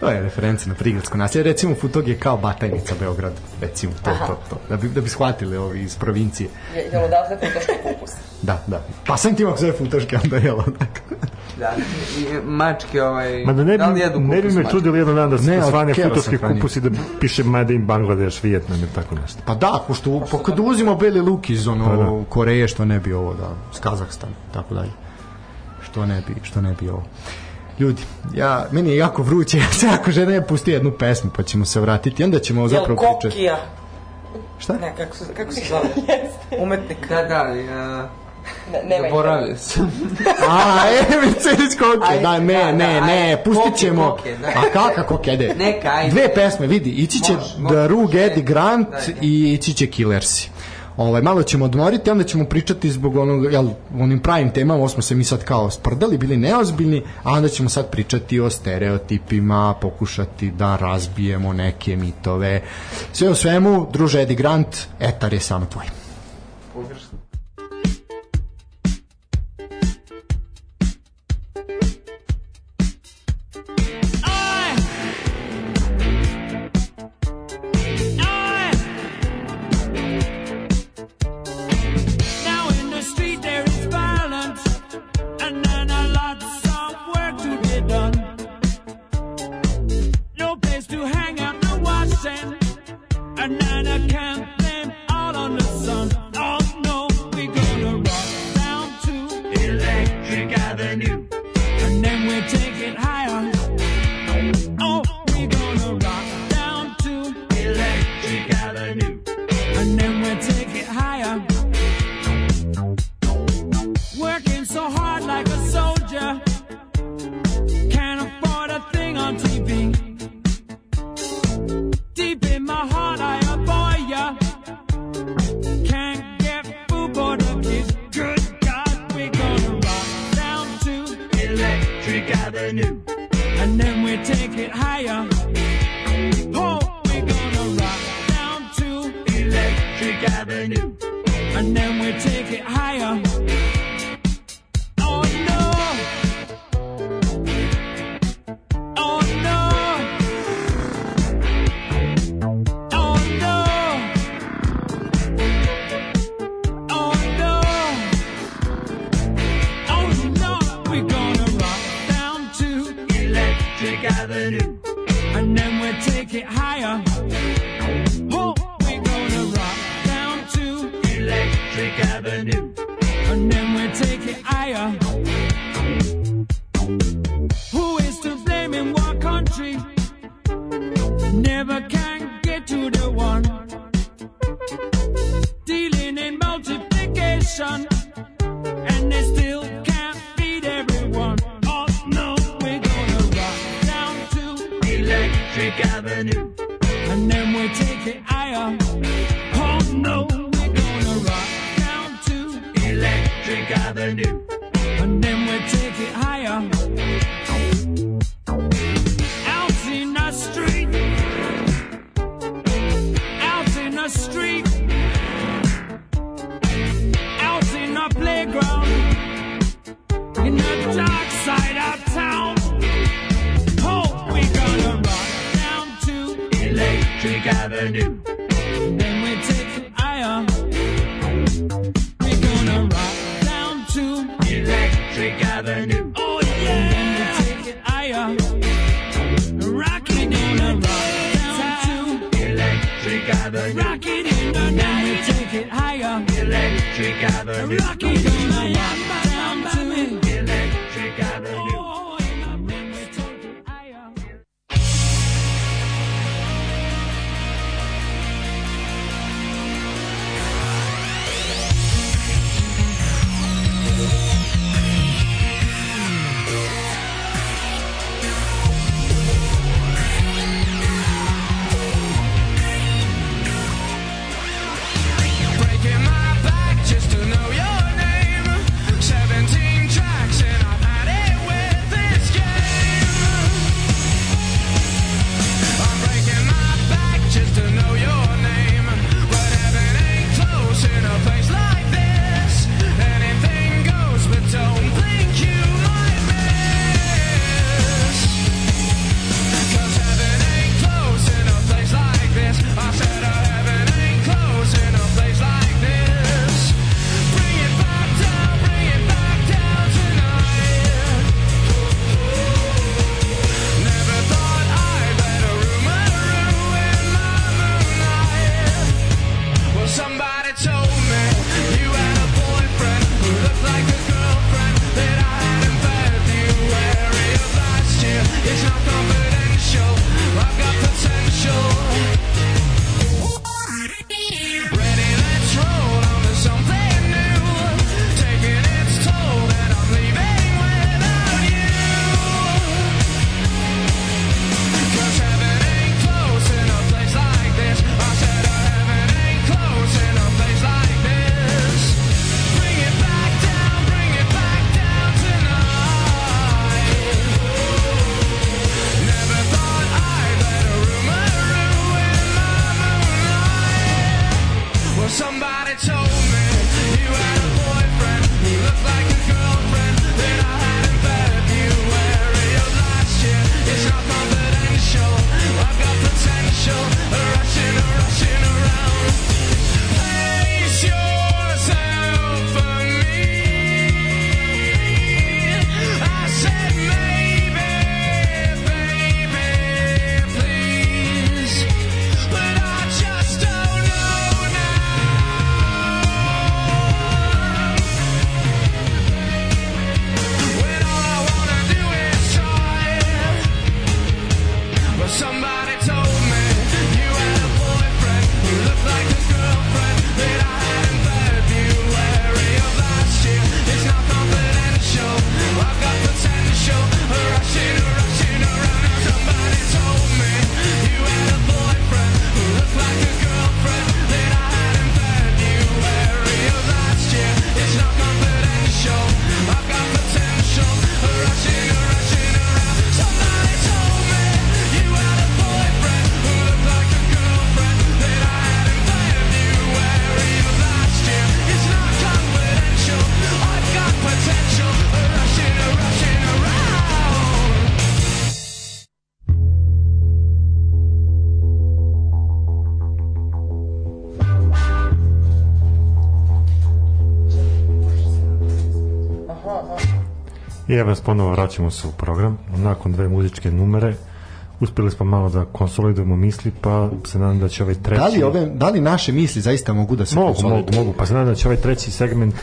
to je referenca na prigradsko naselje. Recimo, Futog je kao Batajnica Beograd. Recimo, to, to, to. Da bi, da bi shvatili ovi iz provincije.
Je, jel odavde futoški kupus?
Da, da. Pa sam ti ako zove Futoške, onda je jelo. Dakle.
Da, i mačke ovaj...
Ma da ne bi,
li jedu
ne bi
kupus
me
mačke?
čudili jedan dan da se
Ne, od
svane
keva
futovski
sam hranio.
kupus i da piše Made in Bangladesh, Vijetnam ili tako nešto.
Pa da, pošto pa kad uvozimo beli luk iz ono
Pa da.
Koreje, što ne bi ovo da, s Kazahstan, tako dalje. Što ne bi, što ne bi ovo. Ljudi, ja, meni je jako vruće, ja se jako žena je pusti jednu pesmu, pa ćemo se vratiti, onda ćemo
Jel
zapravo pričati.
kokija?
Šta?
Ne, kako se, kako se zove? Umetnik.
Da, da, ja...
Ne, nemajte.
Zaboravio sam.
A, e, evi, celić koke,
Aj,
da, ne,
da, da,
ne, ne,
ajde,
pustit
koke,
ćemo.
koke, da.
A kaka koke, ajde.
Neka, ajde.
Dve pesme, vidi, ići će
Može, može,
The Rug,
ajde,
Eddie Grant
daj, daj.
i ići će Killersi. Ovaj, malo ćemo odmoriti, onda ćemo pričati zbog onog, jel, onim pravim temama, ovo smo se mi sad kao sprdali, bili neozbiljni, a onda ćemo sad pričati o stereotipima, pokušati da razbijemo neke mitove. Sve u svemu, druže Eddie Grant, etar je samo tvoj.
Now in the street there is violence, and then a lots of work to be done. No place to hang out the washing, and then I can't blame all on the sun. Oh no, we're gonna rock down to Electric Avenue, and then we take it higher. Oh, we're gonna rock down to Electric Avenue, and then we take it higher. Working so hard like a soldier. Can't afford a thing on TV. Deep in my heart, I abhor ya. Can't get food or the kids. Good God, we're gonna rock down to Electric Avenue. And then we take it higher. Oh, we're gonna rock down to Electric Avenue. And then we take it higher. Oh no! Oh no! Oh no! Oh no! Oh no! We're gonna rock down to Electric Avenue, and then we'll take it higher. Oh, we're gonna rock down to Electric Avenue, and then we'll take it higher. Who is to blame in what country? Never can get to the one. Dealing in multiplication, and they still can't feed everyone. Oh no, we're gonna rock down to Electric Avenue, and then we'll take it higher. Oh no, we're gonna rock down to Electric Avenue, and then we'll take it higher out in the street. Out in the street. Out in the playground. In the dark side of town. Oh, we gonna rock down to Electric Avenue. Then we take it higher. We're gonna rock down to Oh, Electric Avenue. Rocky gonna yap down to me. Electric Avenue. Oh, and I really told you I am.
Breaking my back just to know your name. Seventeen tracks and I've had it with this game. I'm breaking my back just to know your name. But heaven ain't close in a place like this. Anything goes, but don't think you might miss. Cause heaven ain't close in a place like this. I said oh, heaven ain't close in a place like this. Bring it back down, bring it back down tonight. Never thought I'd let a rumor ruin my moonlight. Well, somebody told me you had a boyfriend who looked like a girlfriend that I had in February of last year. It's not confidential. I've got potential. Ready, let's roll on to something new. Taking its toll, and I'm leaving without you. Cause heaven ain't close in a place like this. I said oh, heaven ain't close in a place like this. Bring it back down, bring it back down tonight. Never thought I'd let a rumor ruin my moonlight. Well, somebody told me you had a boyfriend who looked like a girlfriend that I had in February of last year. It's not confidential. I've got potential. Rushing, rushing around. Place yourself for me. I said maybe, baby, please. But I just don't know now. When all I wanna do is try. But somebody told me you had a boyfriend who looked like a girlfriend that I had in February of last year. It's not confidential. I've got potential. Rushing, rushing around. Now somebody told me you had a boyfriend who looked like a girlfriend that I had in February of last year. It's not confidential. I've got potential. Rushing, rushing around. Somebody told me you had a boyfriend who looked like a girlfriend that I had in February of last year. It's not confidential. I've got potential. Rushing, rushing around.
I evo vas ponovo vraćamo se u program. Nakon dve muzičke numere uspeli smo malo da konsolidujemo misli, pa se nadam da će ovaj treći...
Da li, ove, da li naše misli zaista mogu da se
Mogu,
konzoliduju?
mogu, mogu. Pa se nadam da će ovaj treći segment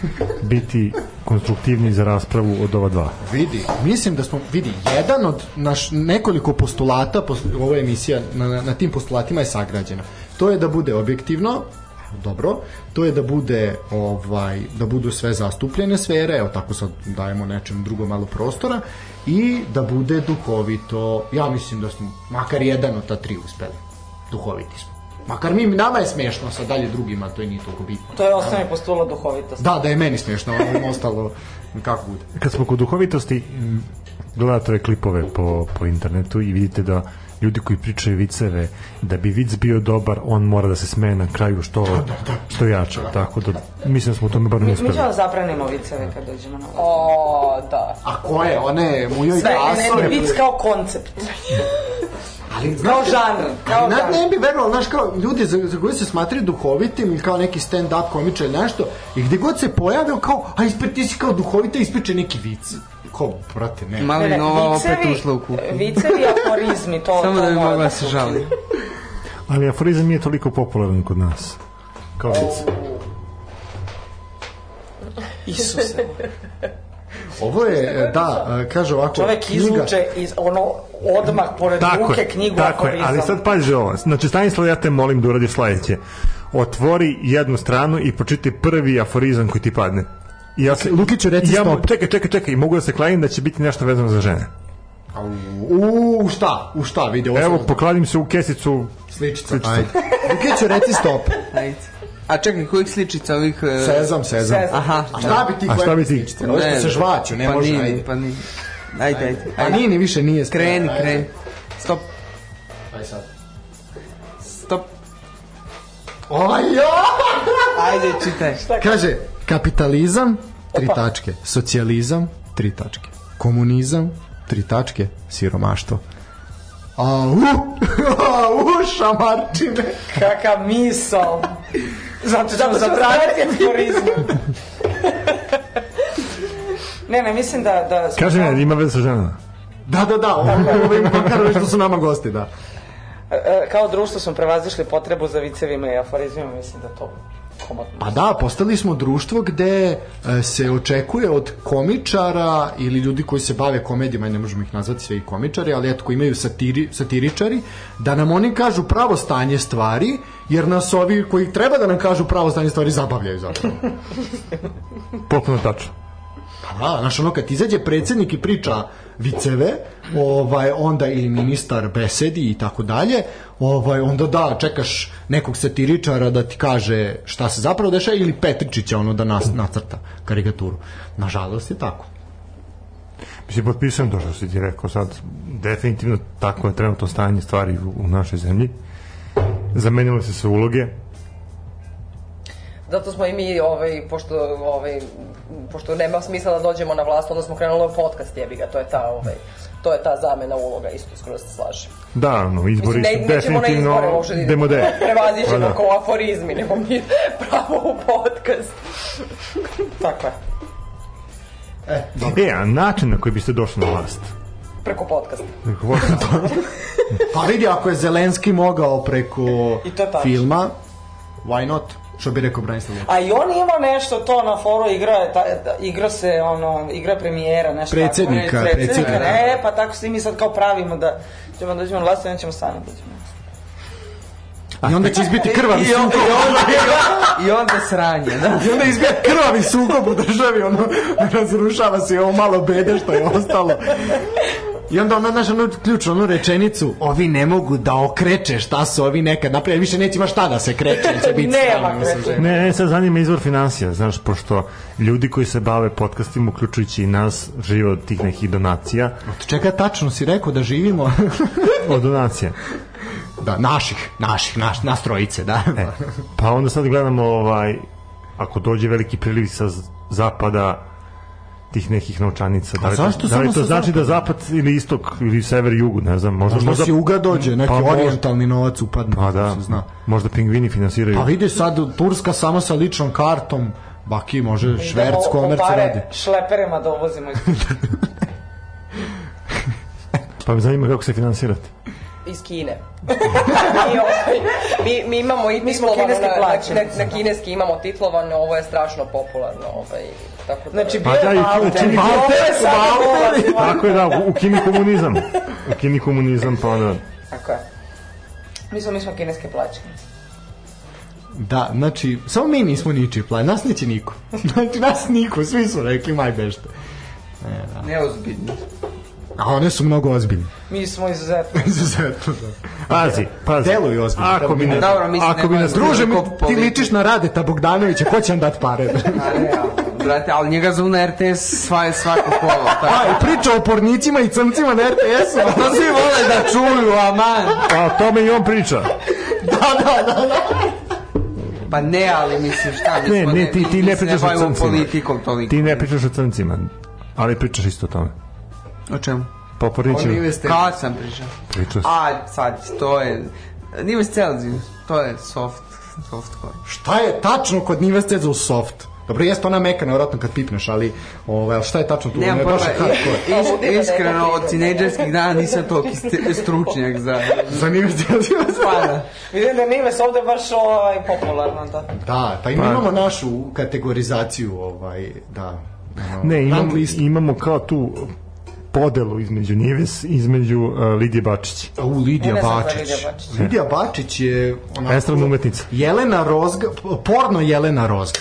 biti konstruktivniji za raspravu od ova dva.
Vidi, mislim da smo, vidi, jedan od naš nekoliko postulata, post, ova emisija na, na, na tim postulatima je sagrađena. To je da bude objektivno, dobro, to je da bude ovaj da budu sve zastupljene sfere, evo tako sad dajemo nečem drugo malo prostora i da bude duhovito. Ja mislim da smo makar jedan od ta tri uspeli. Duhoviti smo. Makar mi nama je smešno, sad dalje drugima to i nije toliko bitno.
To je osnovni postulat duhovitosti.
Da, da je meni smešno, ono ostalo kako bude.
Kad smo kod duhovitosti, m, gledate ove klipove po, po internetu i vidite da ljudi koji pričaju viceve, da bi vic bio dobar, on mora da se smeje na kraju što, što jače. Tako da, mislim da smo u tome bar ne
Mi
uspeli.
ćemo zapranimo viceve kad dođemo na vas.
O, da.
A ko je? One mujoj
Sve, ne, ne,
gasove.
ne, vic kao koncept.
Ali,
Kao
znate,
žanr. Kao
Ali ne,
žanr.
ne bi verovalo, znaš, kao ljudi za, za koje se smatraju duhovitim ili kao neki stand-up komičar ili nešto, i gde god se pojave, on kao, a ispred ti si kao duhovita, ispriče neki vic. Ko, brate, ne.
Ne, ne,
Mali Nova opet
vicevi-
ušla u kuku.
Vicevi i aforizmi, to...
Samo
to
da bi
mora
mogla se
sluči.
žali.
Ali aforizam nije toliko popularan kod nas. Kao vic.
Isuse.
Ovo je, da, kaže ovako,
Čovek izvuče iz, ono, odmah pored
Tako
ruke
je,
knjigu
tako je,
aforizama.
ali sad pazi ovo. Znači, Stanislav, ja te molim da uradiš sledeće. Otvori jednu stranu i pročitaj prvi aforizam koji ti padne. I Ja se,
Lukiću, reci
ja, mu-
stop.
Čekaj, čekaj, čekaj, i mogu da se kladim da će biti nešto vezano za žene.
U, u šta? U šta vidi ovo?
Evo, pokladim se u kesicu
sličica. Ajde. Lukiću, reci stop.
Ajde. A čekaj, kojih sličica ovih... e,
Sezam, sezam.
Sezam.
Aha.
A šta bi ti
A šta
koje
bi ti?
sličice? Ovo što se žvaću, ne
pa
može,
nije,
ajde.
Pa nije, Ajde, ajde.
A nije ni više nije.
Kreni,
Ajde.
kreni. Stop,
Ajde sad.
stop. pa
Oj, jo!
Ajde, čitaj.
Kaže, kapitalizam, tri tačke. Socijalizam, tri tačke. Komunizam, tri tačke. Siromaštvo. Au! Au, šamarčine!
Kaka misao. Zato ćemo zabraniti turizmu. ne, ne, mislim da... da
Kaži mi, ima veze sa ženama.
Da, da, da, ovo je makar ove što su nama gosti, da.
E, kao društvo smo prevazišli potrebu za vicevima i aforizmima, mislim da to komotno.
Pa da, postali smo društvo gde e, se očekuje od komičara ili ljudi koji se bave komedijama, i ne možemo ih nazvati sve i komičari, ali eto, koji imaju satiri, satiričari, da nam oni kažu pravo stanje stvari, jer nas ovi koji treba da nam kažu pravo stanje stvari zabavljaju zapravo.
Potpuno tačno.
Pa da, znaš, ono kad izađe predsednik i priča viceve, ovaj, onda i ministar besedi i tako dalje, ovaj, onda da, čekaš nekog satiričara da ti kaže šta se zapravo dešava ili Petričića ono da nas, nacrta karikaturu. Nažalost je tako.
Mislim, potpisujem to što si ti rekao sad. Definitivno tako je trenutno stanje stvari u, u našoj zemlji. Zamenile se se uloge.
Zato smo i mi, ovaj, pošto, ovaj, pošto nema smisla da dođemo na vlast, onda smo krenuli u podcast, jebi ga, to je ta, ovaj, to je ta zamena uloga, isto skoro se slažem.
Da, no, izbori
Mislim,
su
ne, nećemo na
definitivno
izbore uopšte da idemo.
demode. Pa
Prevazićemo
da.
da. kao aforizmi, nego mi pravo u podcast.
Tako je.
E, a način na koji biste došli na vlast?
Preko podcasta.
Pa vidi, ako je Zelenski mogao preko
I to je tačno.
filma, why not? Što bi rekao Branislav Lukasić.
A i on ima nešto to na foru, igra, je ta, da, igra se, ono, igra premijera, nešto
Predsednika,
tako.
predsednika, da.
E, pa tako se i mi sad kao pravimo da ćemo da dođemo na vlast, i nećemo sami dođemo.
I onda će izbiti krvavi
I
sukob.
onda, i onda, i onda sranje, da.
I onda izbija krvavi sukob u državi, ono, razrušava se i ovo malo bede što je ostalo. I onda ona, znaš, onu ključnu, onu rečenicu, ovi ne mogu da okreče šta su ovi nekad napravili, više neće ima šta da se kreće, će biti
Nema
stalno sa
kreće.
ženom.
Ne, ne, sad zanima izvor financija, znaš, pošto ljudi koji se bave podcastima, uključujući i nas, žive od tih nekih donacija,
Čekaj, tačno si rekao da živimo...
od donacija.
da, naših, naših, naš, nas trojice, da.
E, pa onda sad gledamo, ovaj, ako dođe veliki priliv sa z- zapada, tih nekih novčanica. Da li, to-
zašto
da li
samo
to
sa
znači da zapad ili istok ili sever i jugu, ne znam, možda,
Možda si uga dođe, neki
Pa možda.
orijentalni novac upadne,
Pa
da.
da,
se zna.
možda pingvini finansiraju.
Pa vidi sad, Turska samo sa ličnom kartom, baki može šverc,
Idemo
komerc
po pare
radi.
Šleperima da uvozimo iz
Pa me zanima kako se finansirate.
iz Kine. I ovaj, mi, mi imamo i mi
smo
titlovano,
kineski
na, na,
plaćenici.
na, na kineski imamo titlovano, ovo je strašno popularno. Ovaj, tako da,
Znači, bio
Pa da,
je
i-
Valter.
čini-
i ovo je
Valter,
sada
Valter.
ulaz.
Tako je, da, u- ukini komunizam. Ukini komunizam, pa onda...
Tako je. Mi smo, mi smo kineske plaćenice.
Da, znači, samo mi nismo ničiji plan, nas neće niko. Znači, nas niko, svi su rekli maj bešte. E, da.
Neozbiljno.
A one su mnogo ozbiljne.
Mi smo izuzetno.
Izuzetno, da.
Pazi, pazi.
Deluju ozbiljno.
Ako bi ne...
Dobro, mislim,
ako bi
nema
nas
veze.
Druže, mi,
Koliko
ti
povedi.
ličiš na Radeta Bogdanovića, ko će vam dat pare?
A realno, brate, ali njega zovu na RTS sva je svako kolo, tako.
A, i priča o pornicima i crncima na RTS-u. a
To
to
svi
si-
vole da čuju, aman.
A o tome i on priča.
da, Pa ne, ali mislim šta, mi
Ne,
smo
ne, ti, ti
mi
ne
se
pričaš o
bavimo
crncima.
politikom toliko.
Ti ne pričaš o crncima, ali pričaš isto o tome.
O čemu?
Pa porniću,
Kad sam pričao?
pričao si.
A, sad, to je... Nimes Celsius, to je soft, softcore.
Šta je tačno kod Nives Cezu soft? Dobro, jeste ona meka, nevjerojatno kad pipneš, ali ovaj, ali šta je tačno tu?
Nemam
Ono je
pojma,
baš hardcore.
i- is-
da
iskreno, od tinejdžerskih dana nisam toliki ste- stručnjak za...
Zanimljivo je.
Pa da.
Vidim da je Nives ovde baš ovaj, popularna. Da.
Da, pa ima, imamo našu kategorizaciju, ovaj, da. ono,
Ne, imamo,
rang listu.
imamo kao tu podelu između Nives, između uh, Lidije Bačić.
U, Lidija
Ne znam za
Bačić.
Lidija Bačić.
Lidija Bačić je... Onako,
Estradna umetnica.
Jelena Rozga, porno Jelena Rozga.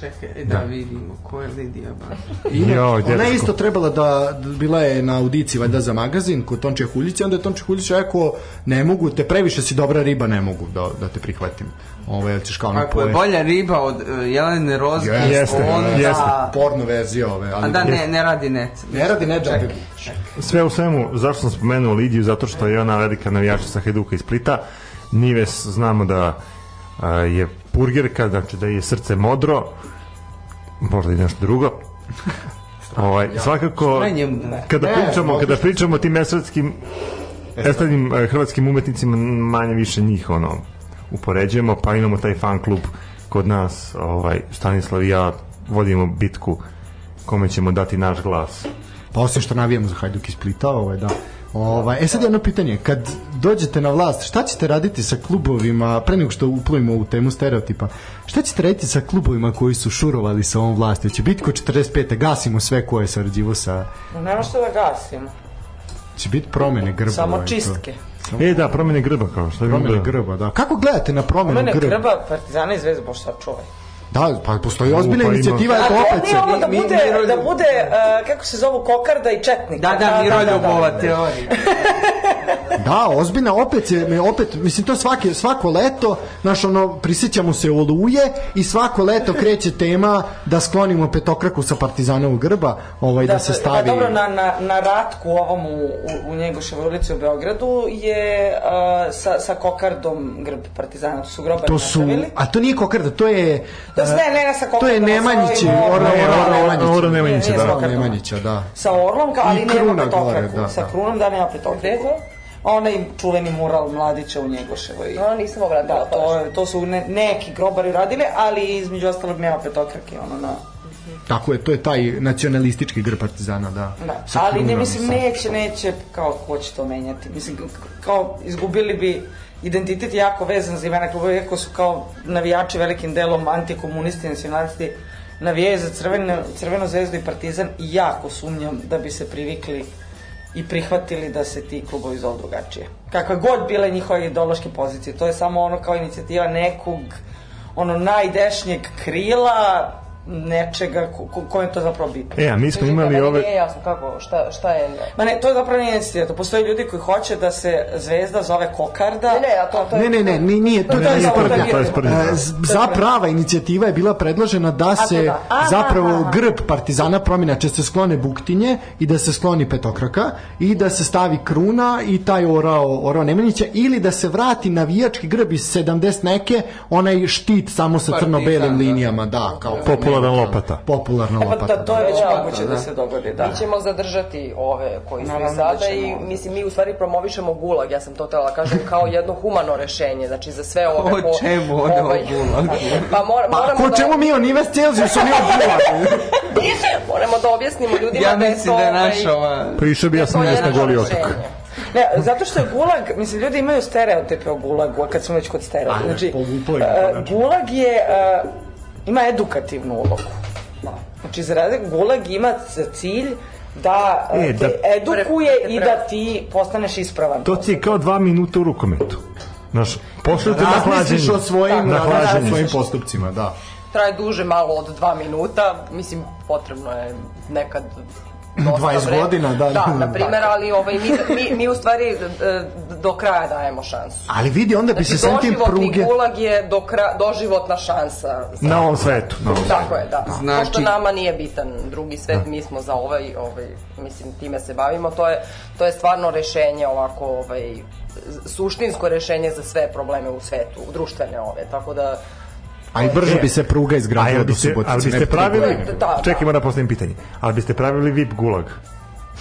Čekaj, da vidimo, ko je Lidija Bašić.
Inače,
Joj,
ona
dečko.
je isto trebala da, bila je na audiciji valjda za magazin kod Tončija Huljića, onda je Tončija Huljić rekao ne mogu te, previše si dobra riba, ne mogu da, da te prihvatim. Ovo, jel ćeš kao na
Ako je bolja riba od e, Jelene Rozge,
Jeste,
onda...
jeste.
porno verzija ove, ali
A da, ne, ne radi net.
ne radi da ne džabe.
Sve u svemu, zašto sam spomenuo Lidiju? Zato što je ona velika navijačica Hajduka iz Splita. Nives znamo da a, je purgerka, znači da je srce modro, možda i nešto drugo. Ovaj, svakako,
Šta je njemu da ne?
kada
Ne,
pričamo,
možda
kada pričamo o tim estradskim, estradnim e, hrvatskim umetnicima, manje više njih ono, upoređujemo, pa imamo taj fan klub kod nas, ovaj, Stanislav i ja vodimo bitku kome ćemo dati naš glas.
Pa osim što navijamo za Hajduk iz Splita, ovaj, da. Ovaj, e sad jedno pitanje, kad dođete na vlast, šta ćete raditi sa klubovima, pre nego što uplovimo u temu stereotipa, šta ćete raditi sa klubovima koji su šurovali sa ovom vlasti? Će biti ko 45. gasimo sve koje je sarađivo sa...
No, nema što da gasimo.
Će biti promene grba.
Samo
ovaj, to.
čistke.
E da, promene grba kao što
Promene grba, da. Kako gledate na promenu
Mene
grba?
grba Partizana i Zvezda Bošta čuvaj.
Da, pa postoji
U,
ozbiljna
pa ima.
inicijativa,
A
eto
to
opet
nije
se.
ovo da
Mi- mi-
bude,
mi-
da bude uh, kako se zovu, kokarda i četnik.
Da, da, Miroljubova teorija.
Da, ozbiljna, opet je, opet, mislim, to svake, svako leto, znaš, ono, prisjećamo se oluje i svako leto kreće tema da sklonimo petokraku sa partizanovog grba, ovaj, da, se stavi...
Pa dobro, na, na, na ratku ovom u, u, u Njegoševoj ulici u Beogradu je uh, sa, sa kokardom grb Partizana. To su grobar
To su,
napravili.
a to nije kokarda, to je... eh,
To su- ne, ne, ne, sa
to je
kokardama, sa
Nemanjići,
ovim-
Orla
Ne,
Orla
Orla-
Nemanjića.
Orla Nemanjića,
Ne,
da.
Orla
ovaj- nije sa kokardom.
Nemanjića, da.
sa orlom, ali
I
nema
kruna
petokraku.
gore, da,
sa
da.
krunom da nema petokraku. Onaj čuveni mural mladića u Njegoševoj.
No, nisam obradila
Da, to, je- to su ne, neki grobari radili, ali između ostalog nema petokrake, ono na...
Tako je, to je taj nacionalistički grb partizana, da.
Da.
Sa
Ali ne
krunama,
mislim
sa-
neće, neće kao ko će to menjati. Mislim kao izgubili bi identitet je jako vezan za imena klubova, iako su kao navijači velikim delom antikomunisti, nacionalisti, navijaju za crveno, crveno zvezdu i partizan i jako sumnjam da bi se privikli i prihvatili da se ti klubovi zovu drugačije. Kakva god bile njihove ideološke pozicije, to je samo ono kao inicijativa nekog ono najdešnjeg krila nečega ko, ko, ko je to zapravo bitno.
E, a mi smo imali ove...
Nije jasno kako, šta, šta je...
Ma ne, to je zapravo nije inicijativa. To postoje ljudi koji hoće da se zvezda zove kokarda.
Ne, ne, a to, to je...
Ne, ne, ne, ni- nije, to,
Ne,
to
ne,
je
nije
sprdnja.
sprdnja, to je
sprdnja, da.
E, z- Za prava inicijativa je bila predložena da se
da. Aha,
zapravo
aha.
grb partizana promjena će se sklone buktinje i da se skloni petokraka i da se stavi kruna i taj orao, orao Nemanjića ili da se vrati navijački grb iz 70 neke, onaj štit samo sa
Partizan,
crno-belim
da.
linijama, da, kao
Popularan lopata.
popularna
E, pa,
lopata.
da, to je već
Da,
moguće
da,
da,
da.
se dogodi, da.
Mi ćemo zadržati ove koji su i
Naravno da
sada
ćemo.
i mislim mi u stvari promovišemo gulag, ja sam to htjela da kažem kao jedno humano rešenje, znači za sve ove
O čemu onda o gulagu?
Pa, mora,
Pa,
moramo
ko
da,
čemu mi o Nives Celsiusu, mi o Gulagu?
moramo da objasnimo ljudima
Ja
da je
mislim
to,
da je
ovaj,
naša ova...
Prišao bi ja
to
sam
je
na
jedno
goli
rešenje.
otok.
Ne, zato što je gulag, mislim, ljudi imaju stereotipe o gulagu, a kad smo već kod stereotipa.
Ajde,
Znači,
povuklo je
e,
da
konačno.
gulag je, e, ima edukativnu ulogu. Znači, za razliku, gulag ima za cilj da e,
E,
te
da-
edukuje i da ti postaneš ispravan.
To ti je kao dva minuta u rukometu. Znaš, pošljete na
Razmisliš
hlađenje.
o svojim,
na
o
hlađenje.
svojim postupcima, da.
Traje duže malo od dva minuta, mislim potrebno je nekad dosta
20
vremena.
godina, da,
Da,
da,
na primjer,
da.
ali ovaj, mi, mi, mi u stvari e, do kraja dajemo šansu.
Ali vidi, onda bi se sam tim
da Znači, doživotni
pruge...
gulag je do kra, doživotna šansa. za-
Na ovom svetu. Na ovom.
Tako je, da.
Znači-
Pošto nama nije bitan drugi svet, mi smo za ovaj, ovaj, mislim, time se bavimo, to je, to je stvarno rešenje ovako, ovaj, suštinsko rešenje za sve probleme u svetu, društvene ove, tako da...
A i brže bi se pruga
A jel
izgradila do
biste,
Subotice.
ali
ne
biste
E. bi
pravili...
pruga.
Da, da.
Čekaj, moram da postavim pitanje. Ali biste pravili VIP gulag?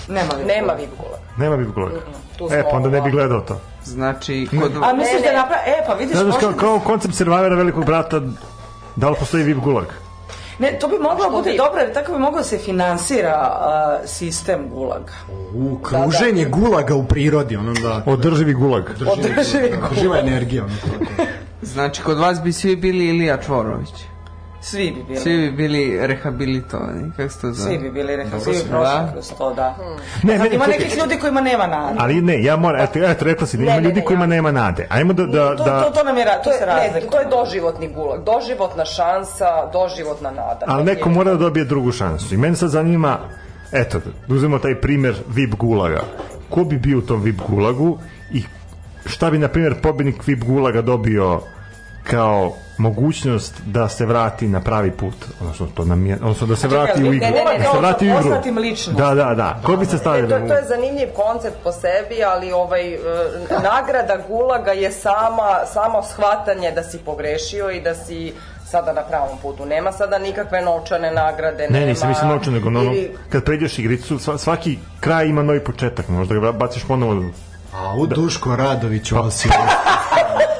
Nema li
Nema VIP gulag.
Nema VIP gulag.
tu
E,
smo,
pa onda ne bi
da.
gledao to.
Znači, kod...
A misliš da je napravi... E, pa vidiš,
Znaš,
možda
kao,
da
kao koncept Survivora velikog brata, da li postoji VIP gulag?
Ne, to bi moglo
Što
bude
vi?
dobro, jer tako bi moglo da se finansira a, sistem gulaga.
U,
Da,
kruženje gulaga u prirodi, ono da...
Održivi gulag.
Održivi gulag.
Održiva energija, ono to. to.
Znači, kod vas bi svi bili Ilija Čvorović.
Svi bi bili.
Svi
Svi,
bi bili rehabilitovani, kako se to zove?
bi bili rehabilitovani,
Dobro
svi
si,
bi prošli
da.
kroz to, da.
Ne,
Sad
meni
ima
čekaj.
nekih ljudi kojima nema nade.
Ali ne, ja moram, eto, eto rekla si da
Ne,
ima
ne,
ljudi
ne,
kojima
ja-
nema nade. Ajmo da... da,
To, to,
da
to nam je, ra- to,
To
se
je, ne,
razlikuje.
to je doživotni gulag, doživotna šansa, doživotna nada.
ali neko mora da dobije drugu šansu. I mene sad zanima, eto, da uzmemo taj primer VIP gulaga. Ko bi bio u tom VIP gulagu i šta bi, na primjer, pobednik VIP gulaga dobio kao mogućnost da se vrati na pravi put, odnosno to nam je, odnosno da se vrati u
ne,
igru,
ne, ne,
da se
ne,
vrati u igru.
poznatim ličnostima.
Da, da, da. Ko bi se
E, to,
stavio?
to je zanimljiv koncept po sebi, ali ovaj, e, nagrada gulaga je sama, samo shvatanje da si pogrešio i da si sada na pravom putu. Nema sada nikakve novčane nagrade.
Ne,
nema,
nisam mislim naučio, nego ono,
ili-
kad pređeš igricu, sva, svaki kraj ima novi početak, možda ga baciš ponovo, Da. Pa.
A u Duško Radović osim.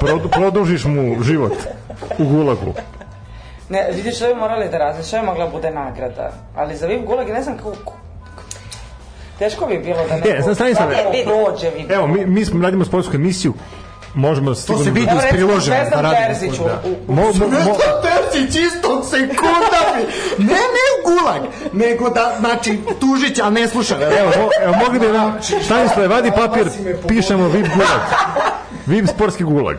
produ, produžiš mu život u gulagu.
Ne, vidiš što bi morali da razliš, što bi mogla bude nagrada. Ali za VIP gulag, ne znam kako... k- Teško bi bilo da neko...
E, znam, stani sad.
svako
E, vidi.
prođe VIP.
Evo, mi, mi smo, radimo sportsku emisiju, možemo da
To se
sigurno-
vidi
Evo,
iz
recimo,
priložena.
Zvezdan
radimo
Terzić u-
sport, da.
u-
Mo, mo, mo,
Zvezdan Terzić istog sekunda mi- ne, ne u gulag, nego da, znači, tužić, a ne sluša.
evo, mo, evo, mogli bi nam, Stanislav, vadi papir, pišemo VIP gulag. VIP sportski gulag.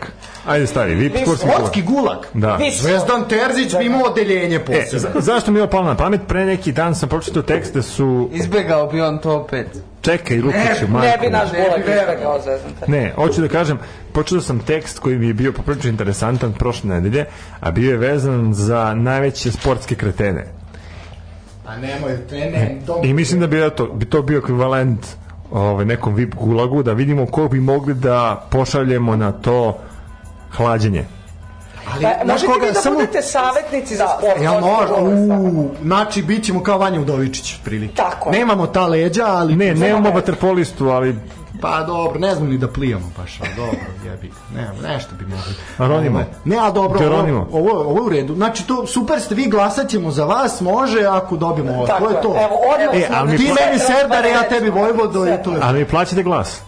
Ajde, stavi, VIP sportski gulag.
Sportski gulag.
Da.
Zvezdan Terzić bi imao odeljenje
E,
posebno.
za- zašto mi je opalo na pamet? Pre neki dan sam pročitao tekst da su...
Izbegao bi on to opet. E,
Čekaj, Lukiću, majko.
Da, Ne bi naš
Ne bi
gulag
verovao.
izbegao zvezdan.
Ne, hoću da kažem, počeo sam tekst koji mi je bio poprilično interesantan prošle nedelje, a bio je vezan za najveće sportske kretene.
A nemoj, te ne, to
I mislim da bi, eto, bi to bio ekvivalent ovaj, nekom VIP gulagu, da vidimo ko bi mogli da pošaljemo na to hlađenje.
Ali,
Pa,
znaš
možete
koga, Da.
vi da
samo-
budete savjetnici za sport.
Ja
možete
može,
govoriti svakako.
uuu, znači bit ćemo kao Vanja Udovičić, prilike.
Tako je.
Nemamo ta leđa, ali...
Ne, nemamo vaterpolistu, ali
Pa dobro, ne znam ni da plijamo baš, ali dobro, jebi. ga. Ne, nešto bi mogli.
Geronimo.
Ovo- Ne, a dobro, ovo,
Geronimo.
ovo, ovo je u redu. Znači, to, super ste, vi glasat ćemo za vas, može, ako dobijemo ovo.
Tako
to je
je.
to.
Evo, odmah
E,
smo
ali
na-
Ti
mi-
meni Serdare, ja tebi Vojvodo i to je.
ali mi plaćate glas.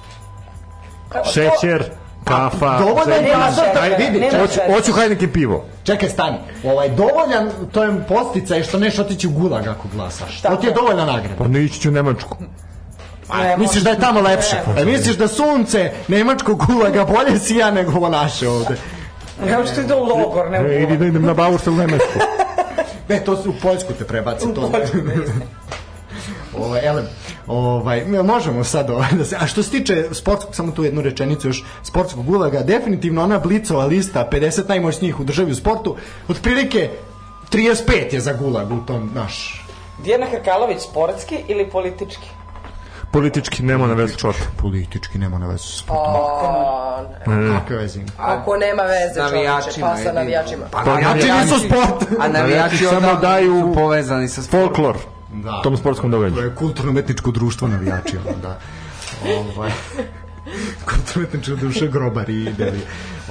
Šećer, kafa,
Dovoljno je
zec-
glasat,
Nema
aj, vidi,
šećera, nema
Hoću, hoću Heineken pivo.
Čekaj, stani. Ovaj, dovoljan, to je posticaj što neš otići u gulag ako glasaš. To ti je dovoljna nagrada.
Pa ne ići ću u Nemačku.
Pa
A, misliš da je tamo lepše? E, misliš da sunce nemačkog gulaga bolje sija nego ovo naše ovde?
Kao E, što ide u logor, ne u
E, idi
gulag.
da idem na Bauštel u Nemačku.
Ne, E, to su u Poljsku te prebaci. To. ovaj, elem, ovaj, mi možemo sad ovaj, da se, a što se tiče sportskog, samo tu jednu rečenicu još, sportskog gulaga, definitivno ona blicova lista 50 najmoćnijih u državi u sportu, otprilike 35 je za gulag u tom naš
Dijana Hrkalović, sportski ili politički?
Politički nema na vezu čota.
politički nema na vezu sa sportom.
A,
Mm. E.
Kakve veze ima?
Ako nema veze, čoveče,
Navijačima
pa sa
jedino.
navijačima.
Pa navijači nisu sport.
A navijači
Navijači samo
odavno
daju
su povezani sa sportom.
Folklor.
Da.
Tom sportskom
To
događaju.
je kulturno-umetničko društvo navijači, ono, da. Ovaj. kulturno-umetničko društvo grobari i deli.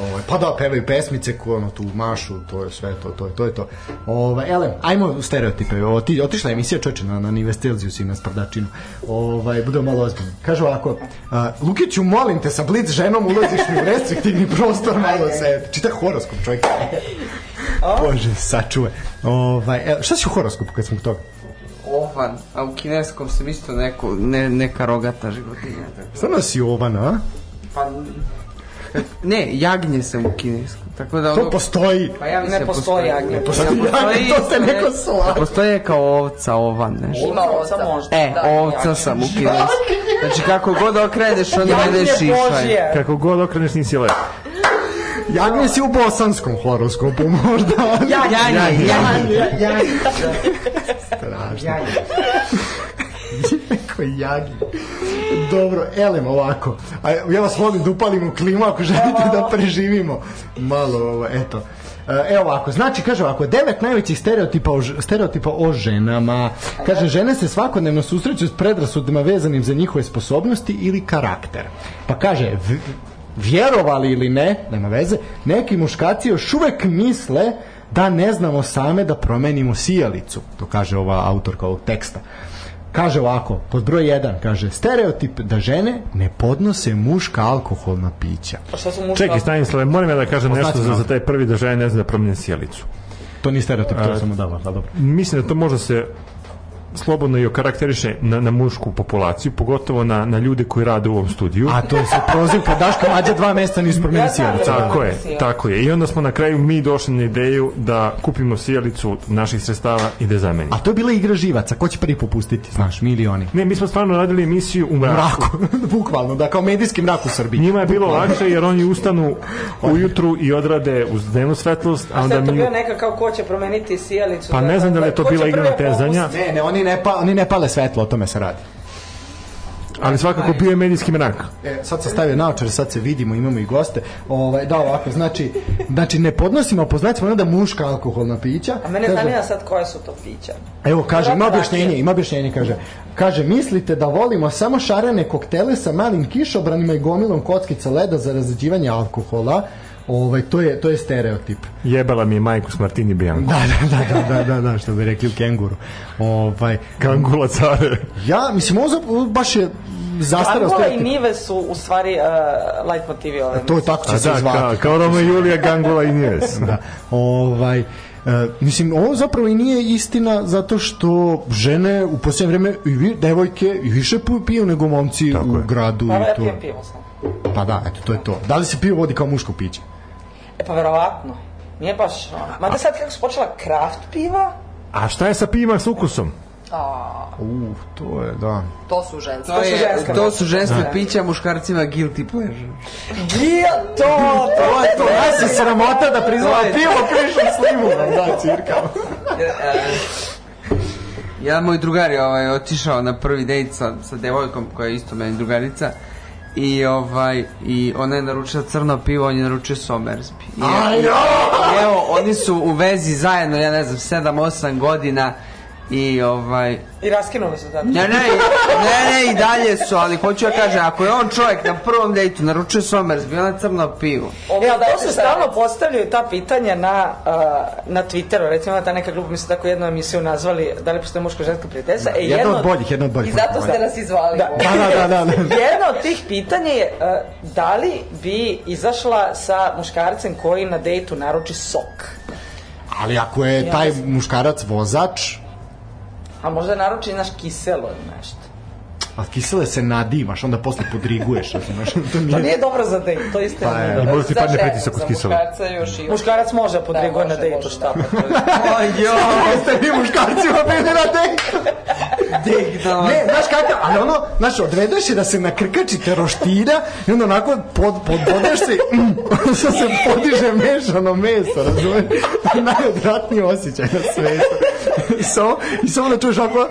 Ovaj. Pa da, pevaju pesmice, ko ono tu mašu, to je sve to, to je to. Je to. Ovaj, elem, ajmo u stereotipe. O, ti, otišla je emisija čoveče na, na Nivestelzius i na Sprdačinu. Ovaj, budemo malo ozbiljni. Kaže ovako, uh, Lukiću, molim te, sa blic ženom ulaziš mi u restriktivni prostor, malo se... Čita horoskop, čovjek. Bože, sačuvaj. Ovaj, e, šta si u horoskopu kad smo kod toga?
Ovan, a u kineskom sam isto neko, ne, neka rogata životinja. tako. da.
Stvarno si ovan, a?
Pa, ne, jagnje sam u kineskom. Tako da
To postoji.
Pa ja mislim
Ne
da
postoji jagnje.
Postoji, jagnje, to se
isto
neko
ne-
slava.
Da, Postoje kao ovca, ovan, nešto.
Ima oca.
možda.
Da,
E, ovca sam u kineskom. Znači kako god okreneš, onda
Jagnje
ideš išaj.
Božje.
Kako god okreneš nisi lep.
Jagnje si u bosanskom horoskopu možda.
Jagnje, jagnje.
jagnje.
Da.
Strašno. Neko jagnje. Dobro, elem ovako. A ja vas molim da upalimo klimu ako želite da preživimo. Malo ovo, eto. E, Evo ovako, znači kaže ovako, devet najvećih stereotipa o, ž- stereotipa o ženama. Kaže, žene se svakodnevno susreću s predrasudima vezanim za njihove sposobnosti ili karakter. Pa kaže, v- vjerovali ili ne, nema veze, neki muškaci još uvek misle da ne znamo same da promenimo sijalicu, to kaže ova autorka ovog teksta. Kaže ovako, pod broj 1, kaže, stereotip da žene ne podnose muška alkoholna pića.
Pa šta su muška?
Čekaj, Stanislave, moram ja da kažem
Ostaci
nešto za,
navod.
za taj prvi da žene ne zna da promene sjelicu.
To nije stereotip, to je samo davor, da, dobro.
Mislim da to može se slobodno i okarakteriše na, na mušku populaciju, pogotovo na, na ljude koji rade u ovom studiju.
A to se prozivka Daška Mađa dva mesta nisu promenili
Ja znam
sijalicu.
da-
Tako je,
Sjelica.
tako je. I onda smo na kraju mi došli na ideju da kupimo sjelicu naših sredstava i da je zamenimo.
A to je bila igra živaca, ko će prvi popustiti, znaš, mi ili oni.
Ne, mi smo stvarno radili emisiju u mraku.
Mraku, bukvalno, da kao medijski mrak u Srbiji.
Njima je bilo lakše jer oni ustanu ujutru i odrade uz dnevnu svetlost, a
Šta
onda
je to
mi...
bio neka kao ko će promeniti sijalicu?
Pa ne znam da li je to
ko će
bila igra
prvi
natezanja,
Ne, ne, oni ne, pa, oni ne pale svetlo, o tome se radi.
ali svakako bio je medijski mrak.
E, sad sam stavio naočare, sad se vidimo, imamo i goste. Ovaj, da, ovako, znači, znači ne podnosimo, poznajemo da muška alkoholna pića.
A mene
Kaže-
zanima sad koja su to pića.
Evo, kaže, ima
Vratno
objašnjenje,
rakije.
ima objašnjenje, kaže. Kaže, mislite da volimo samo šarene koktele sa malim kišobranima i gomilom kockica leda za razređivanje alkohola? Ovaj, to, je, to je stereotip.
Jebala mi je majku s Martini Bianco.
Da, da, da, da, da, da, da što bi rekli u kenguru. Ovaj,
Kangula care.
ja, mislim, ovo za- baš je zastarao
Angula i
stereotip.
Nive su u stvari uh, light motivi ove.
E, To je tako
A
će se
da,
zvati.
kao, kao Roma i Julija, Gangula i Nijes.
da. Ovaj, e, mislim, ovo zapravo i nije istina zato što žene u posljednje vreme i vi, devojke i više pu- piju nego momci
Tako
u
je.
gradu.
Pa
i
ja
to.
pijem pivo sam.
Pa da, eto, to je to. Da li se pivo vodi kao muško piće?
E pa verovatno. Nije baš ono. Mada sad kako su počela kraft piva,
A šta je sa pivima s ukusom?
U, to je, da.
To su da. ženske.
To su
je-
ženska
to
pića.
su Da. ženska pića, muškarcima guilty pleasure.
gdje to?
To je to, ja se sramota da priznala
To je-
pivo krišu slimu. Da, cirka.
Ja, moj drugar je ovaj, otišao na prvi dejt sa, sa devojkom koja je isto meni drugarica i ovaj i ona je naručila crno pivo, on je naručio somersby. I, evo- i evo, oni su u vezi zajedno, ja ne znam, 7-8 godina i ovaj
I raskinuli su zato.
Ne, ne, i- ne, ne, i da. dalje su, ali hoću ja kažem, ako je on čovjek na prvom dejtu naručio somersby, ona crno pivo.
E, ali to se stalno postavljaju ta pitanja na, uh, na Twitteru, recimo ima ta neka grupa, mi su tako jednu emisiju nazvali da li postoje muško-ženska prijateljstva. E,
Da, Jedna
jedno
od boljih, jedna od boljih.
I zato ste nas izvali.
Da.
Da, da, da, da.
Jedno od tih pitanja je e, da li bi izašla sa muškarcem koji na dejtu naruči sok?
Ali ako je taj muškarac vozač,
A možda naruči, znaš, kiselo ili nešto.
a kisele se nadimaš, onda posle podriguješ. razumeš? to
To
nije
nije dobro za dejt, to isto
Pa,
nije
e,
dobro.
Možda ti
Za
padne
ženu,
pritisak od
za
kisela.
muškarca još i...
Muškarac može podriguje
Da,
na
može,
dejtu,
može,
šta?
da.
pa to je-
O, jo,
jeste vi muškarcima bili na dejtu.
dik, da,
Ne, znaš kako, ali ono, znaš, odvedeš je da se nakrkačite roštira i onda onako pod, podbodeš se, mm, što se podiže mešano meso, razumeš? To je najodvratniji osjećaj na svetu. I samo, i samo da čuješ ako...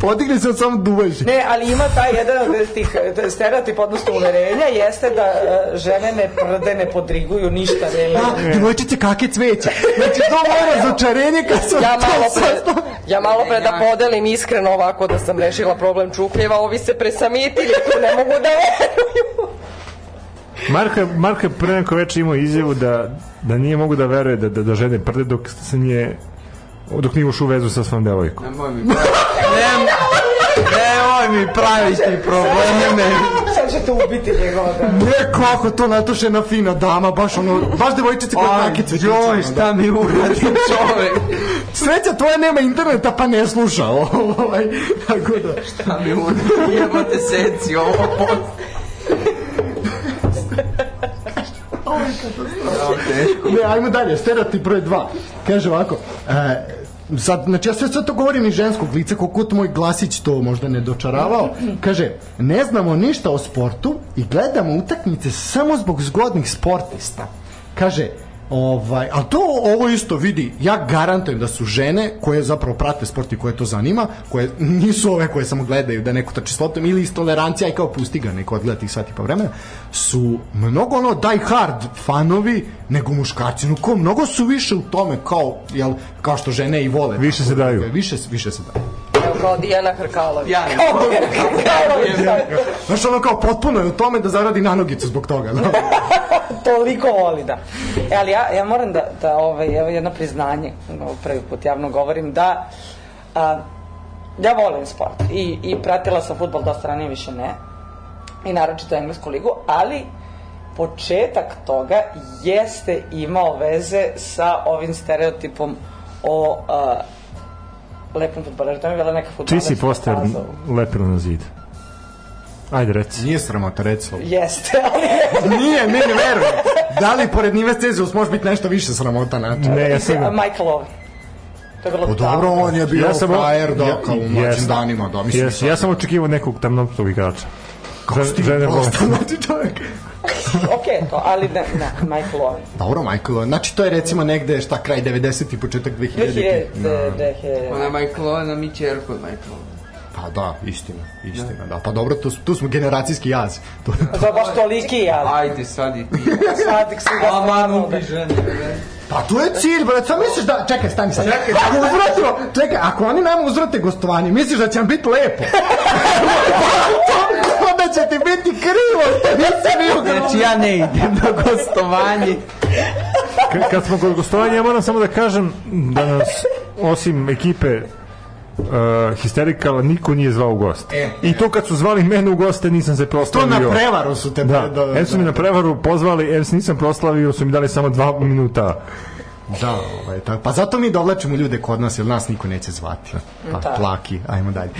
Podigne se od samo duveš.
Ne, ali ima taj jedan od tih e, stereotip, odnosno uverenja, jeste da e, žene ne prde, ne podriguju ništa. Ne,
A, djevojčice Da, kake cveće. Znači, to moje razočarenje kad sam
Ja
to
malo, pre,
saznao.
ja malo pre da podelim iskreno ovako da sam rešila problem čupljeva, ovi se presamitili, tu ne mogu da veruju.
Marko je, Marko je pre neko već imao izjavu da, da nije mogu da veruje da, da, da žene prde dok se nije dok nije ušao u vezu sa svom devojkom.
Nemoj mi praviti. Nemoj mi praviti probleme.
Sad ćete ubiti njegova da.
Ne, kako to natušena fina dama, baš ono, baš devojčice kod kake cveće.
Joj, šta mi uradi čovek?
da. Sreća tvoja nema interneta pa ne sluša ovaj, tako da.
Šta mi uradi? Jebote seci ovo post. Ovo je teško.
Ne, ajmo dalje, stereotip broj 2. Kaže ovako, e, sad, znači ja sve, sve to govorim iz ženskog lica, koliko to moj glasić to možda ne dočaravao. Kaže, ne znamo ništa o sportu i gledamo utakmice samo zbog zgodnih sportista. Kaže, Ovaj, ali to ovo isto vidi, ja garantujem da su žene koje zapravo prate sport i koje to zanima, koje nisu ove koje samo gledaju da neko trči s loptom ili iz tolerancija i kao pusti ga neko odgleda tih sati pa vremena, su mnogo ono die hard fanovi nego muškarci, no ko mnogo su više u tome kao, jel, kao što žene i vole.
Više se daju.
Više, više se daju.
Evo, Kao Dijana Hrkalović.
Ja.
Kao Dijana Hrkalović.
Znaš, ono kao potpuno je u tome da zaradi nanogicu zbog toga. Da?
toliko voli da. E, ali ja, ja moram da, da ovaj, evo jedno priznanje, ovo prvi put javno govorim, da a, ja volim sport i, i pratila sam futbol dosta ranije više ne i naročito englesku ligu, ali početak toga jeste imao veze sa ovim stereotipom o a, lepom futboleru. To mi je bila neka
Čiji
futbolera.
si poster lepilo na zid? Ajde, reci.
Nije sramota, recimo.
Jeste, ali je.
Nije, ne, ne verujem. Da li pored Nive Cezius može biti nešto više sramota, znači?
Ne, ja sam...
Michael Owen. To je bilo
Pa dobro,
davno.
on je bio ja frajer doka u mlađim
jesam.
danima, da mislim.
Jesam, ja sam očekivao nekog tamnoptog igrača.
Kako si ti
Žene
prosto mlađi čovjek?
ok, to, ali ne, ne, Michael Owen.
Dobro, Michael, znači to je recimo negde, šta, kraj 90. i početak Da. 2000.
2000,
Ona je Michael Owen, a mi ćerku od Michael Owen.
Pa da, istina, istina, da. Pa dobro, tu, tu smo generacijski jaz. To,
To baš toliki, ali
Ajde sad i ti.
sad svi ga
Aman
stvarno
ubi žene. bre.
Pa to je cilj, brate, šta misliš da... Čekaj, stani sad. Čekaj, ako uzvratimo, čekaj, ako oni nam uzvrate gostovanje, misliš da će nam biti lepo? onda će ti biti krivo, nisi bio
Znači ja ne idem na gostovanje.
K- kad smo kod gostovanja, ja moram samo da kažem da nas, osim ekipe uh, histerikala, niko nije zvao u goste.
E.
I to kad su zvali mene u goste, nisam se
To
proslavio.
na prevaru su te...
Da, da, em su mi na prevaru pozvali, em se nisam proslavio, su mi dali samo dva minuta.
Da, ovaj, tako. Pa zato mi dovlačimo ljude kod nas, jer nas niko neće zvati. Pa,
Da.
laki, ajmo dalje.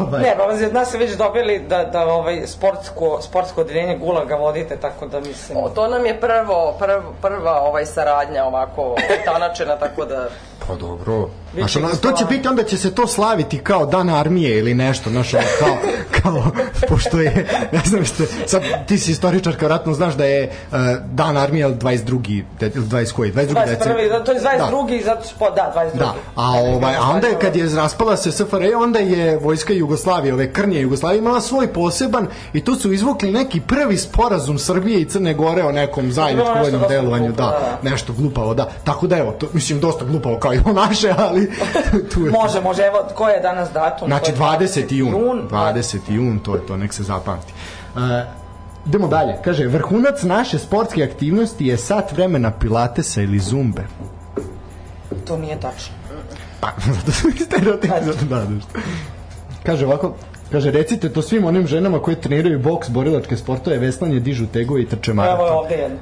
Ovaj.
Ne, pa od nas se već dobili da, da ovaj sportsko, sportsko odeljenje gula ga vodite, tako da mislim...
O, to nam je prvo, prvo, prva ovaj saradnja ovako tanačena, tako da...
Pa dobro. Znaš,
Biće
ono, to će
slavno.
biti, onda će se to slaviti kao dan armije ili nešto, znaš, ono, kao, kao, pošto je, ne znam ste, sad ti si istoričar, kao ratno znaš da je uh, dan armije 22. De, ili 20 koji, 22.
21.
decembra.
Da, to je 22. Da. zato što, da, 22.
Da, a ovaj a onda je kad je raspala se SFRJ, E, onda je vojska Jugoslavije, ove krnje Jugoslavije imala svoj poseban i tu su izvukli neki prvi sporazum Srbije i Crne Gore o nekom zajedničkom
nešto
vojnom
dosta
delovanju,
glupavo,
da, nešto glupavo, da. Tako da evo, to, mislim dosta glupavo kao i ovo naše, ali tu je.
Može, može, evo, ko je danas datum?
Znači
Ko je
20. jun,
da.
20. jun, to je to, nek se zapamti. Uh, idemo dalje, kaže, vrhunac naše sportske aktivnosti je sat vremena pilatesa ili zumbe.
To nije tačno.
Pa, zato su mi stereotipi, zato da, da, što. Kaže ovako, kaže, recite to svim onim ženama koje treniraju boks, borilačke sportove, veslanje, dižu tegove i trče
Evo je
maraton.
ovde jedno.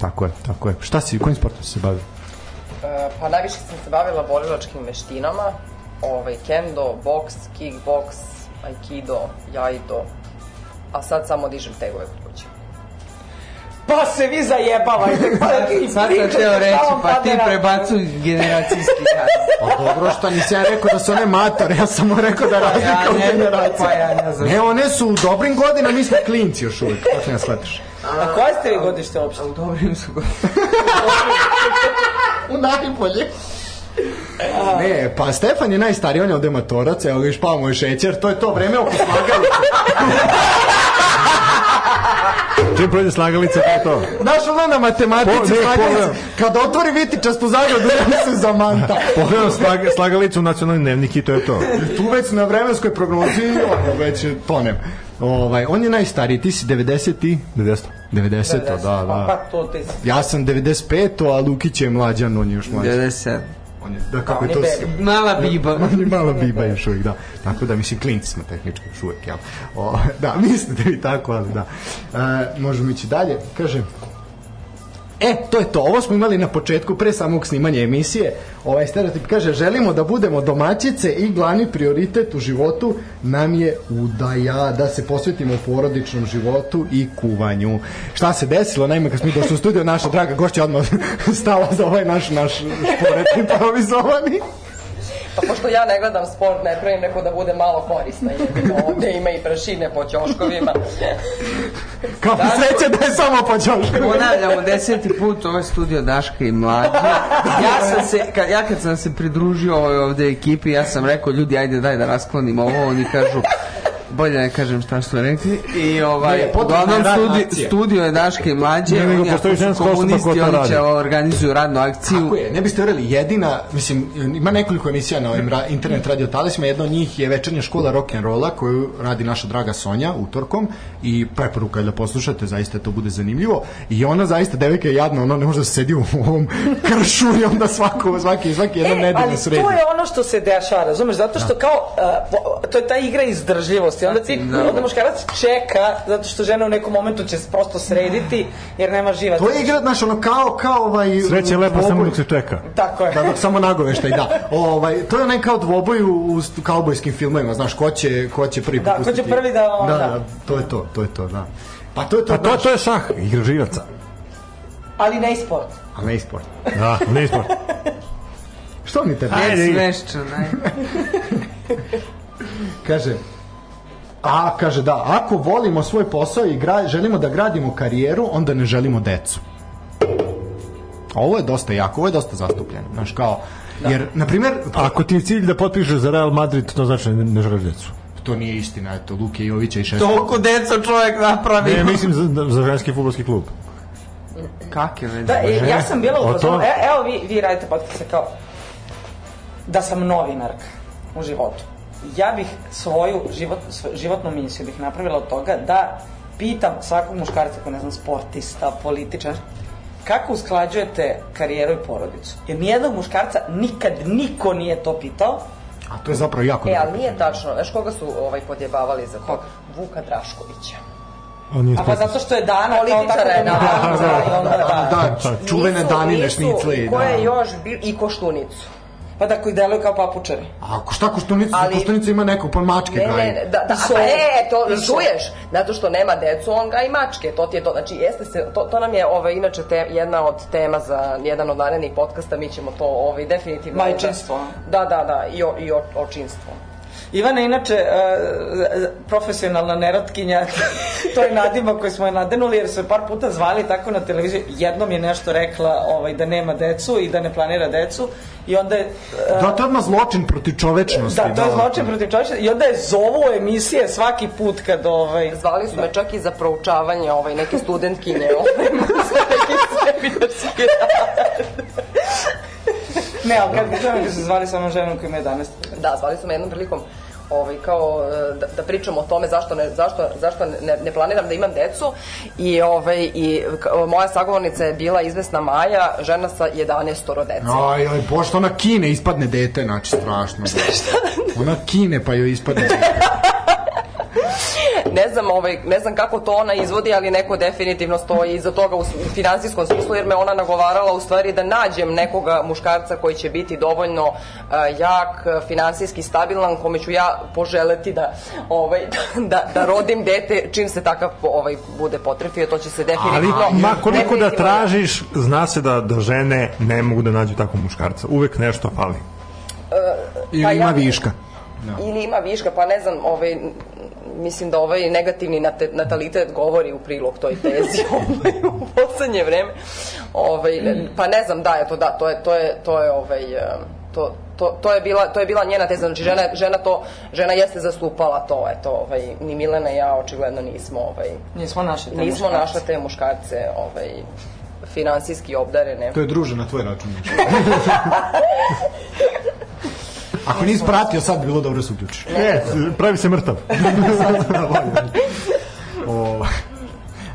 Tako je, tako je. Šta si, kojim sportom si se bavio?
E, Pa najviše sam se bavila borilačkim veštinama, ovaj, kendo, boks, kickboks, aikido, jaido, a sad samo dižem tegove kod kuće.
Pa se vi zajebavajte. Pa, i
Sad sam
pričate
teo
šta
reći,
vam
pa
padne
ti
na-
prebacuj generacijski jaz.
Pa dobro, što nisi ja rekao da su one matore, ja sam mu rekao da
Ja
razlika u
ne znam,
generaciji.
pa ja ne znam.
Ne, one su u dobrim godinama, mi smo klinci još uvijek, kako ne shvataš.
A koje ste vi godište uopšte?
U dobrim su godinama.
U najbolje. Ne, pa Stefan je najstariji, on je ovde matorac, evo ga i špao mu je šećer, to je to vreme oko slagalice.
Čim prođe slagalica, to je to.
Znaš ono na matematici
Po- ne,
slagalice,
pogledam.
kada otvori vitičastu zagradu, da se zamanta.
Pogledam slag, slagalicu u nacionalni dnevnik i to je to.
Tu već na vremenskoj prognozi, ono, već je tonem. Ovaj, on je najstariji, ti si 90 i...
90.
90, da,
Pa,
da.
pa to ti si.
Ja sam 95, a Lukić je mlađan, on je još mlađan.
97.
On je, da, kako je
on je
to...
beli.
Mala biba.
On je malo E, biba još uvijek, da. Tako da, mislim, klinci smo tehnički još uvijek, jel? O, da, mislite vi tako, ali da. E, možemo ići dalje. Kaže, E, to je to. Ovo smo imali na početku pre samog snimanja emisije. Ovaj stereotip kaže, želimo da budemo domaćice i glavni prioritet u životu nam je udaja, da se posvetimo porodičnom životu i kuvanju. Šta se desilo? Naime, kad smo mi došli u studio, naša draga gošća je odmah stala za ovaj naš, naš šporet improvizovani.
Pa pošto ja ne gledam sport, ne pravim neko da bude malo korisna, jer ovde ima i prašine po ćoškovima.
Kao da, sreće da je samo pa ćoška.
Ponavljamo deseti put, ovo je studio Daška i Mlađe. Ja, sam se, kad, ja kad sam se pridružio ovoj ovde ekipi, ja sam rekao, ljudi, ajde daj da rasklonim ovo, oni kažu, bolje ne kažem šta su rekli. I ovaj,
Ne, potrebna je
uglavnom
radna
studi,
akcija.
studio je Daške i Mlađe,
Ne, nego
oni
postoji
ako su
ženska osoba
komunisti,
koja to
oni će
radi.
organizuju radnu akciju.
Tako je, ne biste verili, jedina, mislim, ima nekoliko emisija na ovim ra, internet radio talisima, jedna od njih je večernja škola rock'n'rolla koju radi naša draga Sonja utorkom i preporuka je da poslušate, zaista to bude zanimljivo i ona zaista, devojka je jadna, ona ne može da sedi u ovom kršu i onda svako, svaki, svaki jedan
E, ali
nedelje sredi. Da.
to je ono što se dešava, razumeš, zato što kao, a, po- to je ta igra izdržljivosti, onda ti,
Da.
onda muškarac čeka, zato što žena u nekom momentu će se prosto srediti, jer nema živaca.
To je igra, znaš, ono kao, kao ovaj...
Sreće je lepa samo
dvoboj.
dok se čeka.
Tako je.
Da, dok samo nagoveštaj, da. Ovaj, to je onaj kao dvoboj u, u kaubojskim filmovima, znaš, ko će, ko će prvi
Da, ko će
popustiti.
prvi da, ono,
Da,
da.
da, to je to, to je to, da. Pa to je to,
Pa to, to je šah, igra živaca.
Ali ne i sport.
A ne ispod.
Da, ne ispod.
Što mi te
Aj,
Ajde, idi.
svešću, ne.
kaže? A, kaže, da, ako volimo svoj posao i gra, želimo da gradimo karijeru, onda ne želimo decu. Ovo je dosta jako, ovo je dosta zastupljeno. Znaš, kao, jer, na primjer,
Ako ti je cilj da potpišeš za Real Madrid, to znači ne, ne želiš djecu.
to nije istina, eto, Luke Jovića i Šeška.
Toliko deco čovjek napravi.
Ne, mislim za, za ženski futbolski klub.
Kak je već?
Da, e, ja sam bila
O
u fazonu,
to-
e, evo vi, vi radite podcaste kao, da sam novinarka u životu. Ja bih svoju život, svoj- životnu misiju bih napravila od toga da pitam svakog muškarca koji je, ne znam, sportista, političar, kako usklađujete karijeru i porodicu? Jer nijednog muškarca nikad niko nije to pitao,
A to je zapravo jako
E,
dobro.
ali nije tačno. Znaš koga su ovaj, podjebavali za to? Vuka Draškovića.
On nije
a pa zato što je Dana kao tako
Političara je
da,
naravno,
da, onda da.
Da, ču- čuvene
Nisu-
danine
nisu,
šnicle. i
Ko je
da.
još bio? I koštunicu.
Pa da koji deluju kao papučari.
A ko- šta koštunica?
Ali-
Koštunica ima neko, pa mačke
Ne,
gaji.
ne, ne, da, da,
Su-
pa e, to
Su-
čuješ, zato što nema decu, on ga i mačke, to ti je to, znači jeste se, to, to nam je ovaj, inače te, jedna od tema za jedan od narednih podcasta, mi ćemo to ovaj, definitivno...
Majčinstvo.
Da, da, da, i, o, i o, očinstvo.
Ivana je inače e, e, profesionalna nerotkinja, to je nadima koju smo je nadenuli jer su je par puta zvali tako na televiziji, jednom je nešto rekla ovaj, da nema decu i da ne planira decu i onda je... e,
Da, to je odmah zločin protiv čovečnosti.
Da, to je zločin protiv čovječa i onda je zovu u emisije svaki put kad ovaj...
Zvali su me čak i za proučavanje ovaj, neke studentkinje, ovaj, za neki seminarski rad.
Ne, ali kad bi čovjek su zvali samo ženu koja ima 11.
Da, zvali su me jednom prilikom ovaj, kao e, da, da pričamo o tome zašto ne, zašto, zašto ne, ne planiram da imam decu i, ovaj, i k- moja sagovornica je bila izvesna Maja, žena sa 11 dece.
Aj, aj, bože, ona kine, ispadne dete, znači strašno. Šta? Ona kine, pa joj ispadne dete.
Ne znam, ovaj, ne znam kako to ona izvodi, ali neko definitivno stoji iza toga u, s- u finansijskom smislu, jer me ona nagovarala u stvari da nađem nekoga muškarca koji će biti dovoljno e, jak, e, finansijski stabilan, kome ću ja poželeti da, ovaj, da, da rodim dete čim se takav ovaj, bude potrefio, to će se
Ali
definitivno...
ma koliko da
definitivno-
tražiš, zna se da, da žene ne mogu da nađu takvog muškarca. Uvek nešto fali.
I
E, Pa
ima
ja-
viška.
Ili ima viška, pa ne znam, ovaj, n- mislim da ovaj negativni nate- natalitet govori u prilog toj tezi ovaj, u poslednje vreme. Ovaj, pa ne znam, da, eto, da, to je, to je, to je, ovaj, eh, to, to, to, je bila, to je bila njena teza, znači žena, žena, to, žena jeste zastupala to, eto, ovaj, ni Milena i ja očigledno nismo, ovaj,
Nismo našli te
nismo
muškarce.
našle te muškarce, ovaj, finansijski obdarene.
To je druže na tvoj račun. Ako nisi pratio, sad bi bilo dobro da se uključiš.
E, pravi se mrtav.
O,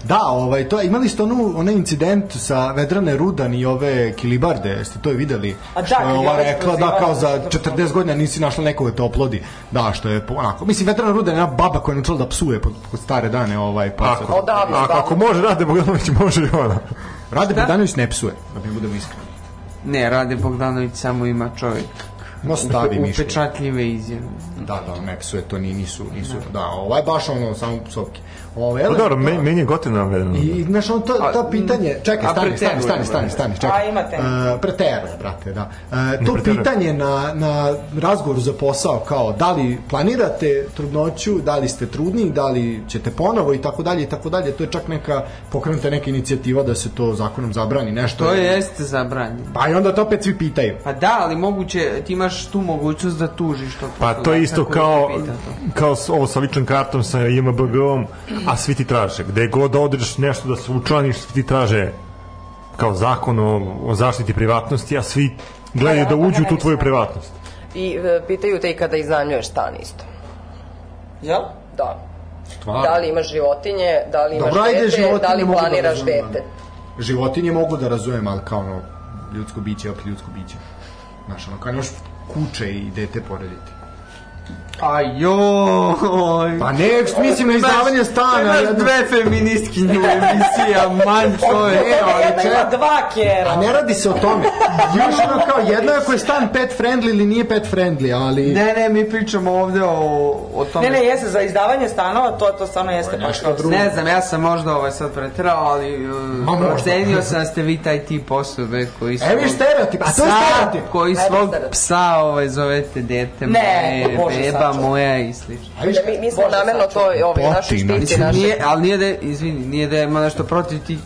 da, ovaj, to, je- imali ste onu, onaj incident sa Vedrane Rudan i ove Kilibarde, jeste to je videli?
A da,
što je
kad je
ova
ona
rekla, da,
isprozivala-
kao za 40 godina nisi našla nekoga da te oplodi. Da, što je po- onako. Mislim, Vedrana Rudan je jedna baba koja je naučila da psuje pod, pod stare dane. Ovaj, pa sad-
Ako,
Odavno,
ako,
da.
ako može Rade Bogdanović, može i ona.
Rade Bogdanović ne psuje, da mi budemo iskreni.
Ne, Rade Bogdanović samo ima čovjek.
No, stavi mišljenje.
Upečatljive izjave.
Da, da, ne psuje, to ni, nisu, nisu, da, ovaj baš ono, samo psovke. Ovo,
Pa
Elem,
dobro, meni, meni je gotivno vedeno.
I, znaš, on to, to
A,
pitanje... Čekaj,
a
stani, stani,
preteruje,
stani,
bre.
stani, stani, čekaj.
A, imate.
E, preteruje, brate, da. E, to
preteruje.
pitanje na, na razgovoru za posao, kao da li planirate trudnoću, da li ste trudni, da li ćete ponovo i tako dalje i tako dalje, to je čak neka pokrenuta neka inicijativa da se to zakonom zabrani, nešto.
To jeste zabranjeno.
Pa i onda to opet svi pitaju.
Pa da, ali moguće, ti imaš tu mogućnost da tužiš to.
Pa to je isto kao,
da
kao s- ovo sa ličnom kartom, sa IMBG-om, a svi ti traže. Gde god odreš nešto da se učlaniš, svi ti traže kao zakon o, o zaštiti privatnosti, a svi gledaju da uđu u tu tvoju privatnost.
I e, pitaju te i kada iznajmljuješ stan isto.
Jel?
Da. Da li imaš životinje, da li imaš
Pa. Dobro, ajde,
dete,
životinje
da li
mogu da
planiraš
razumem,
dete.
ali. Životinje mogu da razumem, ali kao ono, ljudsko biće, je opet ljudsko biće. Znaš, ono, kao nemaš kuće i dete porediti.
A joj...
Pa ne, mislim na izdavanje stana.
Imaš
jedno-
dve feministkinje u emisiji, a manj to je...
Jedna
ali
ima
čekaj.
dva
Da.
kjera.
A ne radi se o tome. Još ono kao, jedno je ako je stan pet friendly ili nije pet friendly, ali...
Ne, ne, mi pričamo ovde o, o tome...
Ne, ne, jeste, za izdavanje stanova, to, to stvarno jeste baš
nešto drugo.
Ne znam, ja sam možda ovaj sad preterao, ali uh,
možda.
ocenio sam da ste vi taj tip osobe koji su...
E, vi stereotip, a to je stereotip.
Koji
Ajde,
svog
stereotip.
psa ovaj, zovete dete
Ne,
moje,
Bože,
beba
sačuvaj.
moja i slično.
A viš,
Da, mi, mi smo
Bože,
namerno to
sačuvaj.
ove, naše
Potina.
štiti,
Mislim,
naše...
nije, ali nije da, je- izvini, nije da ima nešto protiv ti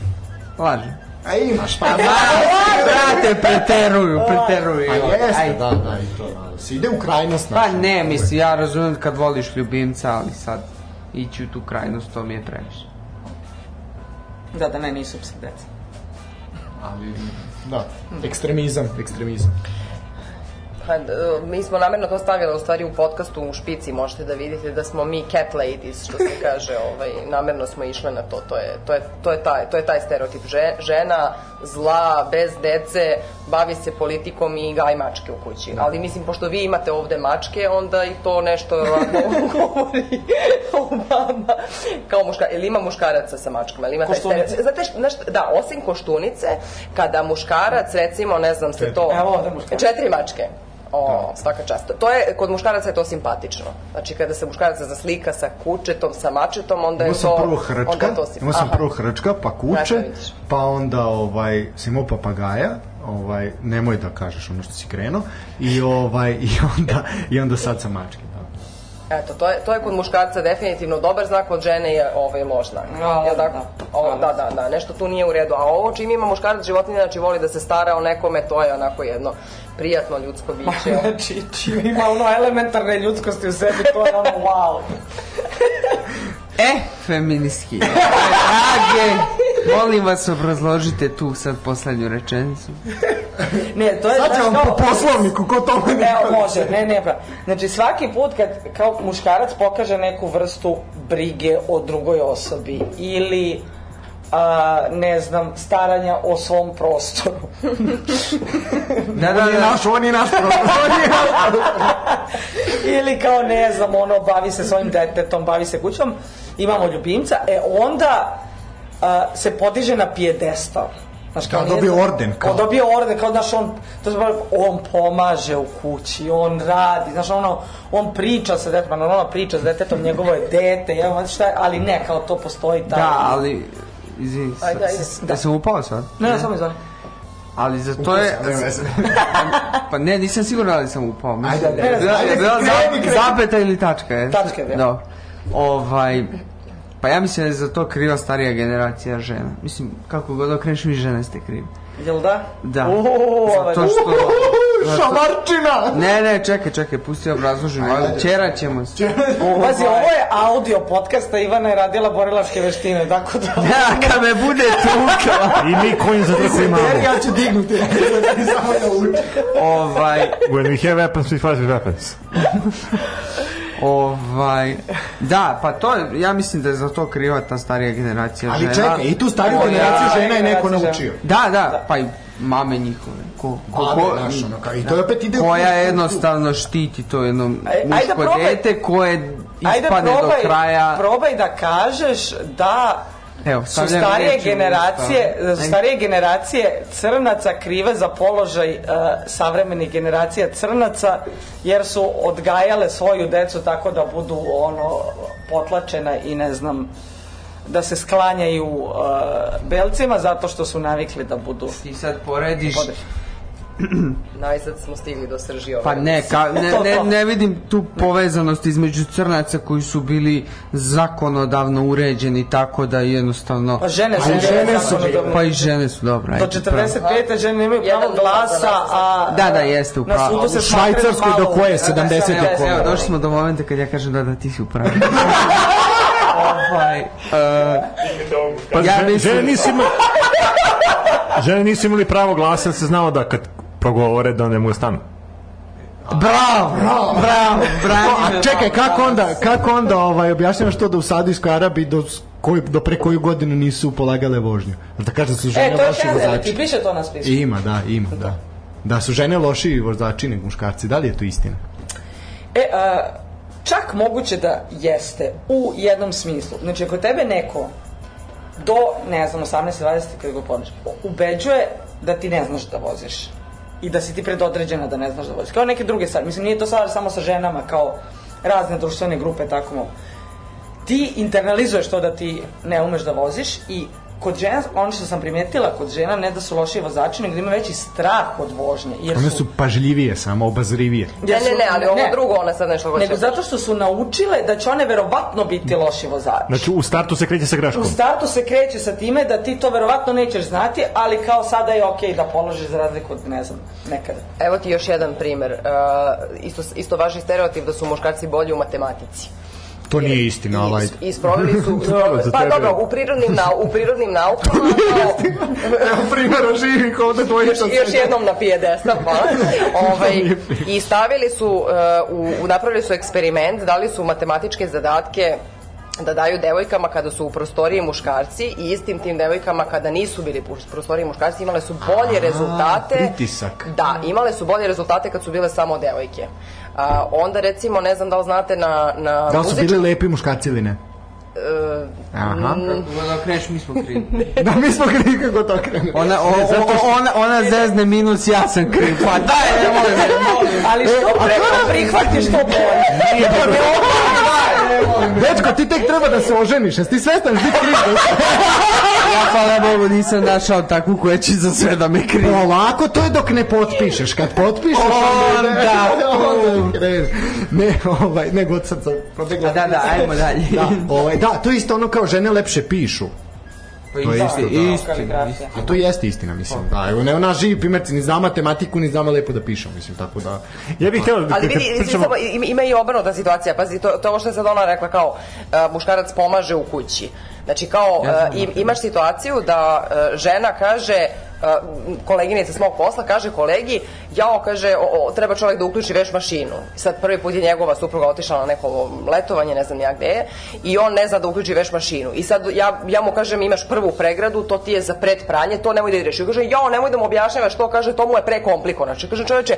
laži.
a imaš, pa
Brate, preteruju, preteruju.
Pa jeste,
Ajde.
da, da, i to, da. Se ide u krajnost,
Pa
znaš.
ne, mislim, ja razumem kad voliš ljubimca, ali sad ići u tu krajnost, to mi je previše.
Da, da ne, nisu psi deca.
Ali, da, ekstremizam, ekstremizam.
Pa, e, mi smo namerno to stavili u stvari u podcastu u špici, možete da vidite da smo mi cat ladies, što se kaže, ovaj, namerno smo išle na to, to je, to je, to je, taj, to je taj stereotip. Že- Žena, zla, bez dece, bavi se politikom i gaj mačke u kući.
Da.
Ali mislim, pošto vi imate ovde mačke, onda i to nešto ovako govori o vama. Kao muška, ili ima muškaraca sa mačkama, ili ima taj
Koštunice.
stereotip. Znate, šta- znaš, da, osim koštunice, kada muškarac, recimo, ne znam se to...
Evo ovde muškarac.
Četiri mačke. O, svaka čast. To je, kod muškaraca je to simpatično. Znači, kada se muškaraca zaslika sa kučetom, sa mačetom, onda Da je
Imao sam
to...
prvo hrčka,
onda to sim-
imao sam
Aha.
prvo hrčka, pa
Eto,
kuće,
vidiš.
pa onda ovaj, sam imao papagaja, ovaj, nemoj da kažeš ono što si krenuo, i, ovaj, i, onda, i onda sad sa mačke. Da.
Eto, to je, to je kod muškarca definitivno dobar znak, kod žene je ovaj loš znak.
A,
Jel tako?
da.
Ovo, da, da, da, nešto tu nije u redu. A ovo čim ima muškarac životinje, znači voli da se stara o nekome, to je onako jedno prijatno ljudsko biće.
Znači, čim ima ono elementarne ljudskosti u sebi, to je ono wow.
E, feministki. Drage, molim vas obrazložite tu sad poslednju rečenicu.
Ne, to je...
Sad
znaš,
će vam
kao-
po poslovniku, ko tome ne
Evo, može, ne, ne, bra. Znači, svaki put kad kao muškarac pokaže neku vrstu brige o drugoj osobi ili a, ne znam, staranja o svom prostoru.
Da, da,
Nije
da.
naš, on je naš problem.
Ili kao ne znam, ono, bavi se svojim detetom, bavi se kućom, imamo ljubimca, e onda a, se podiže na pijedestal. Znaš,
Kao
nije-
dobio Da, orden, kao.
Kao dobio orden, kao znaš, on, to se pravi, on pomaže u kući, on radi, znaš, ono, on priča sa detetom, ona priča sa detetom, njegovo je dete, ja, znaš šta, je, ali ne, kao to postoji taj...
Da, ali... Izvini,
Ajde, ajde.
da. sam upao sad?
Ne, ne, samo izvani.
Ali za to je... Pa ne, nisam siguran ali sam upao. Mislim,
Ajde, ajde.
je bila-
Ajde,
je bila
kreni,
za-
kreni.
zapeta ili tačka, je?
Tačka je bila.
Da. Ovaj, pa ja mislim da je za to kriva starija generacija žena. Mislim, kako god da okreneš, vi žene ste krivi.
Jel da? Ovaj,
Da.
Uuu,
Zato što...
Šamarčina!
Ne, ne, čekaj, čekaj, pusti obrazložim. Čera ćemo se.
Pazi, ovo je audio podcasta, Ivana je radila borilačke veštine, tako da...
Da, kad me bude tukla.
I mi kojim za trku
Jer
imamo.
ja ću dignuti, samo da učim.
Ovaj,
When we have weapons, we fight with weapons.
ovaj, da, pa to je, ja mislim da je za to kriva ta starija generacija žena.
Ali čekaj, i tu stariju
Ovo je
generaciju
starija
žena je neko
generacija
naučio.
Da, da, pa i mame njihove. Ko, ko,
Ko,
ko,
znaš, ono, kao, I to je opet ide u
koja
tu-
jednostavno štiti to jedno
Ajde,
muško
probaj.
dete koje ispadne do kraja.
probaj da kažeš da
Evo,
su
stavljam
starije
riječ u
generacije,
usta.
da su
Ajde.
starije generacije crnaca krive za položaj uh, savremenih generacija crnaca, jer su odgajale svoju decu tako da budu ono potlačena i ne znam da se sklanjaju uh, belcima zato što su navikli da budu
Ti sad porediš,
Ode.
Najzad smo stigli do srži ove
pa ne,
emisije.
ka, ne,
To,
ne,
to.
ne vidim tu povezanost između crnaca koji su bili zakonodavno uređeni tako da jednostavno...
Pa žene su
Ali
bile zakonodavno-
Pa i žene su dobra.
Do
ajde, pravo.
45. žene nemaju
Jedan
pravo
ima
glasa,
za nas.
a...
Da, da, jeste, u
Na
pravu.
sudu se
U Švajcarskoj
smatraju
do koje?
malo-
70
Da,
Evo,
da,
evo,
evo,
došli smo do momenta kad ja kažem da, da, ti si u pravu. ovaj, e,
Pa
Ja
ja žene,
mislim-
žene, nisu imali, žene nisu imali pravo glasa, jer se znao da kad progovore da ne mu je stanu.
bravo, bravo, bravo, bravo.
A čekaj, kako onda, kako onda ovaj, objašnjavaš to da u Saudijskoj Arabiji do, s- koju, do pre koju godinu nisu polagale vožnju? Jel Da kažem da su žene
E, to je
loši
kazano,
vozači.
ti piše to na spisku.
Ima, da, ima, da. Da su žene loši vozači nego muškarci, da li je to istina?
E, a, čak moguće da jeste u jednom smislu. Znači, ako tebe neko do, ne znam, 18-20 kada ga poneš, ubeđuje da ti ne znaš da voziš i da si ti predodređena da ne znaš da voziš. Kao neke druge stvari. Mislim, nije to stvar samo sa ženama, kao razne društvene grupe, tako mogu. Ti internalizuješ to da ti ne umeš da voziš i kod žena, ono što sam primetila kod žena, ne da su lošiji vozači, nego da ima veći strah od vožnje. Jer
One su pažljivije samo, obazrivije.
jer
Ne,
su-
ne, ne, ali ovo
ne.
drugo, ona sad nešto hoće.
Nego zato što su naučile da će one verovatno biti loši vozači.
Znači, u startu se kreće sa greškom.
U startu se kreće sa time da ti to verovatno nećeš znati, ali kao sada je okej da položiš za razliku od, ne znam, nekada.
Evo ti još jedan primer. Uh, isto, isto važi stereotip da su muškarci bolji u matematici.
To nije istina,
I,
ovaj.
is- i sproveli su...
Dobro, za
pa
tebe.
dobro, u prirodnim, nau, u prirodnim naukama... kao-
Evo primjera živih ovde dvojica.
još, još jednom na pijedestal,
pa.
hvala. ovaj, I stavili su, uh, u, u- napravili su eksperiment, dali su matematičke zadatke da daju devojkama kada su u prostoriji muškarci i istim tim devojkama kada nisu bili u prostoriji muškarci imale su bolje rezultate.
pritisak.
Da, imale su bolje rezultate kad su bile samo devojke. A, onda recimo, ne znam da li znate na, na Eh,
Da li su
muzičkim-
bili lepi muškarci ili ne? Aha.
Kako god okreneš, mi smo krivi.
Da, mi smo krivi kako to krenu.
Ona, o, o, ona, ona zezne minus, ja sam kriv. Pa daj, ne molim, ne molim.
Ali
E,
što preko prihvatiš to bolje.
Dečko, ti tek treba da se oženiš, jesi ti svestan da ti krivi?
Ja hvala Bogu nisam našao takvu koja će za sve da me krivi.
Polako, to je dok ne potpišeš. Kad potpišeš, onda,
Onda.
onda kreneš. Ne, ovaj, nego od srca.
Da, da, ajmo dalje.
Da, ovaj, da, to je isto ono kao žene lepše pišu.
Pa
To je isto, da.
istina.
Kaligrafija.
A to jeste istina, mislim. Da, evo, ne, naš živi primerci, ni zna matematiku, ni znamo lepo da pišemo, mislim, tako da...
Ja bih hteo da kad
Ali vidi, izvini,
pričamo...
samo, im- ima i obrnuta situacija. Pazi, to, to ovo što je sad ona rekla, kao e, muškarac pomaže u kući. Znači, kao,
Ja znam,
da.
e, im, imaš situaciju da e, žena kaže, e, koleginica s mog posla kaže kolegi, jao, kaže, o, o, treba čovjek da uključi veš mašinu. I Sad prvi put je njegova supruga otišla na neko letovanje, ne znam ja gde je, i on ne zna da uključi veš mašinu. I sad ja, ja mu kažem, imaš prvu pregradu, to ti je za pred pranje, to nemoj da ideš. I kaže, jao, nemoj da mu objašnjavaš to, kaže, to mu je prekomplikovano. Znači, kaže, čoveče,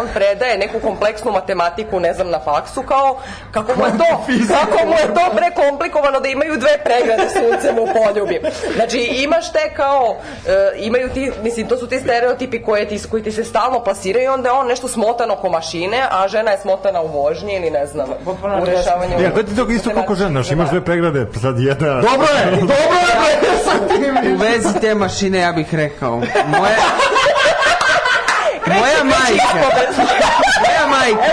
on predaje neku kompleksnu matematiku, ne znam, na faksu, kao, kako mu je to, kako mu je E, to prekomplikovano da imaju dve pregrade suncem u poljubi. Znači, imaš te kao, e, imaju ti, mislim, to su ti stereotipi koje ti, koji ti se stalno plasiraju, onda je on nešto smotan oko mašine, a žena je smotana u vožnji ili ne znam,
Potpuno
u rešavanju.
Ja, to ti to isto kako žena, znaš, imaš dve pregrade, pa sad jedna...
Dobro je, dobro je, bre, sa tim.
da U vezi te mašine ja bih rekao, moja... Moja majka, moja majka,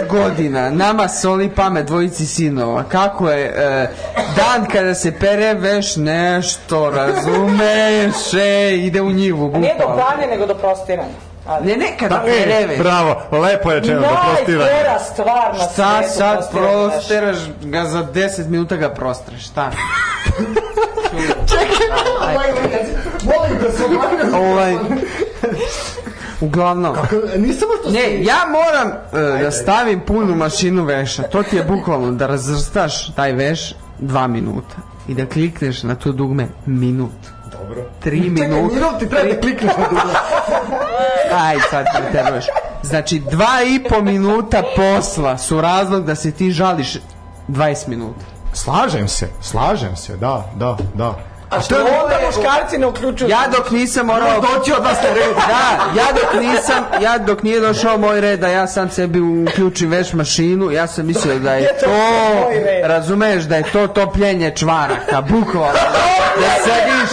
25 godina, nama soli pamet dvojici sinova, kako je e, dan kada se pere veš nešto, razumeš, e, ide u njivu,
Nije do
bukvalno. Pa,
pranja, nego do prostiranja. Ali...
Ne, ne, kada
Da,
pere
e,
veš.
bravo, lepo je rečeno, da prostira.
Najgora stvar na
Šta
svijetu
sad
prostiranje, znaš.
prosteraš ga za 10 minuta ga prostraš, šta?
Molim da se obavljam.
Ovaj... Uglavnom.
Nisam što...
Ne, ja moram e, da stavim punu mašinu veša. To ti je bukvalno da razvrstaš taj veš dva minuta i da klikneš na to dugme minut. Dobro. Tri
Čekaj,
minuta.
minut ti treba da klikneš na dugo.
Aj, sad me teruješ. Znači, dva i po minuta posla su razlog da se ti žališ 20 minuta.
Slažem se, slažem se, da, da, da.
A što
to je
onda
nego-
muškarci ne uključuju?
Ja dok nisam morao...
Doći od vas na red.
Da, ja dok nisam, ja dok nije došao moj red da ja sam sebi uključim veš mašinu, ja sam mislio da je to,
moj red.
razumeš, da je to topljenje čvaraka, bukvalno. Da sediš,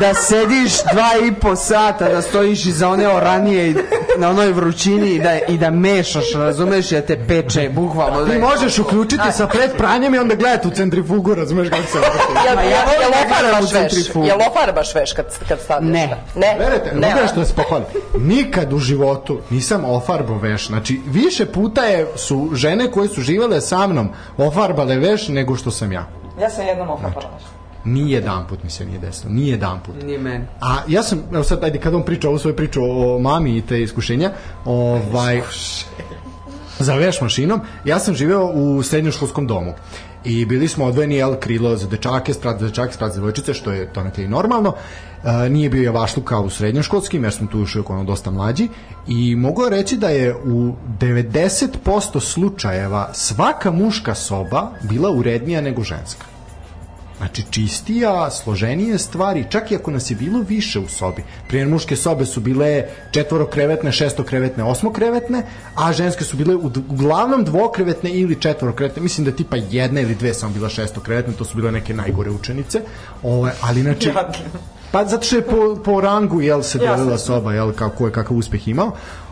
da sediš dva i po sata, da stojiš iza one oranije i na onoj vrućini i da, i da mešaš, razumeš, i da te peče, bukvalno. Da
Ti
je-
možeš uključiti sa pred pranjem i onda gledati u centrifugu, razumeš kako se vrti.
Jel,
Ma ja
jel,
volim
jel
da gledam u
ofarbaš veš?
centrifugu.
Jel ofarbaš veš kad, kad staneš?
Ne.
Ne?
Verujete,
ne.
ne, ne, što se pohvali. Nikad u životu nisam ofarbo veš. Znači, više puta je, su žene koje su živele sa mnom ofarbale veš nego što sam ja.
Ja sam jednom okapala.
Ni jedan put mi se nije desilo. Ni jedan put.
Ni meni.
A ja sam, evo sad, ajde, kada on priča ovu svoju priču o mami i te iskušenja, ovaj, za veš mašinom, ja sam živeo u srednjoškolskom domu. I bili smo odvojeni, jel, krilo za dečake, sprat za dečake, sprat za devojčice, što je donekle i normalno. E, nije bio javašluk kao u srednjoškolskim, jer smo tu još uvijek ono dosta mlađi. I mogu reći da je u 90% slučajeva svaka muška soba bila urednija nego ženska. Znači čistija, složenije stvari, čak i ako nas je bilo više u sobi. Primjer, muške sobe su bile četvorokrevetne, šestokrevetne, osmokrevetne, a ženske su bile u- uglavnom dvokrevetne ili četvorokrevetne. Mislim da je tipa jedna ili dve samo bila šestokrevetne, to su bile neke najgore učenice. Ove, ali znači... Pa zato što je po, po rangu jel se delila soba, jel kako je kakav uspeh imao.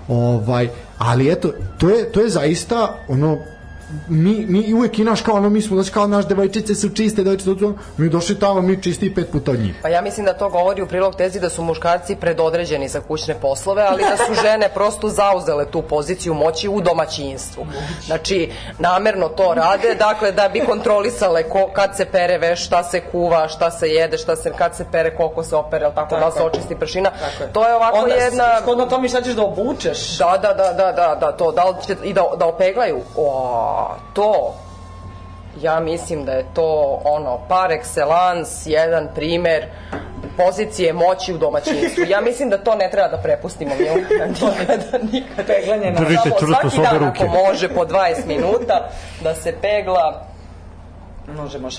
Ovaj, ali eto, to je, to je zaista ono mi, mi uvek i naš kao ono, mi smo došli kao naš devojčice su čiste, devojčice su, mi došli tamo, mi čisti i pet puta od njih.
Pa ja mislim da to govori u prilog tezi da su muškarci predodređeni za kućne poslove, ali da su žene prosto zauzele tu poziciju moći u domaćinstvu. Znači, namerno to rade, dakle, da bi kontrolisale ko, kad se pere veš, šta se kuva, šta se jede, šta se, kad se pere, koliko se opere, jel tako, da li se
je.
očisti pršina.
Tako je.
To je ovako
Onda,
jedna...
Shodno tome šta ćeš da obučeš.
Da, da, da, da, da, da, to, da li će, i da, da opeglaju, o, to, ja mislim da je to, ono, par excellence, jedan primer pozicije moći u domaćinstvu. Ja mislim da to ne treba da prepustimo Milana nikada, nikada.
Peglanje na-
Držite
Samo
Da čvrsto s
svaki
obe
dan
ruke.
ako može po 20 minuta da se pegla,
Može, može.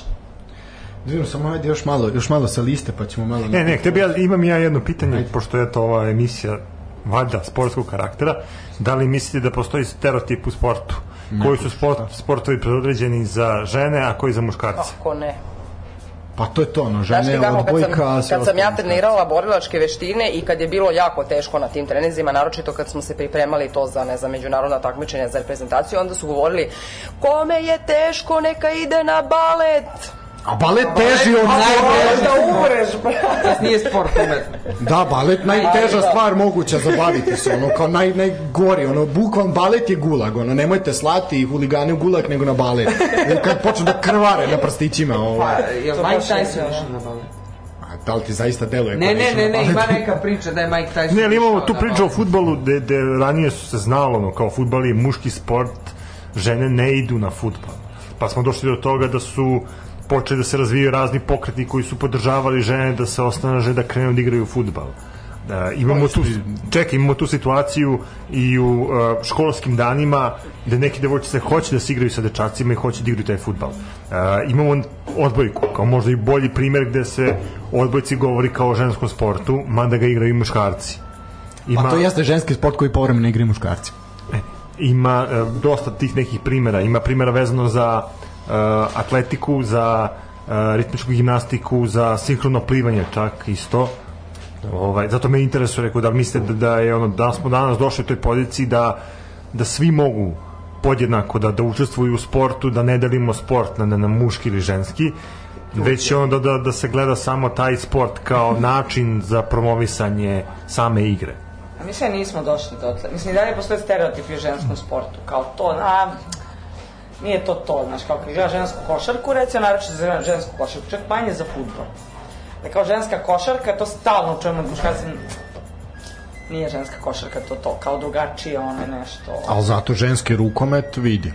Dvijem Da samo ajde još malo, još malo sa liste, pa ćemo malo...
Ne, ne, tebi ja, imam ja jedno pitanje, pošto je to ova emisija valjda sportskog karaktera, da li mislite da postoji stereotip u sportu? koji su sport,
da.
sportovi predodređeni za žene, a koji za muškarce?
ako ne.
Pa to je to, ono,
Znaš ti
žene
kako,
od bojka...
kad sam, kad sam ja trenirala borilačke veštine i kad je bilo jako teško na tim treninzima, naročito kad smo se pripremali to za, ne znam, međunarodna takmičenja za reprezentaciju, onda su govorili kome je teško, neka ide na balet.
A balet teži od...
Da umreš, brate.
Nije sport umetno.
Da, balet najteža stvar moguća za baviti se, ono, kao naj, najgori, ono, bukvalno balet je gulag, ono, nemojte slati huligane u gulag nego na balet. Jer kad počnu da krvare na prstićima, ovo...
Pa, jel Mike
baš je,
Tyson
da.
išao na balet?
A da li ti zaista deluje?
Ne,
kao da
ne,
išao
ne,
na
ne,
balet?
ima neka priča da je Mike Tyson
Ne, ali imamo
išao
tu
na
priču o
balet.
futbalu, gde, gde ranije su se znalo, ono, kao futbal je muški sport, žene ne idu na futbal. Pa smo došli do toga da su počeli da se razvijaju razni pokreti koji su podržavali žene da se osnaže da krenu da igraju futbal. Da, imamo tu, čekaj, imamo tu situaciju i u uh, školskim danima gde neki devojčice hoće da se igraju sa dečacima i hoće da igraju taj futbal. Uh, imamo odbojku, kao možda i bolji primer gde se o odbojci govori kao o ženskom sportu, mada ga igraju i muškarci. Ima,
Pa to jeste ženski sport koji povremeno igraju muškarci.
ima e, dosta tih nekih primera. Ima primera vezano za e, atletiku, za e, ritmičku gimnastiku, za sinhrono plivanje čak isto. Ovaj, zato me interesuje, rekao, da li mislite da, da je ono, da smo danas došli u toj poziciji da, da svi mogu podjednako da, da učestvuju u sportu, da ne delimo sport na, na, na muški ili ženski, već je onda da, da se gleda samo taj sport kao način za promovisanje same igre.
A mi sve nismo došli dotle. Mislim, i dalje postoje stereotipi u ženskom sportu. Kao to, a, nije to to, znaš, kao kad igra žensku košarku, recimo, naroče za žensku košarku, čak manje za futbol. Da kao ženska košarka, to stalno čujemo od muškarca, nije ženska košarka, to to, kao drugačije, ono je nešto.
Ali zato ženski rukomet vidi.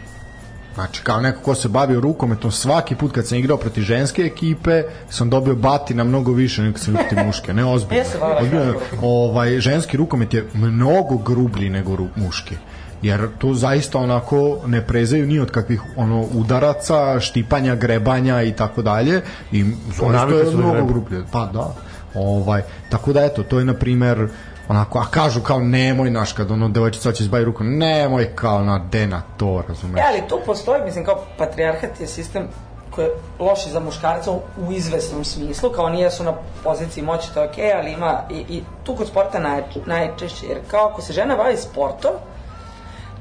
Znači, kao neko ko se bavio rukometom, svaki put kad sam igrao protiv ženske ekipe, sam dobio batina mnogo više nego kad sam igrao protiv muške. Ne, ozbiljno.
Jesi volao
Ozbiljno.
ženski
Ovaj, ženski rukomet je mnogo grublji nego ru, muški. jer tu zaista onako ne prezaju ni od kakvih ono udaraca, štipanja, grebanja i tako dalje i zaista
Navike
je
su da
mnogo
grebu.
grublje. Pa da. Ovaj, tako da eto, to je na primer onako, a kažu kao nemoj naš kad ono devojčica će izbavi ruku, nemoj kao na dena to, razumeš?
E, ali tu postoji, mislim, kao patrijarhat je sistem koji je loši za muškarca u- u izvesnom smislu, kao nije su na poziciji moći, to je okej, ali ima i, i tu kod sporta naj, najčešće, jer kao ako se žena bavi sportom,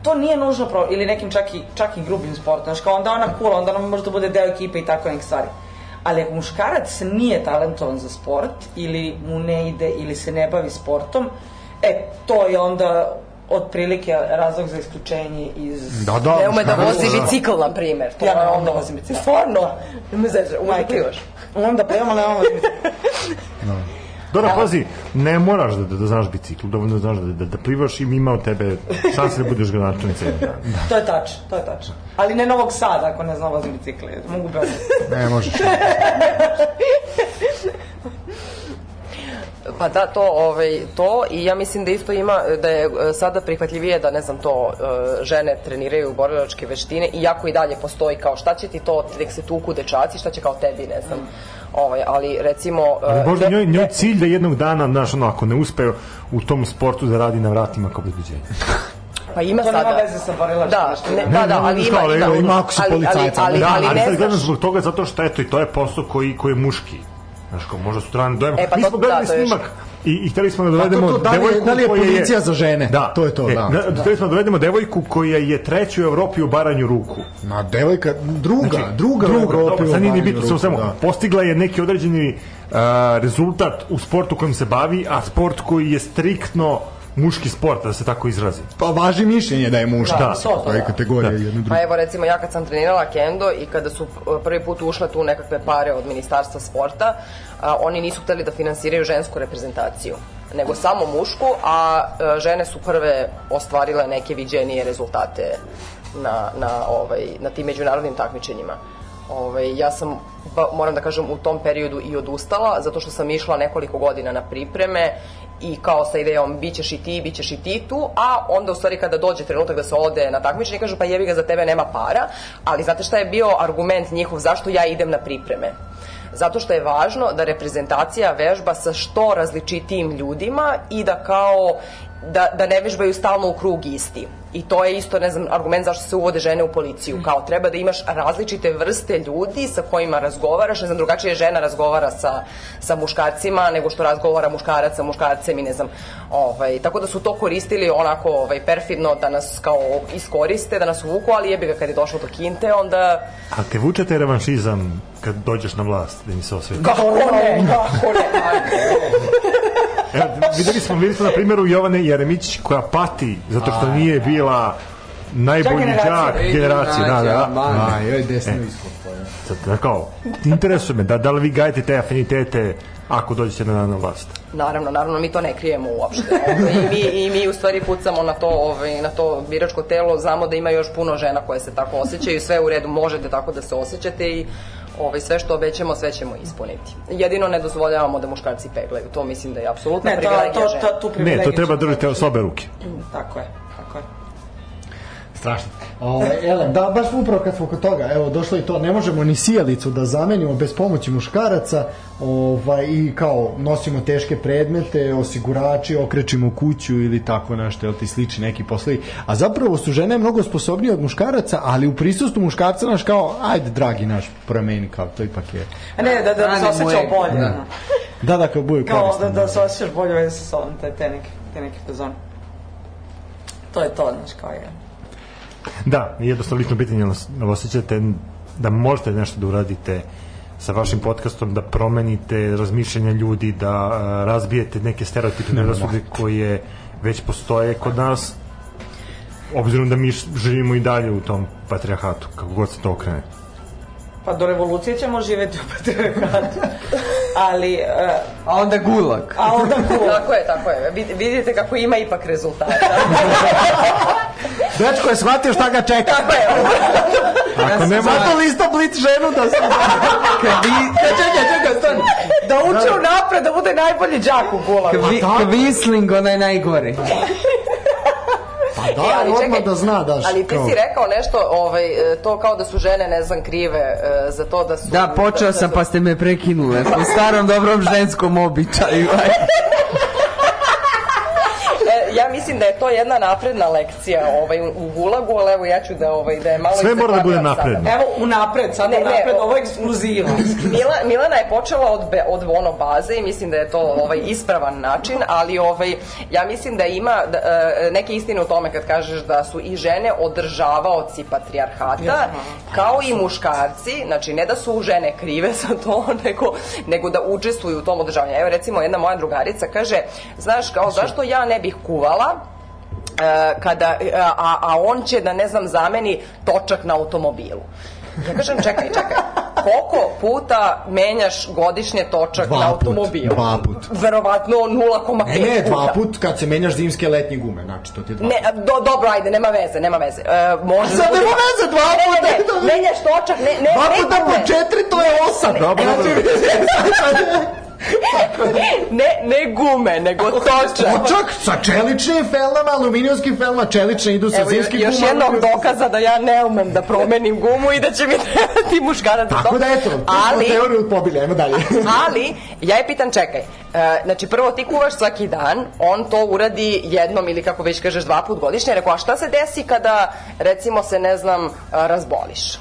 to nije nužno pro, ili nekim čak i, čak i grubim sportom, znaš, kao onda ona cool, onda ona možda bude deo ekipe i tako nekih stvari. Ali ako muškarac nije talentovan za sport, ili mu ne ide, ili se ne bavi sportom, e, to je onda otprilike razlog za isključenje iz
Da, da,
Ne ume da
muškarac,
vozi bicikl, na primjer. To
ja
je
ne
ono-
onda vozim bicikl. Stvarno?
Nema zeže, ume da
Majke
plivaš.
još. Onda pevam, ali nemam vozim bicikl.
Dobro, pazi, ne moraš da, da, da znaš bicikl, dovoljno da znaš da, da, da plivaš i ima od tebe šanse da budeš gradonačelnica jednog dana.
To je tač, to je tač. Ali ne Novog Sada, ako ne znam vozim bicikle. Mogu Beograd.
Ne možeš.
Pa da, to, ovaj, to i ja mislim da isto ima, da je e, sada prihvatljivije da, ne znam, to e, žene treniraju borilačke veštine, iako i dalje postoji kao šta će ti to, nek se tuku dečaci, šta će kao tebi, ne znam. Ovaj, ali recimo... e,
Ali možda
de-
njoj, njoj cilj da jednog dana, znaš, ono, ako ne uspe u tom sportu da radi na vratima kao obezbeđenje.
Pa ima
To nema
sada.
veze sa borilačkim
Da,
veštinama.
ne, da, da, ali ima,
ali,
ima.
ali
ima ako su
Ali- ali-
policajci,
ali-
da, ali,
ali ne
sad gledam
znaš.
zbog toga zato što eto i to je posao koji, koji je muški. Znaš, kao možda sutra dojem.
E, pa
Mi
to-
smo gledali
da, to je
snimak i, i hteli smo da
to-
dovedemo
to da li je-
devojku
da li je
koja
policija za žene?
Da.
To je to, da.
da. Hteli smo da dovedemo devojku koja je treća u Evropi u baranju ruku.
Na devojka, druga,
Znači,
druga, u Evropi
dobro,
u
sad nije ni
baranju
bitno, samo
ruku,
samo,
da.
postigla je neki određeni uh, rezultat u sportu kojim se bavi, a sport koji je striktno muški sport, da se tako izrazi.
Pa važi mišljenje da je muška.
Da,
to, to,
to je
da.
kategorija
Da.
da. jedno drugo.
Pa evo recimo ja kad sam trenirala kendo i kada su e, prvi put ušle tu nekakve pare od ministarstva sporta, a, oni nisu hteli da finansiraju žensku reprezentaciju nego samo mušku, a e, žene su prve ostvarile neke viđenije rezultate na, na, ovaj, na tim međunarodnim takmičenjima. Ovaj, ja sam, ba, moram da kažem, u tom periodu i odustala, zato što sam išla nekoliko godina na pripreme i kao sa idejom bit ćeš i ti, bit ćeš i ti tu, a onda u stvari kada dođe trenutak da se ode na takmičenje, kažu pa jebi ga za tebe nema para, ali znate šta je bio argument njihov zašto ja idem na pripreme? Zato što je važno da reprezentacija vežba sa što različitijim ljudima i da kao da, da ne vežbaju stalno u krug isti. I to je isto, ne znam, argument zašto se uvode žene u policiju. Kao treba da imaš različite vrste ljudi sa kojima razgovaraš. Ne znam, drugačije žena razgovara sa, sa muškarcima nego što razgovara muškarac sa muškarcem i ne znam. Ovaj, tako da su to koristili onako ovaj, perfidno da nas kao iskoriste, da nas uvuku, ali jebi ga kad je došlo do kinte, onda
A te vučete revanšizam kad dođeš na vlast, da mi se osveti?
kako ne, kako ne.
Evo, videli smo, videli smo na primjeru Jovane Jeremić koja pati zato što nije
da.
bila najbolji
generacija.
đak generacije, da, da.
A, joj, desno iskop.
Sad, da kao, interesuje me, da, da li vi gajite te afinitete ako dođete na, na vlast?
Naravno, naravno, mi to ne krijemo uopšte. ovaj, I mi, i mi u stvari pucamo na to, ovaj, na to biračko telo, znamo da ima još puno žena koje se tako osjećaju, sve u redu, možete tako da se osjećate i ovaj, sve što obećamo, sve ćemo ispuniti. Jedino ne dozvoljavamo da muškarci peglaju, to mislim da je apsolutna
Ne, to,
privilegija
to, to,
žena.
tu
Ne,
privilegiju
to treba
ću-
držati s obe ruke.
Mm,
Tako je, tako je.
Strašno. Ove, ele, da, baš upravo kad smo kod toga, evo, došlo i to, ne možemo ni sijalicu da zamenimo bez pomoći muškaraca, ovaj, i kao, nosimo teške predmete, osigurači, okrećimo kuću ili tako nešto, jel ti slični neki poslovi. A zapravo su žene mnogo sposobnije od muškaraca, ali u prisustu muškarca naš kao, ajde, dragi naš, promeni kao, to ipak je.
A ne, da, da, da se
Hranimo
osjećao
ego,
bolje.
da.
ono.
Da, da, kao bude
Kao da,
koristan.
da se osjećaš bolje veze sa sobom, te, te neke, te neke fazone. To je to, znaš, kao je.
Da, jednostavno lično pitanje, jel os- jel osjećate da možete nešto da uradite sa vašim podcastom, da promenite razmišljanja ljudi, da e, razbijete neke stereotipne predrasude koje već postoje kod nas, obzirom da mi š- živimo i dalje u tom patrijarhatu, kako god se to okrene.
Pa do revolucije ćemo živeti u patriarhatu. Ali, e,
A onda gulak.
a onda cool.
Tako je, tako je. Vid- Vidite kako ima ipak rezultata.
Dečko je shvatio šta ga čeka.
Tako je.
Ako nema,
Zato lista blic ženu da se...
E,
Čekaj, čekaj, stani.
Da uče u napred, da bude najbolji džak u gulagu.
Kvi, kvisling, onaj najgori.
Pa da, odmah da zna, da,
E, Ali ti
kao-
si rekao nešto, ovaj, e, to kao da su žene, ne znam, krive e, za to da su...
Da, počeo sam
su-
pa ste me prekinule. Po starom dobrom ženskom običaju. aj.
E, ja mislim da je to jedna napredna lekcija ovaj, u- u gulagu, ali evo ja ću da, ovaj, da je malo...
Sve mora da bude
izakladiram sada.
napredno.
Evo, unapred, sad
Ne, ne,
unapred,
o-
ovo je ekskluziva.
Mila, Milana je počela od, be, od ono baze i mislim da je to ovaj ispravan način, ali ovaj ja mislim da ima da, e, neke istine u tome kad kažeš da su i žene održavaoci patrijarhata kao i muškarci, znači ne da su žene krive za to, nego, nego da učestvuju u tom održavanju. Evo recimo jedna moja drugarica kaže, znaš kao zašto ja ne bih kuvala e, kada, e, a, a on će da ne znam zameni točak na automobilu. Ja kažem čekaj, čekaj, koliko puta menjaš godišnje točak
Dva
na
put,
automobilu?
dva put.
Verovatno
Pa
0,5
E, ne,
da.
dva
puta.
put kad se menjaš zimske letnje gume, znači to ti je dva
Ne, a, do, dobro, ajde, nema veze, nema veze. E, može
Sad
da bude-
nema veze, dva
Ne,
puta,
Ne,
to-
ne, menjaš točak, ne, ne,
Dva
ne,
puta
problem.
po četiri, to je osam.
Dobro,
Znači,
dobro.
Ne, ne gume, nego točak.
Točak sa čeličnim felnama, aluminijumskim felnama, čelične idu sa
Evo,
zimskim
još
gumama.
jednog dokaza da ja ne umem da promenim gumu i da će mi trebati muškarac za to.
Tako da eto, ali...
ali,
smo teoriju pobili, ajmo dalje.
ali ja je pitan čekaj, e, znači prvo ti kuvaš svaki dan, on to uradi jednom ili kako već kažeš dva put godišnje, rekao a šta se desi kada recimo se ne znam e, razboliš?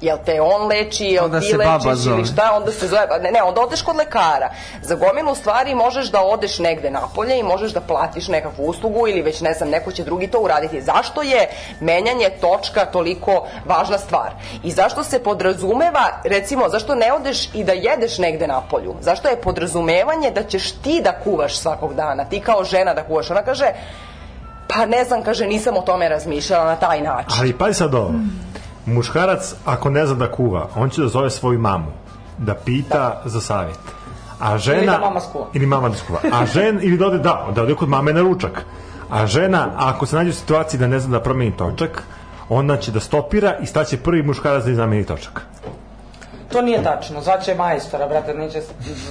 Jel te on leči, jel
Onda
ti
se baba
lečiš
zove.
ili šta, onda se zove, pa ne, ne, onda odeš kod lekara. Za gomilu stvari možeš da odeš negde napolje i možeš da platiš nekakvu uslugu ili već ne znam, neko će drugi to uraditi. Zašto je menjanje točka toliko važna stvar? I zašto se podrazumeva, recimo, zašto ne odeš i da jedeš negde napolju? Zašto je podrazumevanje da ćeš ti da kuvaš svakog dana, ti kao žena da kuvaš? Ona kaže, pa ne znam, kaže, nisam o tome razmišljala na taj način.
Ali pazi sad ovo. Muškarac, ako ne zna da kuva, on će da zove svoju mamu da pita za savjet. A žena...
Ili da mama skuva.
Ili mama da skuva. A žen, ili da ode, da, da ode kod mame na ručak. A žena, ako se nađe u situaciji da ne zna da promeni točak, onda će da stopira i staće prvi muškarac da im zameni točak.
To nije tačno, zvaće majstora, brate, neće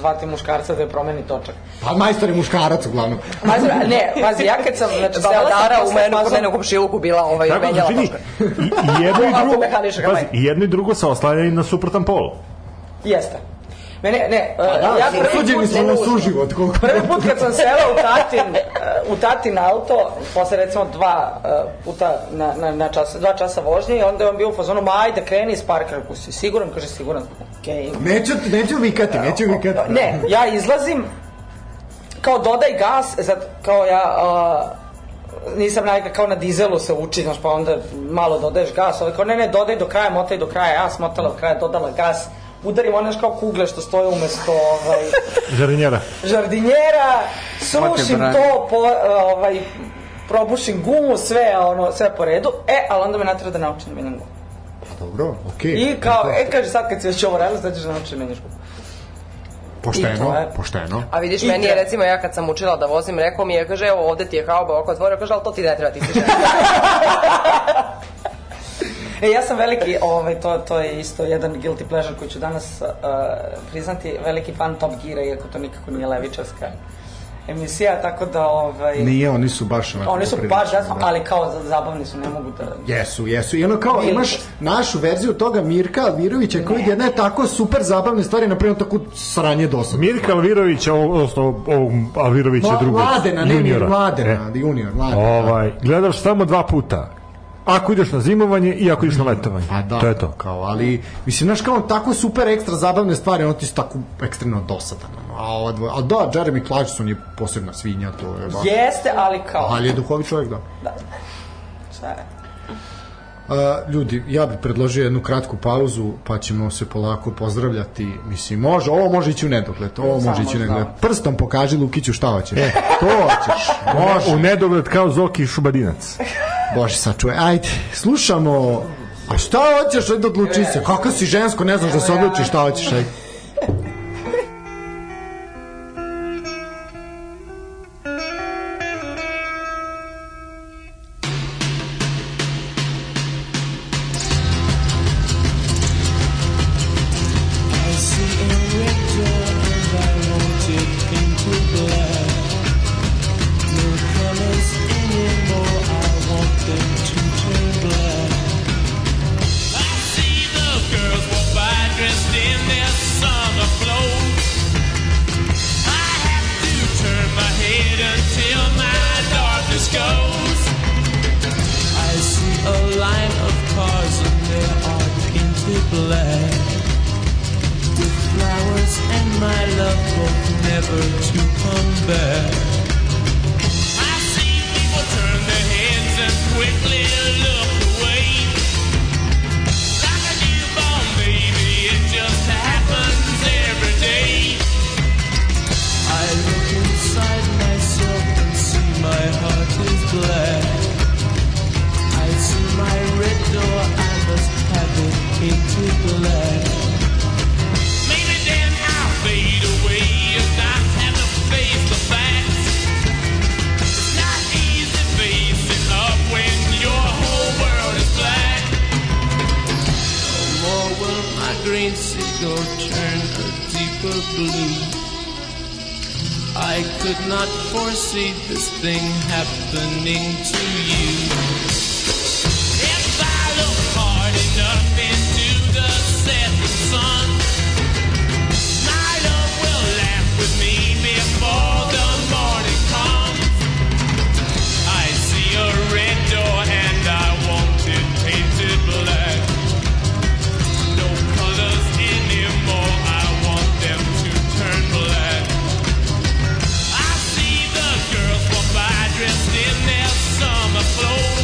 zvati muškarca da je promeni točak.
Pa majstor je muškarac uglavnom.
Pazi, ne, pazi, ja kad sam, znači, sela sam
Baladara u
posle
menu, kod
fazom-
mene u komšiluku bila ovaj,
Tako da
menjala
vidi,
točak.
i, i jedno i
Ako
drugo,
mehaničar ga
pazi,
menja.
i jedno i drugo se oslanjaju na suprotan pol.
Jeste. Mene, ne, e,
Da,
ja prvi
suđeni
put,
su na suživot. Koliko...
prvi put kad sam sela u tatin, e, u tatin auto, posle recimo dva e, puta na, na, na čas, dva časa vožnje, i onda je on bio u fazonu, ma ajde, kreni iz parka, ako si siguran, kaže, siguran, okej,
Neću, neću vikati, neću vikati.
Ne, ja izlazim kao dodaj gas, e sad kao ja a, nisam navika kao na dizelu se uči, znaš, pa onda malo dodaješ gas, ali kao ne, ne, dodaj do kraja, motaj do kraja, ja smotala do kraja, dodala gas, udarim one znaš, kao kugle što stoje umesto ovaj,
Žarinjera.
žardinjera,
Mate,
srušim
brani.
to, po, ovaj, probušim gumu, sve, ono, sve po redu, e, ali onda me natira da naučim da menjam gumu.
Dobro, okej.
I kao, e, kaže, sad kad si već ovo radila, sad ćeš da naučiš da menjaš gumu. i to
Pošteno,
je.
pošteno.
A vidiš,
I
meni je
tre-
recimo, ja kad sam učila da vozim, rekao mi je, kaže, evo ovde ti je haoba oko otvorio, kaže, ali to ti ne treba, ti si žena.
E, ja sam veliki, ovaj, to, to je isto jedan guilty pleasure koji ću danas uh, priznati, veliki fan Top Gira, iako to nikako nije levičarska emisija, tako da, ovaj,
Nije, oni su baš... onako
oni su
prilično,
baš, jasno,
da.
ali kao za- zabavni su, ne mogu da...
Jesu, jesu. I ono kao
Bili
imaš
su.
našu verziju toga Mirka Alvirovića koji jedna je tako super zabavne stvari, na primjer tako sranje dosadno.
Mirka Alvirović, odnosno ovog Alvirovića
Ma-
drugog.
Mladena, ne, ne,
juniora. E.
Mladena, da, junior, Mladena.
Ovaj, gledaš samo dva puta. Ako ideš na zimovanje i ako ideš na letovanje.
Pa da,
to je to.
Kao, ali, mislim, znaš kao on tako super ekstra zabavne stvari, on ti su tako ekstremno dosadan. ono. A, ova dvoja, a da, Jeremy Clarkson je posebna svinja, to je baš.
Jeste, ali kao...
Ali je duhovi čovjek, da.
šta je?
A, ljudi, ja bih predložio jednu kratku pauzu, pa ćemo se polako pozdravljati. Mislim, može, ovo može ići u nedogled, ovo može ići u nedogled. Prstom pokaži Lukiću šta hoćeš. E, to hoćeš. Može.
U nedogled kao Zoki i Šubadinac.
Bože sačuje, ajde, slušamo. A šta hoćeš, ajde odluči se. Kako si žensko, ne znaš da se odlučiš šta hoćeš, ajde.
Anymore, I want
never to come back.
I've seen people turn their heads and quickly look away. Like a newborn baby, it just happens every day.
I look inside myself and see my heart is black. I see my red door, I must have it painted black.
Maybe then I'll fade away if I have to face the facts. It's not easy facing up when your whole world is black.
No more will my green seagull turn a deeper blue. I could not foresee this thing happening to you.
If I look hard enough into the setting sun, my love will laugh with me before the morning comes. I see a red door and I want it painted black. No colors anymore, I want them to turn black. I see the girls walk by dressed in their summer clothes.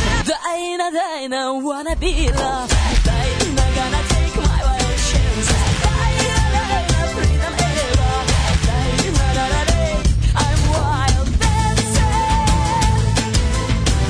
I don't wanna be loved. Baby, not gonna take my wild chance. Baby, la, la, la, la, freedom era. Baby, la, la, la, la, I'm wild dancing.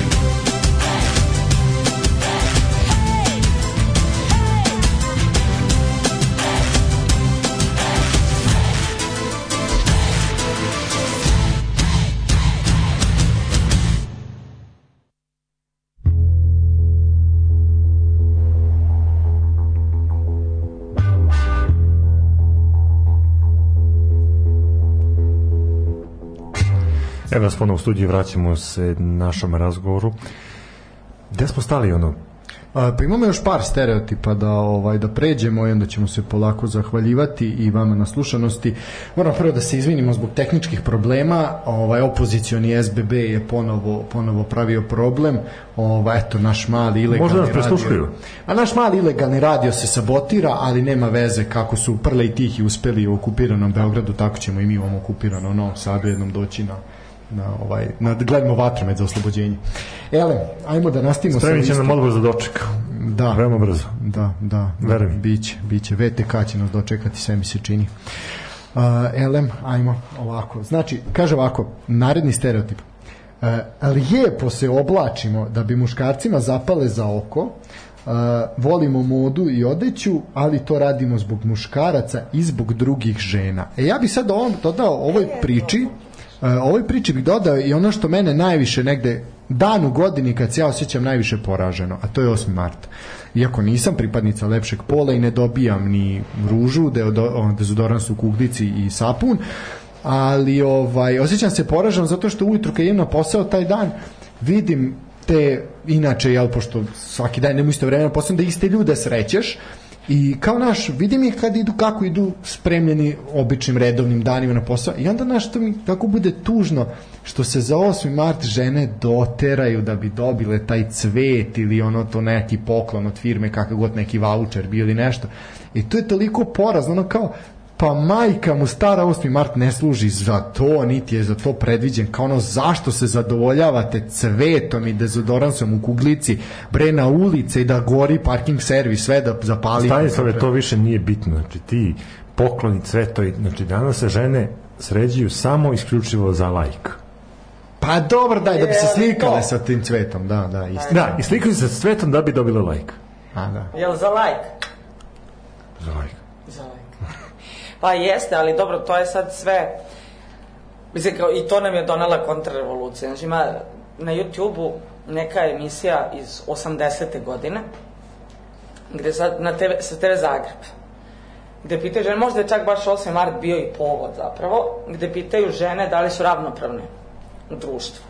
Evo nas ponovno u studiju, vraćamo se našom razgovoru. Gde smo stali, ono?
A, pa imamo još par stereotipa da ovaj da pređemo i onda ćemo se polako zahvaljivati i vama na slušanosti. Moram prvo da se izvinimo zbog tehničkih problema. Ovaj opozicioni SBB je ponovo ponovo pravio problem. Ovaj eto naš mali ilegalni
Možda nas
radio-
presluškuju.
A naš mali ilegalni radio se sabotira, ali nema veze kako su Prle i Tihi uspeli u okupiranom Beogradu, tako ćemo i mi u ovom okupiranom Novom Sadu jednom doći na na ovaj na gledamo vatromet za oslobođenje. Ele, ajmo da nastavimo
Spremit će
listom.
nam odbor za doček.
Da.
Veoma brzo.
Da, da.
Veruj mi.
Biće, biće. VTK će nas dočekati, sve mi se čini. Uh, LM, ajmo ovako. Znači, kaže ovako, naredni stereotip. Uh, lijepo se oblačimo da bi muškarcima zapale za oko, uh, volimo modu i odeću, ali to radimo zbog muškaraca i zbog drugih žena. E ja bi sad ovom dodao ovoj priči, E, ovoj priči bih dodao i ono što mene najviše negde dan u godini kad se ja osjećam najviše poraženo, a to je 8. mart. Iako nisam pripadnica lepšeg pola i ne dobijam ni ružu, deodo- o, dezodorans u kuglici i sapun, ali ovaj osjećam se poraženo zato što ujutru kad idem na posao taj dan vidim te inače jel pošto svaki dan idem u isto vreme na posao da iste ljude srećeš I kao naš, vidim ih kad idu, kako idu spremljeni običnim redovnim danima na posao. I onda naš, to mi tako bude tužno što se za 8. mart žene doteraju da bi dobile taj cvet ili ono to neki poklon od firme, kakav god neki voucher bio ili nešto. I to je toliko porazno, ono kao, pa majka mu stara 8. mart ne služi za to, niti je za to predviđen, kao ono zašto se zadovoljavate cvetom i dezodoransom u kuglici, bre na ulice i da gori parking servis, sve da zapali.
Stanislave, to više nije bitno. Znači, ti pokloni cvetovi, znači, danas se žene sređuju samo isključivo za lajk.
Pa dobro, daj, da bi se slikale sa tim cvetom, da, da, isto.
Da, i slikaju se s cvetom da bi dobile lajk.
A, da.
Jel za like?
Za lajk.
Za like. Pa jeste, ali dobro, to je sad sve... Mislim, kao, i to nam je donela kontrarevolucija. Znači, ima na YouTube-u neka emisija iz 80. godine, gde sad na TV, sa TV Zagreb, gde pitaju žene, možda je čak baš 8. mart bio i povod zapravo, gde pitaju žene da li su ravnopravne u društvu.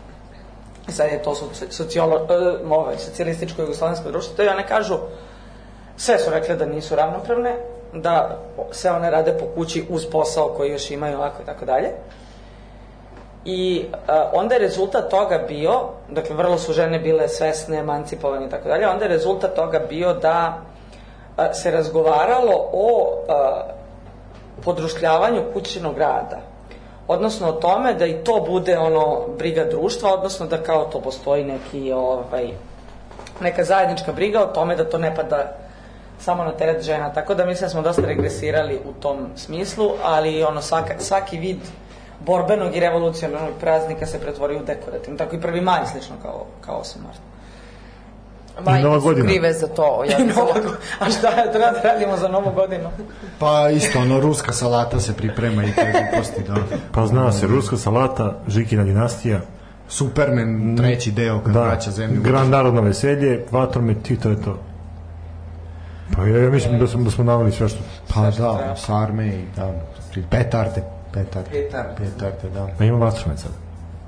I sad je to soci- socijolo, uh, ove, socijalističko jugoslovensko društvo, to i one kažu, sve su rekle da nisu ravnopravne, da se one rade po kući uz posao koji još imaju ovako i tako dalje. I a, onda je rezultat toga bio, dakle vrlo su žene bile svesne, emancipovane i tako dalje, onda je rezultat toga bio da a, se razgovaralo o e, a, podrušljavanju kućinog rada. Odnosno o tome da i to bude ono briga društva, odnosno da kao to postoji neki ovaj, neka zajednička briga o tome da to ne pada samo na teret žena. Tako da mislim da smo dosta regresirali u tom smislu, ali ono svaka, svaki vid borbenog i revolucionarnog praznika se pretvori u dekorativno. Tako i prvi maj slično kao, kao 8. mart.
I Nova
Majke su
godina.
krive za to. Ja mislim.
Nova go- A šta je, treba da radimo za novu godinu?
Pa isto, ono, ruska salata se priprema i te gluposti, da.
Pa zna se, ruska salata, Žikina dinastija,
Superman, treći deo, kad da.
da,
vraća zemlju.
Grand Narodno veselje, vatromet i to je to. Pa ja, ja mislim da smo, da smo navali sve što...
Pa da, sarme i da, petarde, petarde. Petarde. Petarde, da.
Pa ima vatromet sad.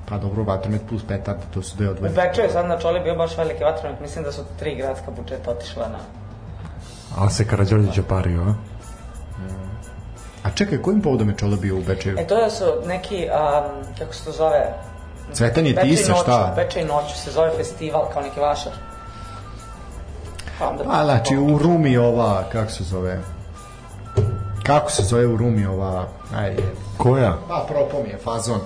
Pa dobro, vatromet plus petarde, to su deo
U
odvojeni.
Beču je sad na čoli bio baš veliki vatromet. Mislim da su tri gradska budžeta otišla na...
Ali se Karadžorđić opario, a?
A čekaj, kojim povodom je Čola bio u Bečeju?
E to da su neki, um, kako se to zove,
Cvetanje
Veče i
tisa,
noću,
šta?
Veče i noću se zove festival, kao neki vašar. Pa onda...
Pa, znači, u Rumi ova, kako se zove? Kako se zove u Rumi ova? Aj, je.
Koja?
Pa, propom je fazon.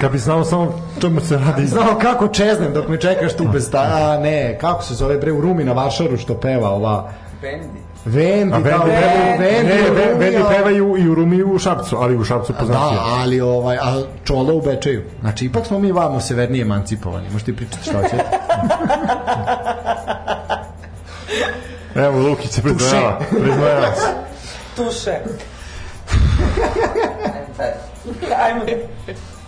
Kad bi znao samo čemu se radi.
Znao kako čeznem dok me čekaš tu bez ta... A ne, kako se zove bre u Rumi na Varšaru što peva ova...
Bendi.
Vendi,
A Vendi,
da,
peva-
Vendi,
ne,
u
Ve-
Rumi,
Vendi
a-
peva i u, i u Rumi i u Šapcu, ali u Šapcu poznatije.
Da, ali ovaj, a čola u Bečeju. Znači, ipak smo mi vamo severnije emancipovani. Možeš ti pričati šta hoćete.
Evo, Lukić se priznajava. Priznajava se.
Tuše. Ajmo.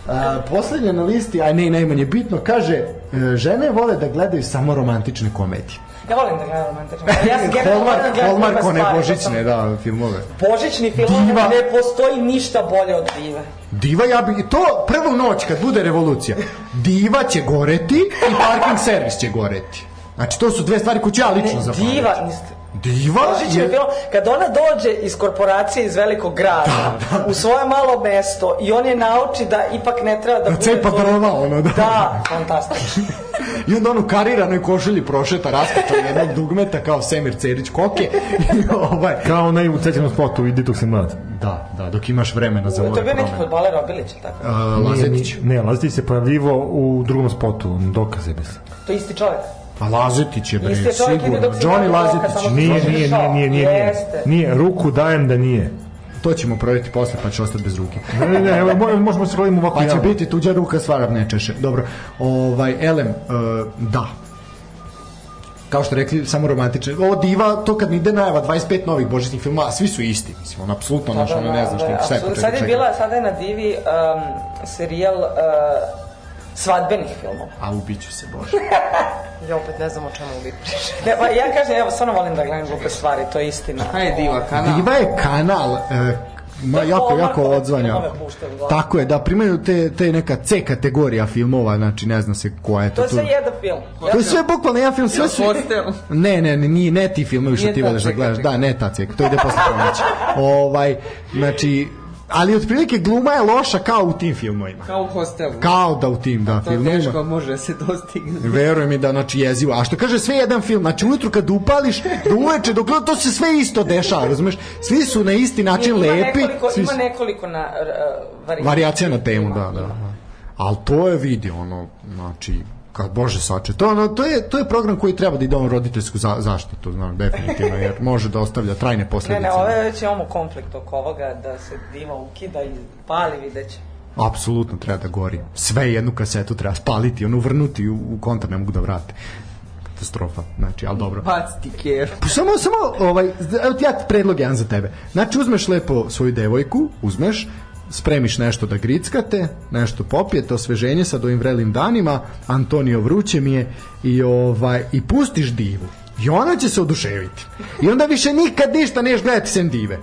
A, poslednje na listi, a ne i najmanje bitno, kaže, e, žene vole da gledaju samo romantične komedije.
Ja volim da gledam romantične. Ja sam generalno volim da
Hallmark,
gledam
Hallmark,
glupe
one
stvari,
božićne,
da
da, filmove.
sam- Božićni film
Diva.
ne postoji ništa bolje od dive.
Diva, ja bi, i to prvu noć kad bude revolucija, diva će goreti i parking servis će goreti. Znači, to su dve stvari koje ću ja
Ne,
lično zapamati.
diva, niste.
Diva
Božićni
je...
film, kad ona dođe iz korporacije iz velikog grada
Da,
u svoje malo mesto i on je nauči da ipak ne treba da
Da cepa
to-
drva, ono, da.
Da, fantastično.
I onda on u kariranoj košulji prošeta raskača jednog dugmeta kao Semir Cerić koke. I ovaj,
Kao onaj u cećenom spotu, idi dok si mlad.
da, da, dok imaš vremena za
To
ove
je bio neki
promene.
fudbaler Obilić, ili tako.
A,
Nije,
Lazetić.
nije- Ne, Lazetić se pojavljivo u drugom spotu, dokaze mislim.
To je isti čovjek.
Pa Lazetić je bre,
Isti je čovjek, ide
sigurno.
dok se
Johnny
vadi koka,
Lazetić.
samo-
Nije,
Može
nije,
šao.
nije, nije, nije, nije.
Jeste.
Nije, ruku dajem da nije.
To ćemo provjeriti posle pa će ostati bez ruke.
Ne, ne, ne, evo, mo- možemo da se gledamo ovako
Pa će
javno.
biti tuđa ruka svarav ne češe. Dobro, ovaj, elem, e, da. Kao što rekli, samo romantične. Ovo diva, to kad mi ide najava 25 novih božićnih filma, a svi su isti. Mislim, on apsolutno,
Da,
naš, ono Pa ne zna što je, šta je
apsolutno.
početak
da, Sad je
čega.
bila, sada je na divi um, serijal uh, svadbenih filmova.
A ubiću se, bože.
Ja opet ne znam o čemu vi pričate.
Ne, pa ja kažem, evo, stvarno volim da gledam glupe stvari, to je istina.
Šta je diva kanal?
Diva je kanal, e, ma, jako, jako
Hallmark,
odzvanja.
nove puštaju uglavnom.
Tako je, da primaju te, te neka C kategorija filmova, znači ne zna se koja je to.
To je
tu.
sve jedan film. Ja
To je sve bukvalno jedan film, sve su...
Hostel.
Ne, ne, ne, nije, ne ti filmovi što
Nije
ti
ta
voliš da
ceka,
gledaš.
čekaj.
Da, ne ta ceka, to ide posle ponoći. ovaj, znači, ali otprilike gluma je loša kao u tim filmovima.
Kao u hostelu.
Kao da u tim, da,
To teško
filmovima.
može da se dostigne.
Verujem mi da, znači, jezivo. A što kaže sve jedan film, znači, ujutru kad upališ, do uveče, dok gleda, to se sve isto dešava, razumeš? Svi su na isti način
ima
Znači, lepi.
Nekoliko,
svi
ima
su-
nekoliko na, uh, varijacija.
Varijacija na temu, da, da. Ali to je vidi, ono, znači, kad Bože sače, to, ono, to, je, to je program koji treba da ide on roditeljsku za, zaštitu, znam, definitivno, jer može da ostavlja trajne
Ne,
posledice.
ne, ove već imamo konflikt oko ovoga, da se diva ukida i pali vidjet će.
Apsolutno treba da gori. Sve jednu kasetu treba spaliti, ono, vrnuti u, u kontar, ne mogu da vrate. Katastrofa, znači, ali dobro.
Baciti keru.
Pa Samo, samo, ovaj, evo ti ja predlog jedan za tebe. Znači, uzmeš lepo svoju devojku, uzmeš, spremiš nešto da grickate, nešto popijete, osveženje sad ovim vrelim danima, Antonio vruće mi je, i, ovaj, i pustiš divu. I ona će se oduševiti. I onda više nikad ništa neš gledati sem dive.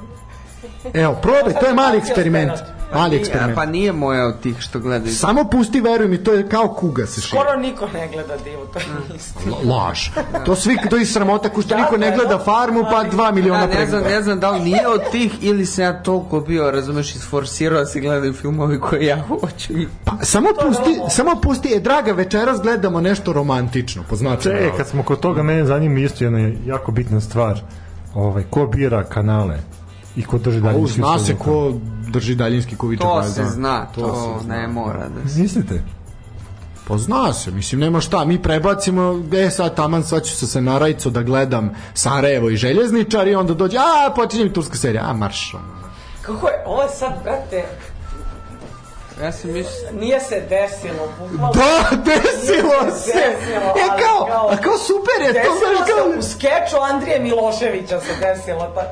Evo, probaj, to je mali eksperiment. Mali eksperiment.
Pa nije moja od tih što gledaju.
Samo pusti, veruj mi, to je kao kuga se širi.
Skoro niko ne gleda divu, to je istina. Da,
La- Mm. Laž. To svi, to je sramota, ko što niko ne gleda farmu, pa 2
Da,
miliona
ne znam,
pregleda.
ne znam da li nije od tih ili se ja toliko bio, razumeš, isforsirao da se gledaju filmovi koje ja hoću.
Pa, samo pusti, samo pusti, e, draga, večeras gledamo nešto romantično, po znacima.
E, kad smo kod toga, mene zanima isto jedna jako bitna stvar. Ovaj, ko bira kanale i ko drži
navoda.
dalje
U, zna
da.
se ko drži daljinski ko viče.
To
pravi
se
dan.
zna, to
se zna.
ne mora da se...
Mislite?
Pa zna se, mislim, nema šta, mi prebacimo, e, sad taman, sad ću se sa Narajcu da gledam Sarajevo i Željezničar i onda dođe, a, počinjem turska serija, a, marš, ono.
Kako je, ovo je sad, brate,
Ja sam mislio...
nije se desilo, bukvalno.
Da, desilo se!
Desilo,
e,
ali
kao,
kao-
a kao super je, to
Desilo
znaš
se u
kao...
skeču Andrije Miloševića se desilo, pa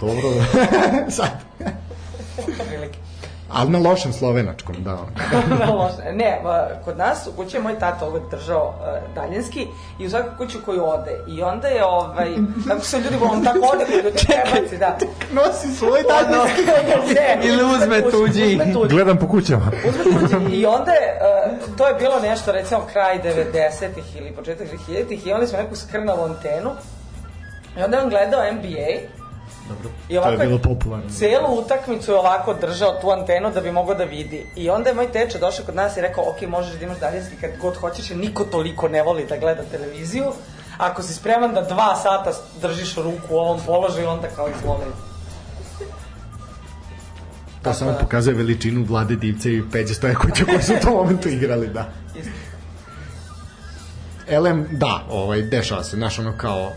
Dobro, sad.
prilike.
Ali na lošem slovenačkom, da.
Na loše. Ne, ma, kod nas u kući je moj tata uvek držao e, daljinski i u svaku kuću koju ode. I onda je, ovaj, tako se ljudi, on tako ode kod ljudi prebaci, da.
Nosi svoj daljinski.
Ne,
Ili uzme tuđi.
Uzme tuđi.
Gledam po kućama.
I onda je, uh, to je bilo nešto, recimo kraj 90-ih ili početak 2000-ih, imali smo neku skrnalu antenu i onda je on gledao NBA i
To
ovako
je bilo popularno.
celu utakmicu je ovako držao tu antenu da bi mogao da vidi. I onda je moj teča došao kod nas i rekao, ok, možeš da imaš daljinski kad god hoćeš, jer niko toliko ne voli da gleda televiziju. Ako si spreman da dva sata držiš ruku u ovom položaju, onda kao izvoli.
To samo pokazuje veličinu Vlade Divce i Peđe Stojakovića koji su u tom momentu igrali, da. Elem, da, ovaj, dešava se, znaš, ono kao,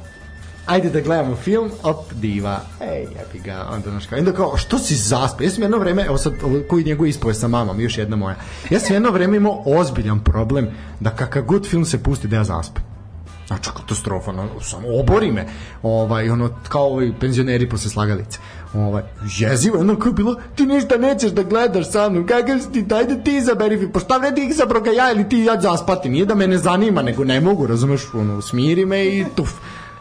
ajde da gledamo film, op, diva, ej, jebi ga, onda znaš kao, onda kao, što si zaspao? Ja sam jedno vreme, evo sad, ovo, koji njegove ispove sa mamom, još jedna moja, ja sam jedno vreme imao ozbiljan problem da kakav god film se pusti da ja zaspam. Znači, katastrofa, no, samo obori me. Ovaj, ono, kao ovaj penzioneri posle slagalice. Ovaj, jezivo, ono kao je bilo, ti ništa nećeš da gledaš sa mnom, kakav si ti, dajde ti izaberi film, pa šta vredi izabro ga ja ili ti ja zaspati, nije da me ne zanima, nego ne mogu, razumeš, ono, smiri me i tuf.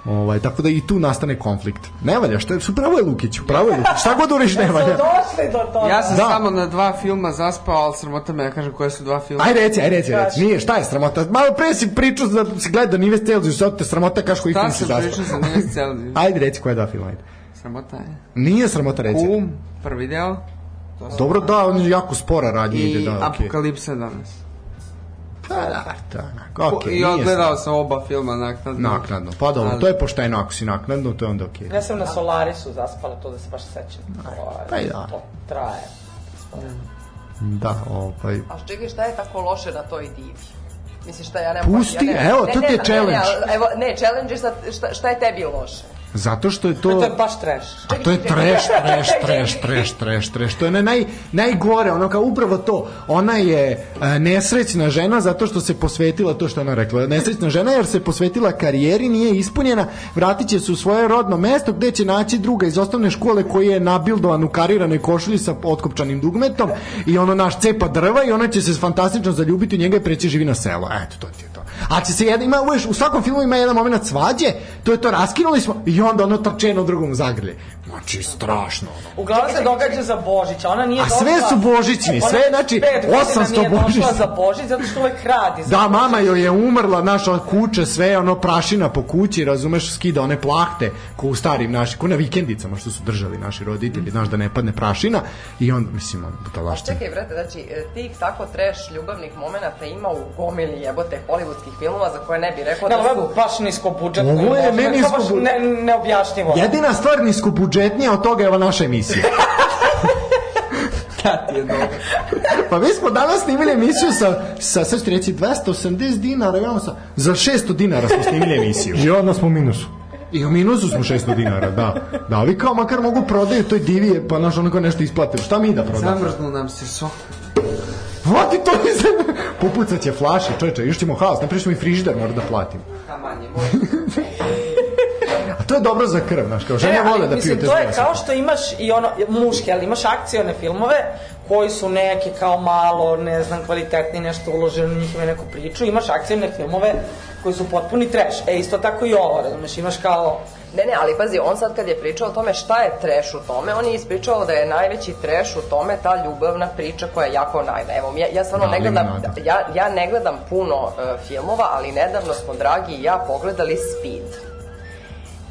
Ovaj, tako da i tu nastane konflikt. Ne valja, što je, su pravo je Lukiću, pravo je Lukiću, šta god uriš ne valja.
Da Došli do toga.
Ja sam
Da.
da. samo na dva filma zaspao, ali sramota me da kažem koje su dva filma.
Aj reci, aj reci, aj reci. Nije, šta je sramota? Malo pre si pričao da si gleda Nive Stelzius, sad te sramota kaš koji
Šta
film da si
sam
zaspao.
pričao sa Nives Celsius?
Ajde reci koja dva filma, ajde.
Sramota je.
Nije sramota reći.
Um, prvi deo.
Dobro, da, on je jako spora radnja ide,
I
da, okej.
Apokalipsa danas.
Pa da, da, onako, okej,
I
nije
odgledao sam oba filma
sramota.
naknadno.
Naknadno, pa dobro,
Ali-
to je pošteno, ako si naknadno, to je onda okej.
Ja sam na Solarisu zaspala, to da se baš sećam. Ovaj,
pa i da.
To traje.
Da, ovaj,
A čekaj, šta je tako loše na toj divi? Misliš šta ja ne
Pusti,
ja ne,
evo, to ti je
ne,
challenge.
Ne, ali, evo, ne, challenge je sad, šta, šta je tebi loše?
zato što je
To
to...
je baš trash.
A to je treš, treš, treš, treš, treš, treš. To je onaj naj, najgore, ono kao upravo to. Ona je e, nesrećna žena zato što se posvetila to što je ona rekla. Nesrećna žena jer se posvetila karijeri, nije ispunjena, vratit će se u svoje rodno mesto gde će naći druga iz osnovne škole koji je nabildovan u kariranoj košulji sa otkopčanim dugmetom i ono naš cepa drva i ona će se fantastično zaljubiti u njega i preći živi na selo. Eto, to ti je to. A će se jedan, ima, uveš, u svakom filmu ima jedan moment svađe, to je to, raskinuli smo i onda ono trčeno drugom zagrlje. Znači, strašno. Ono.
Uglavnom se događa za Božić, a ona nije
A sve
došla-
su božićni,
Ona
sve,
već
znači,
pet godina
800
nije došla
Božić.
za Božić zato što uvek radi.
Da, mama joj je umrla, naša kuće, sve ono prašina po kući, razumeš, skida one plahte ko u starim naši, ko na vikendicama što su držali naši roditelji, znaš da ne padne prašina i onda, mislim, ono, budalaština.
Čekaj, brate, znači, e, tih tako treš ljubavnih momenata ima u gomili jebote hollywoodskih filmova za koje ne bi rekao
Da,
da,
ovo je
su...
baš nisko budžet.
Ovo je meni niskobudžetno.
Ne, neobjašnjivo.
Jedina stvar niskobudžetnija od toga je ova naša emisija.
Da, ti je dobro.
Pa mi smo danas snimili emisiju sa, sa sad ću ti reći, 280 dinara, imamo sa, za 600 dinara smo snimili emisiju.
I odmah smo u minusu.
I u minusu smo 600 dinara, da. Da, ovi kao makar mogu prodaju toj divije, pa naš onako nešto isplate. Šta mi da prodamo?
Zamrznu nam se sok.
Vodi to mi se... Popucat će flaše, čoveče, još ćemo haos, napriš mi frižider, mora da platim.
Da, manje.
A to je dobro za krv, znaš, kao žene
E, ali,
vole da piju
mislim,
te
to je
zdrave.
kao što imaš i ono muške, ali imaš akcione filmove koji su neki kao malo, ne znam, kvalitetni, nešto uloženo u njih ima neku priču. Imaš akcione filmove koji su potpuni trash. E, isto tako i ovo, razumeš, imaš kao...
Ne, ne, ali pazi, on sad kad je pričao o tome šta je treš u tome, on je ispričao da je najveći treš u tome ta ljubavna priča koja je jako naivna. Evo, ja, ja stvarno
Da,
ne gledam,
limonada.
ja, ja ne gledam puno e, filmova, ali nedavno smo, dragi i ja, pogledali Speed.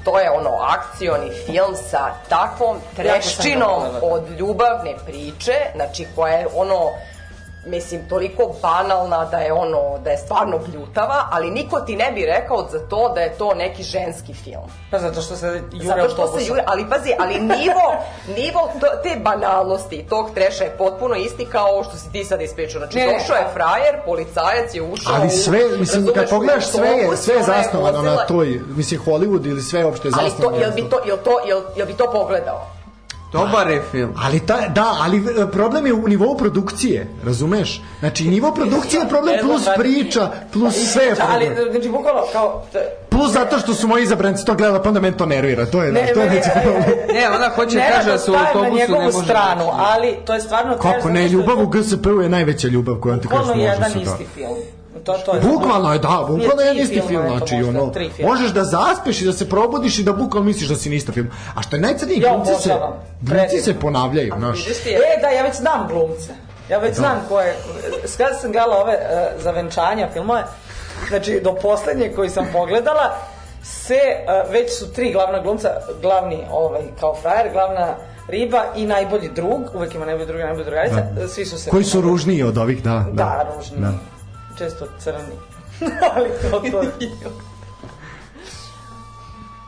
To je ono akcioni film sa takvom treščinom
pogledala. da.
od ljubavne priče, znači koja je ono mislim, toliko banalna da je ono, da je stvarno bljutava, ali niko ti ne bi rekao za to da je to neki ženski film.
Pa zato što se jure
Zato što se
autobusom.
jure, ali pazi, ali nivo, nivo to- te banalnosti i tog treša je potpuno isti kao ovo što si ti sad ispričao. Znači,
Ne, ne.
došao je frajer, policajac je ušao
Ali sve,
u,
mislim,
razumeš,
kad pogledaš
u
sve je,
autobus,
sve je
ona
zasnovano na
vozila-
toj, mislim, Hollywood ili sve je opšte
Ali
zasnovano.
to,
na
jel bi to, jel to, jel, jel bi to pogledao?
Dobar je film.
Ali ta, da, ali e, problem je u nivou produkcije, razumeš? Znači, nivo produkcije je problem
Evo,
plus
znači-
priča, plus sve je problem.
Ali, znači, bukvalno, kao... t-
Plus zato što su moji izabranci to gledali, pa onda meni to nervira. To je, ne, to je
meni-
veći problem.
Ne, ona hoće da
Nenad
kaže da se u
staje na
autobusu ne
njegovu
može... da
stranu, ali to je stvarno... trash
Kako
zato
ne,
što je
ljubav
to
u GSP-u je najveća ljubav koja ti kažeš
Bukvalno
može
jedan
se da.
isti film. To, to je
Bukvalno je, da, bukvalno
Nije
je jedan
tri
isti film,
filma, eto,
znači,
možda
ono,
tri filma.
možeš da zaspeš i da se probudiš i da bukvalno misliš da si na isti film. A što je najcrnije,
Ja
glumci se,
obožavam.
glumci
Predivno.
se ponavljaju, znaš.
Vidiš ti je?
E, da, ja već znam glumce. Ja već
Da.
znam ko je... S- Kada sam gledala ove e, za venčanja filmove, znači, do poslednje koji sam pogledala, se, e, već su tri glavna glumca, glavni ovaj, kao frajer, glavna riba i najbolji drug, uvek ima najbolji drug i najbolji drugarica,
Da.
e, svi su se...
Koji su ružniji od ovih, da.
Da, ružni.
Da.
Često crni. Ali to, to...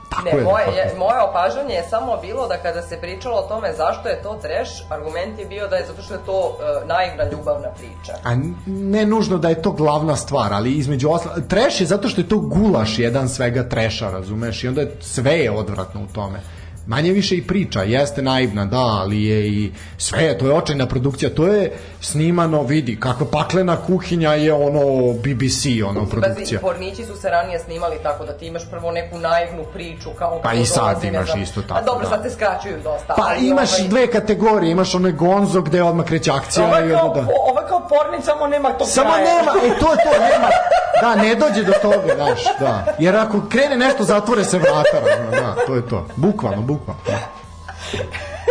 Tako
Ne,
je.
moje,
tako
je, moje opažanje je samo bilo da kada se pričalo o tome zašto je to trash, argument je bio da je zato što je to e, naivna ljubavna priča.
A n- ne nužno da je to glavna stvar, ali između osla... Treš je zato što je to gulaš jedan svega treša, razumeš? I onda je sve je odvratno u tome. Manje više i priča, jeste naivna, da, ali je i sve, to je očajna produkcija, to je snimano, vidi, kakva paklena kuhinja je ono BBC, ono
Pazi,
produkcija.
pornići su se ranije snimali tako da ti imaš prvo neku naivnu priču kao...
Pa
kako
i sad
dolazi, ne
imaš
znam.
isto
A
tako,
dobro,
da.
sad te skraćuju dosta.
Pa
ali
imaš
ovaj-
dve kategorije, imaš onaj Gonzo gde odmah kreće akcija.
Ovo je
i
kao,
onda da.
po- ovo je kao pornic, samo nema tog
Samo
kraja.
nema, e to je to, nema. Da, ne dođe do toga, znaš, da. Jer ako krene nešto, zatvore se vrata, razumem, da, to je to. Bukvalno, bukvalno.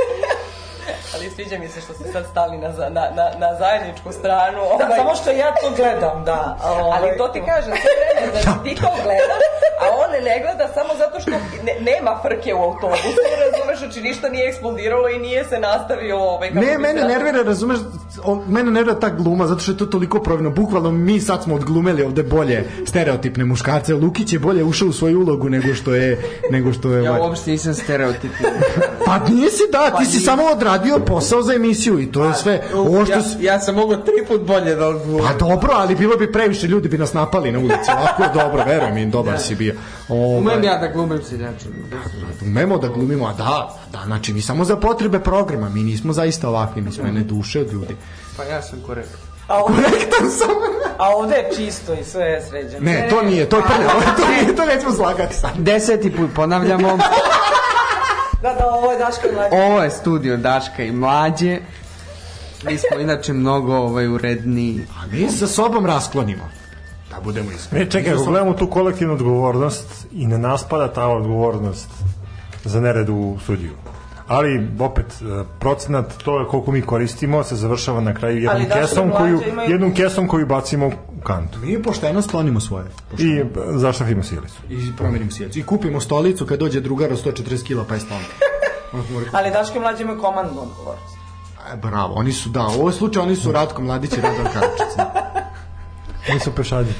Ali sviđa mi se što ste sad stali na, za- na, na, na zajedničku stranu.
Da,
ovaj.
samo što ja to gledam, da. a ovaj-
Ali to ti kažem, sve vreme, znači ti to gledaš, a on ne gleda samo zato što ne, nema frke u autobusu, razumeš, znači ništa nije eksplodiralo i nije se nastavio ovaj... kako
Ne,
bi
mene
da.
se-
nervira, da razumeš, on, mene nervira ta gluma, zato što je to toliko provino. Bukvalno mi sad smo odglumeli ovde bolje stereotipne muškarce. Lukić je bolje ušao u svoju ulogu nego što je... Nego što je
Ja
ovaj.
uopšte nisam stereotipiran.
pa nisi, da, ti si samo odradio posao za emisiju i to je sve. Ovo što
Pa, ja,
si,
ja sam mogao tri put bolje da odgovorim.
Pa dobro, ali bilo bi previše ljudi bi nas napali na ulici. Ovako je dobro, verujem im, dobar si bio. Ovaj.
Umem ja da glumim seljača.
umemo da glumimo, a da, da, znači mi samo za potrebe programa, mi nismo zaista ovakvi, mi smo jedne duše od ljudi.
Pa ja sam korektan.
A ovde,
Korektan sam.
a ovde je čisto i sve je sređeno.
Ne, to nije, to je prljavo, to nije, to nećemo slagati sad.
Deseti put ponavljamo,
Da, da, ovo je Daško i Mlađa.
ovo je studio Daška i Mlađe. Mi smo inače mnogo ovaj, uredniji.
A mi sa sobom rasklonimo. Da budemo iskreni.
E, čekaj, ako gledamo tu kolektivnu odgovornost i na nas pada ta odgovornost za nered u sudiju. Ali, opet, e, procenat toga koliko mi koristimo se završava na kraju jednom
Ali Daško i
kesom
Mlađa
koju,
imaju-
jednom kesom koju bacimo u kantu.
Mi pošteno sklonimo svoje.
I e, zašafimo silicu.
I promenimo sjeću. I kupimo stolicu kad dođe drugar od 140 kila pa je stolno.
Ali Daško i Mlađa imaju komandnu odgovornost.
E, bravo, oni su, da, u ovom slučaju oni su Ratko Mladić i Radan Karčić.
Mi su pešađi.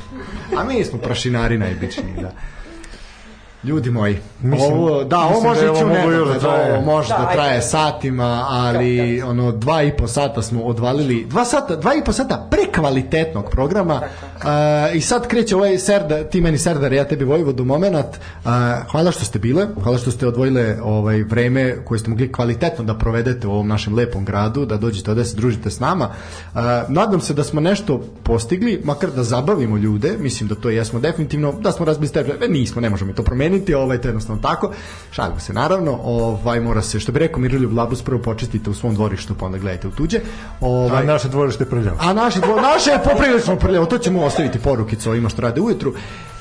A mi smo prašinari najobičniji, da. Ljudi moji,
Mislim-
ovo, da, ovo
mislim
može
da je
ići
ovo
u
moglo
nedogled,
još da traje.
ovo može
Da,
da
ajde.
traje satima, ali ono, dva i po sata smo odvalili, dva, sata, dva i po sata prekvalitetnog programa a, i sad kreće ovaj Serda, ti meni Serdar, ja tebi Vojvodu moment, a, hvala što ste bile, hvala što ste odvojile ovaj, vreme koje ste mogli kvalitetno da provedete u ovom našem lepom gradu, da dođete ovde, da se družite s nama. A, nadam se da smo nešto postigli, makar da zabavimo ljude, mislim da to jesmo definitivno, da smo razbili stereotipe, nismo, ne možemo to promeniti, ovaj, to je jednostavno tako, šalimo se naravno, ovaj, mora se, što bi rekao Miroljub Labus, prvo počistite u svom dvorištu, pa onda gledajte u tuđe.
A
Ovaj,
naše dvorište je prljavo.
A naše, dvo, naše je poprilično prljavo, to ćemo ostaviti porukicu ovima što rade ujutru.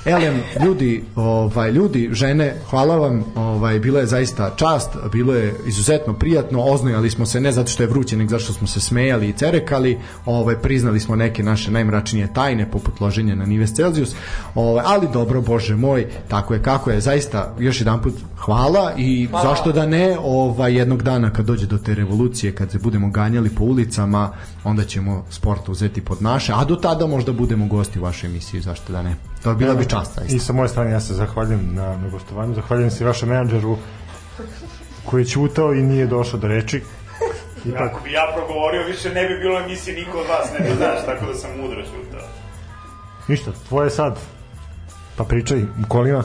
Elem, ljudi, ovaj, ljudi, žene, hvala vam, ovaj, bila je zaista čast, bilo je izuzetno prijatno, oznojali smo se ne zato što je vruće, nego zato što smo se smejali i cerekali, ovaj, priznali smo neke naše najmračnije tajne, poput loženja na Nives Celsius, ovaj, ali dobro, bože moj, tako je kako je, zaista, još jedan put, hvala i hvala. zašto da ne, ovaj, jednog dana kad dođe do te revolucije, kad se budemo ganjali po ulicama, onda ćemo sport uzeti pod naše, a do tada možda budemo gosti u vašoj emisiji, zašto da ne. To bi bila bi čast, zaista.
I sa moje strane ja se zahvaljujem na, na gostovanju, zahvaljujem se i vašem menadžeru koji je ćutao i nije došao do reči. Ipak,
Ako bi ja progovorio, više ne bi bilo emisije, niko od vas ne bi znaš, tako da sam mudro ćutao.
ništa, tvoje sad. Pa pričaj u kolima.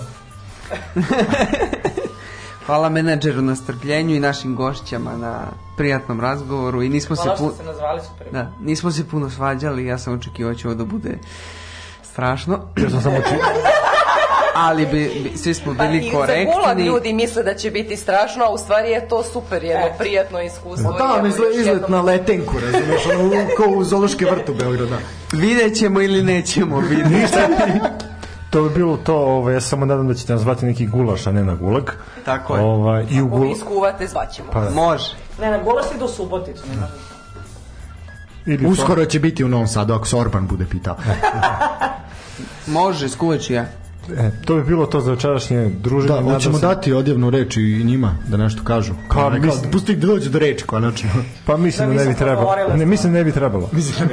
Hvala menadžeru na strpljenju i našim gošćama na prijatnom razgovoru i nismo
Hvala
se
što
pu...
ste nazvali super.
Da, nismo se puno svađali, ja sam očekivao će ovo da bude strašno,
Ja sam samo čitao.
ali bi, bi, svi smo bili
Pa I za gulag
korektni.
ljudi misle da će biti strašno, a u stvari je to super jedno
E.
prijatno iskustvo.
Da,
I evo
ono izle,
još
izlet
jednom-
na letenku, razumeš, ono u- ko u da. Zološke vrtu Beograda.
Vidjet ćemo ili nećemo vidjeti.
To bi bilo to, ovaj, ja se samo nadam da ćete nas zvati neki gulaš, a ne na gulag.
Tako je.
Ovaj, i u
Ako vi
gulag,
iskuvate, zvaćemo.
Pa da.
Može.
Ne, ne, golaš ide u Suboticu,
Da.
ne možeš.
ili Uskoro.
Uskoro će biti u Novom Sadu, ako se Orban bude pitao.
Može, skuvat ću ja.
E, to bi bilo to za večerašnje druženje.
Da,
Nadam
hoćemo
se-
dati odjevnu reč i njima, da nešto kažu.
Kao,
Kao, kao,
mislim-
pusti ih da dođe do reči, konačno.
Pa mislim
Da,
da, ne bi
nisam
trebalo.
progovorila
Ne,
sam.
mislim da ne bi trebalo.
Mislim,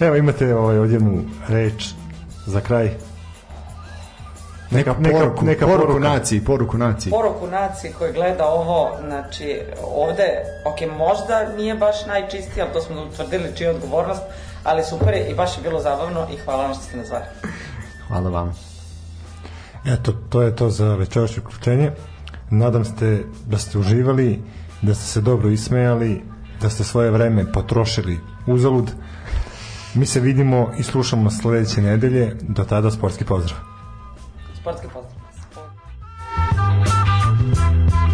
Evo imate ovaj, odjednu reč za kraj.
Neka,
neka-
poruku,
neka
poruku
poruka.
naciji, poruku naciji.
poruku naciji koji gleda ovo, znači ovde, ok, možda nije baš najčistija, ali to smo utvrdili čija je odgovornost, ali super je i baš je bilo zabavno i hvala vam što ste nas zvali.
Hvala vam.
Eto, to je to za večerašnje uključenje. Nadam ste da ste uživali, da ste se dobro ismejali, da ste svoje vreme potrošili uzalud. Mi se vidimo i slušamo sledeće nedelje. Do tada sportski pozdrav.
Sportski pozdrav.